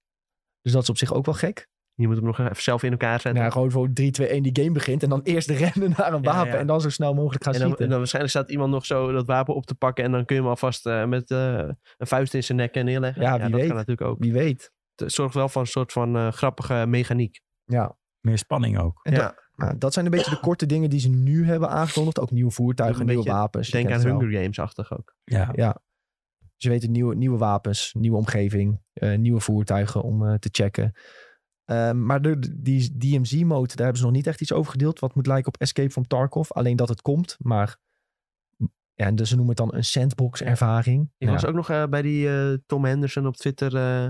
Dus dat is op zich ook wel gek.
Je moet hem nog even zelf in elkaar zetten.
Nou, gewoon voor 3, 2, 1 die game begint. En dan eerst rennen naar een
Ja,
wapen.
ja.
En dan zo snel mogelijk gaan
en, dan,
schieten.
en dan waarschijnlijk staat iemand nog zo dat wapen op te pakken. En dan kun je hem alvast eh, met eh, een vuist in zijn nek en neerleggen.
Ja, wie
dat
weet.
kan natuurlijk ook.
Wie weet.
Het zorgt wel voor een soort van eh, grappige mechaniek.
Ja.
Meer spanning ook.
En
Ja.
dat- nou, dat zijn een beetje de korte dingen die ze nu hebben aangekondigd. Ook nieuwe voertuigen,
Een
nieuwe
beetje-
wapens.
Ik
Je
denk
kent
aan
het wel.
Hunger Games-achtig ook.
Ja.
Dus je weet het, nieuwe, nieuwe wapens, nieuwe omgeving, eh, nieuwe voertuigen om eh, te checken. Ehm, maar de, de- die DMZ-mode, daar hebben ze nog niet echt iets over gedeeld. Wat moet lijken op Escape from Tarkov. Alleen dat het komt, maar... Ja, en dus ze noemen het dan een Nou, sandbox-ervaring.
Ik
Ja.
was ook nog eh, bij die eh, Tom Henderson op Twitter. eh,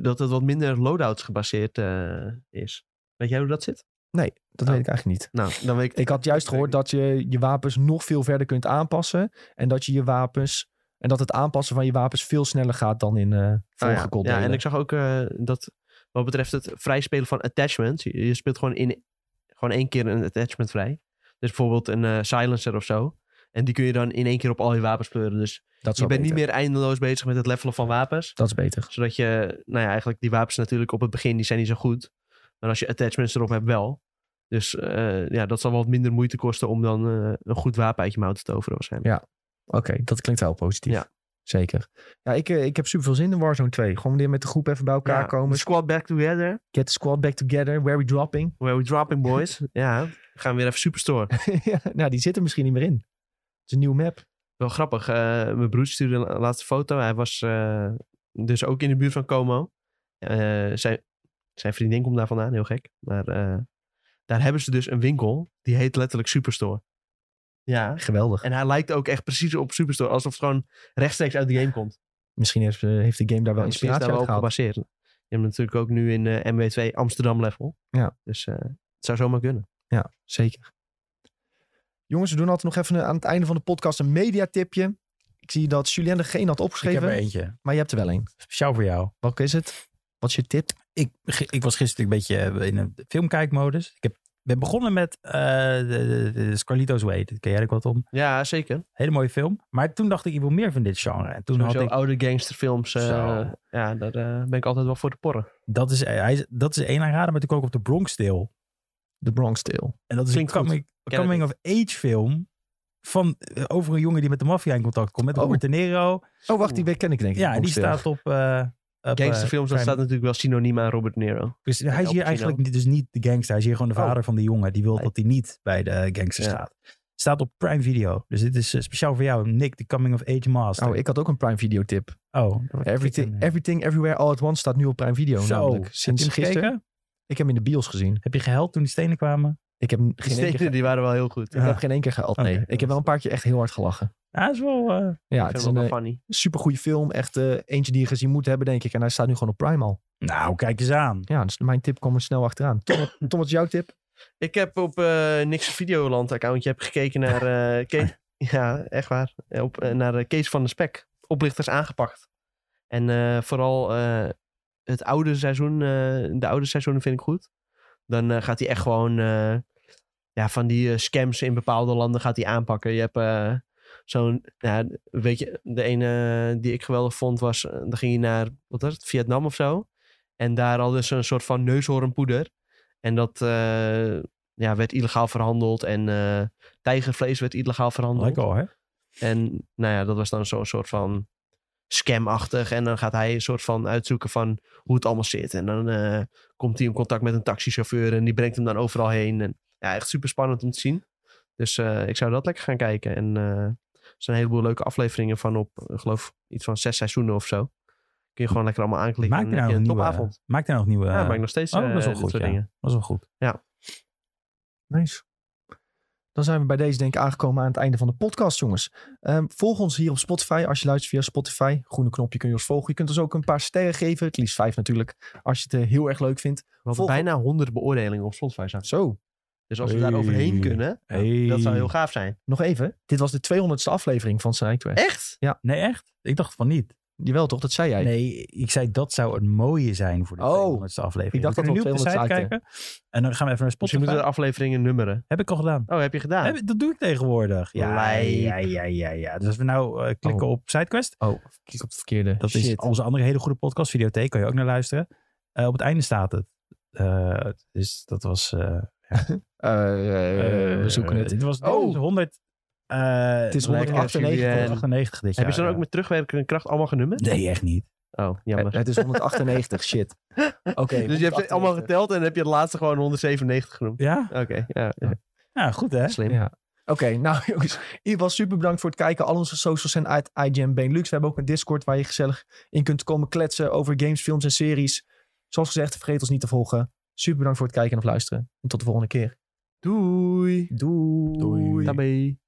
dat het wat minder loadouts gebaseerd eh, is. Weet jij hoe dat zit?
Dat
Oh.
weet ik eigenlijk niet.
Nou, dan weet ik.
Ik had juist gehoord dat je je wapens nog veel verder kunt aanpassen. En dat je je wapens... En dat het aanpassen van je wapens veel sneller gaat dan in eh
Oh
vorige
ja. ja, en ik
ik...
zag ook eh, dat wat betreft het vrijspelen van attachments. Je, je speelt gewoon, in, gewoon één keer een attachment vrij. Dus bijvoorbeeld een eh, silencer of zo. En die kun je dan in één keer op al je wapens pleuren. Dus
Dat is
je
wel
bent
beter.
niet meer eindeloos bezig met het levelen van wapens.
Dat is beter.
Zodat je, nou ja, eigenlijk die wapens natuurlijk op het begin, die zijn niet zo goed. Maar als je attachments erop hebt, wel. Dus eh, ja, dat zal wel wat minder moeite kosten om dan eh, een goed wapen uit je mouw te toveren waarschijnlijk.
Oké, dat klinkt wel positief.
Ja.
Zeker. Ja, ik, eh, ik heb super veel zin in Warzone 2. Gewoon weer met de groep even bij elkaar
Ja, dus-
komen.
Squad back together.
Get the squad back together. Where we dropping?
Where we dropping boys. ja, we gaan weer even superstore.
ja, nou, die zit er misschien niet meer in. Het is een nieuwe map.
Wel grappig. eh, mijn broer stuurde een la- laatste foto. Hij was eh, dus ook in de buurt van Como. Eh, zijn, zijn vriendin komt daar vandaan, heel gek. Maar eh, daar hebben ze dus een winkel. Die heet letterlijk Superstore. Ja.
Geweldig.
En hij lijkt ook echt precies op Superstore. Alsof het gewoon rechtstreeks uit de game komt.
Misschien heeft, eh, heeft de game daar wel
Misschien is
inspiratie
daar
uit
wel op
gehaald.
gebaseerd. Je hebt natuurlijk ook nu in eh, MW2 Amsterdam level.
Ja.
Dus eh, het zou zomaar kunnen.
Ja, zeker. Jongens, we doen altijd nog even eh, aan het einde van de podcast een mediatipje. Ik zie dat Julien er geen had
Ik heb
opgeschreven,
er eentje.
maar je hebt er wel een.
Speciaal voor jou.
Welke is het? Wat is je tip?
ik, ge- ik was gisteren een beetje eh, in een filmkijkmodus. Ik heb, ben begonnen met eh de, de, de Scarlito's Way. Daar ken jij ook wat om.
Ja, zeker.
Hele mooie film. Maar toen dacht ik, ik wil meer van dit genre. En toen
Sowieso
had ik,
oude gangsterfilms. eh,
Zo.
ja, daar eh, ben ik altijd wel voor te porren.
dat is, hij is- dat is één aanrader, maar toen kwam ik op de Bronx Tale.
The Bronx Tale.
En dat is
Klinkt
een
goed.
coming,
Ken het
coming of age film van, eh, over een jongen die met de maffia in contact komt. Met
Oh.
Robert De Niro.
Oh, wacht, die ken ik denk ik.
Ja, en die
Bronx Tale.
staat op... eh, op, eh,
Gangsterfilms, dat
Prime-
staat natuurlijk wel synoniem aan Robert De Niro.
Dus hij
El
is hier
Pacino.
eigenlijk niet- dus niet de gangster. Hij is hier gewoon de
Oh.
vader van die jongen. Die wil
Nee.
dat hij niet bij de gangster
Ja.
staat. Staat op Prime Video. Dus dit is eh, speciaal voor jou, Nick, de Coming of Age Master.
Oh, ik had ook een Prime Video tip.
Oh, dan
Everything,
kijk dan, eh.
Everything Everywhere All at Once staat nu op Prime Video.
Zo,
namelijk.
heb
Sinds
je hem
gisteren.
gekeken?
Ik heb hem in de bios gezien.
Heb je gehuild toen die stenen kwamen?
Ik heb hem
Die
geen één keer,
stenen,
ge-
Dus die waren wel heel goed.
ik
Ja.
heb geen één keer gehaald. Nee,
Ah. Oké,
ik heb wel een paar keer echt heel hard gelachen.
Ja, is wel... eh,
Ja,
ik
het
vind
is
hem
een
wel
eh,
funny.
supergoeie film. Echt eh, eentje die je gezien moet hebben, denk ik. En hij staat nu gewoon op Prime al.
nou, kijk eens aan.
Ja, dus mijn tip kwam er snel achteraan. Tom, wat- Tom, wat is jouw tip?
Ik heb op eh Niks Videoland accountje heb gekeken naar... eh, Kees- ja, echt waar. Eh, Op, eh, naar eh, Kees van de Spek. Oplichters aangepakt. En eh, vooral eh, het oude seizoen, eh, de oude seizoenen vind ik goed. Dan eh, gaat hij echt gewoon eh, ja, van die eh, scams in bepaalde landen gaat hij aanpakken. Je hebt eh, zo'n, ja, weet je, de ene eh, die ik geweldig vond was, eh, dan ging hij naar, wat was het, Vietnam of zo. En daar hadden ze een soort van neushoornpoeder. En dat eh, ja, werd illegaal verhandeld. En eh, tijgervlees werd illegaal verhandeld.
Lekker hoor. hè?
En nou ja, dat was dan zo'n soort van scamachtig. En dan gaat hij een soort van uitzoeken van hoe het allemaal zit. En dan eh, komt hij in contact met een taxichauffeur en die brengt hem dan overal heen. En ja, echt super spannend om te zien. Dus eh, ik zou dat lekker gaan kijken. En eh, er zijn een heleboel leuke afleveringen van op, eh, geloof iets van zes seizoenen of zo. Kun je gewoon lekker allemaal aanklikken.
Maak er
en dan
nou nog
heb je een
nieuwe...
topavond.
Maak er nou nog nieuwe...
ja, maak nog steeds
oh, dat is
eh,
wel
dit
goed,
soort
ja.
dingen.
Dat is wel goed.
Nice. Dan zijn we bij deze denk ik aangekomen aan het einde van de podcast, jongens. Ehm, volg ons hier op Spotify als je luistert via Spotify. Groene knopje kun je ons volgen. Je kunt ons ook een paar sterren geven. Het liefst vijf natuurlijk, als je het eh, heel erg leuk vindt.
We hadden
Volg-
bijna honderd beoordelingen op Spotify staan.
Zo,
Dus als we
Hey.
daar overheen kunnen,
Hey.
dat zou heel gaaf zijn.
nog even. Dit was de 200ste aflevering van Sidequest.
Echt?
Nee, echt? Ik dacht van niet.
Jawel toch, dat zei jij.
Nee, ik zei dat zou een mooie zijn voor de
Oh.
200ste aflevering.
Ik dacht
We
dat we
kunnen
op
nu op de
200
site kijken. En dan gaan we even naar
Dus je
Spotify.
moet de afleveringen nummeren.
Heb ik al gedaan.
Oh, heb je gedaan?
Heb- dat doe ik tegenwoordig. Ja,
Lijp.
ja, ja, ja, ja. Dus als we nou eh, klikken
Oh.
op SideQuest.
Oh, klik op het verkeerde.
Dat is
Shit.
onze andere hele goede podcast, Videotheek. Kan je ook naar luisteren. Eh, op het einde staat het. Eh, dus dat was... eh,
Eh, eh,
eh,
we zoeken het.
Dit was dit
Oh.
is 100... eh,
Het is
Lekker,
198.
198
Heb
dit jaar.
je ze dan ook
ja.
met terugwerkende kracht allemaal genummerd?
Nee, echt niet.
Oh, jammer.
Het is 198, shit. Oké.
dus je hebt ze allemaal geteld en dan heb je het laatste gewoon 197 genoemd.
Ja?
Oké, ja,
Ja, goed hè?
slim.
Ja. Oké, nou jongens. In ieder geval super bedankt voor het kijken. Al onze socials zijn uit IGN Benelux. We hebben ook een Discord waar je gezellig in kunt komen kletsen over games, films en series. Zoals gezegd, vergeet ons niet te volgen. Super bedankt voor het kijken en of luisteren. En tot de volgende keer.
Doei.
Doei.
Tabé.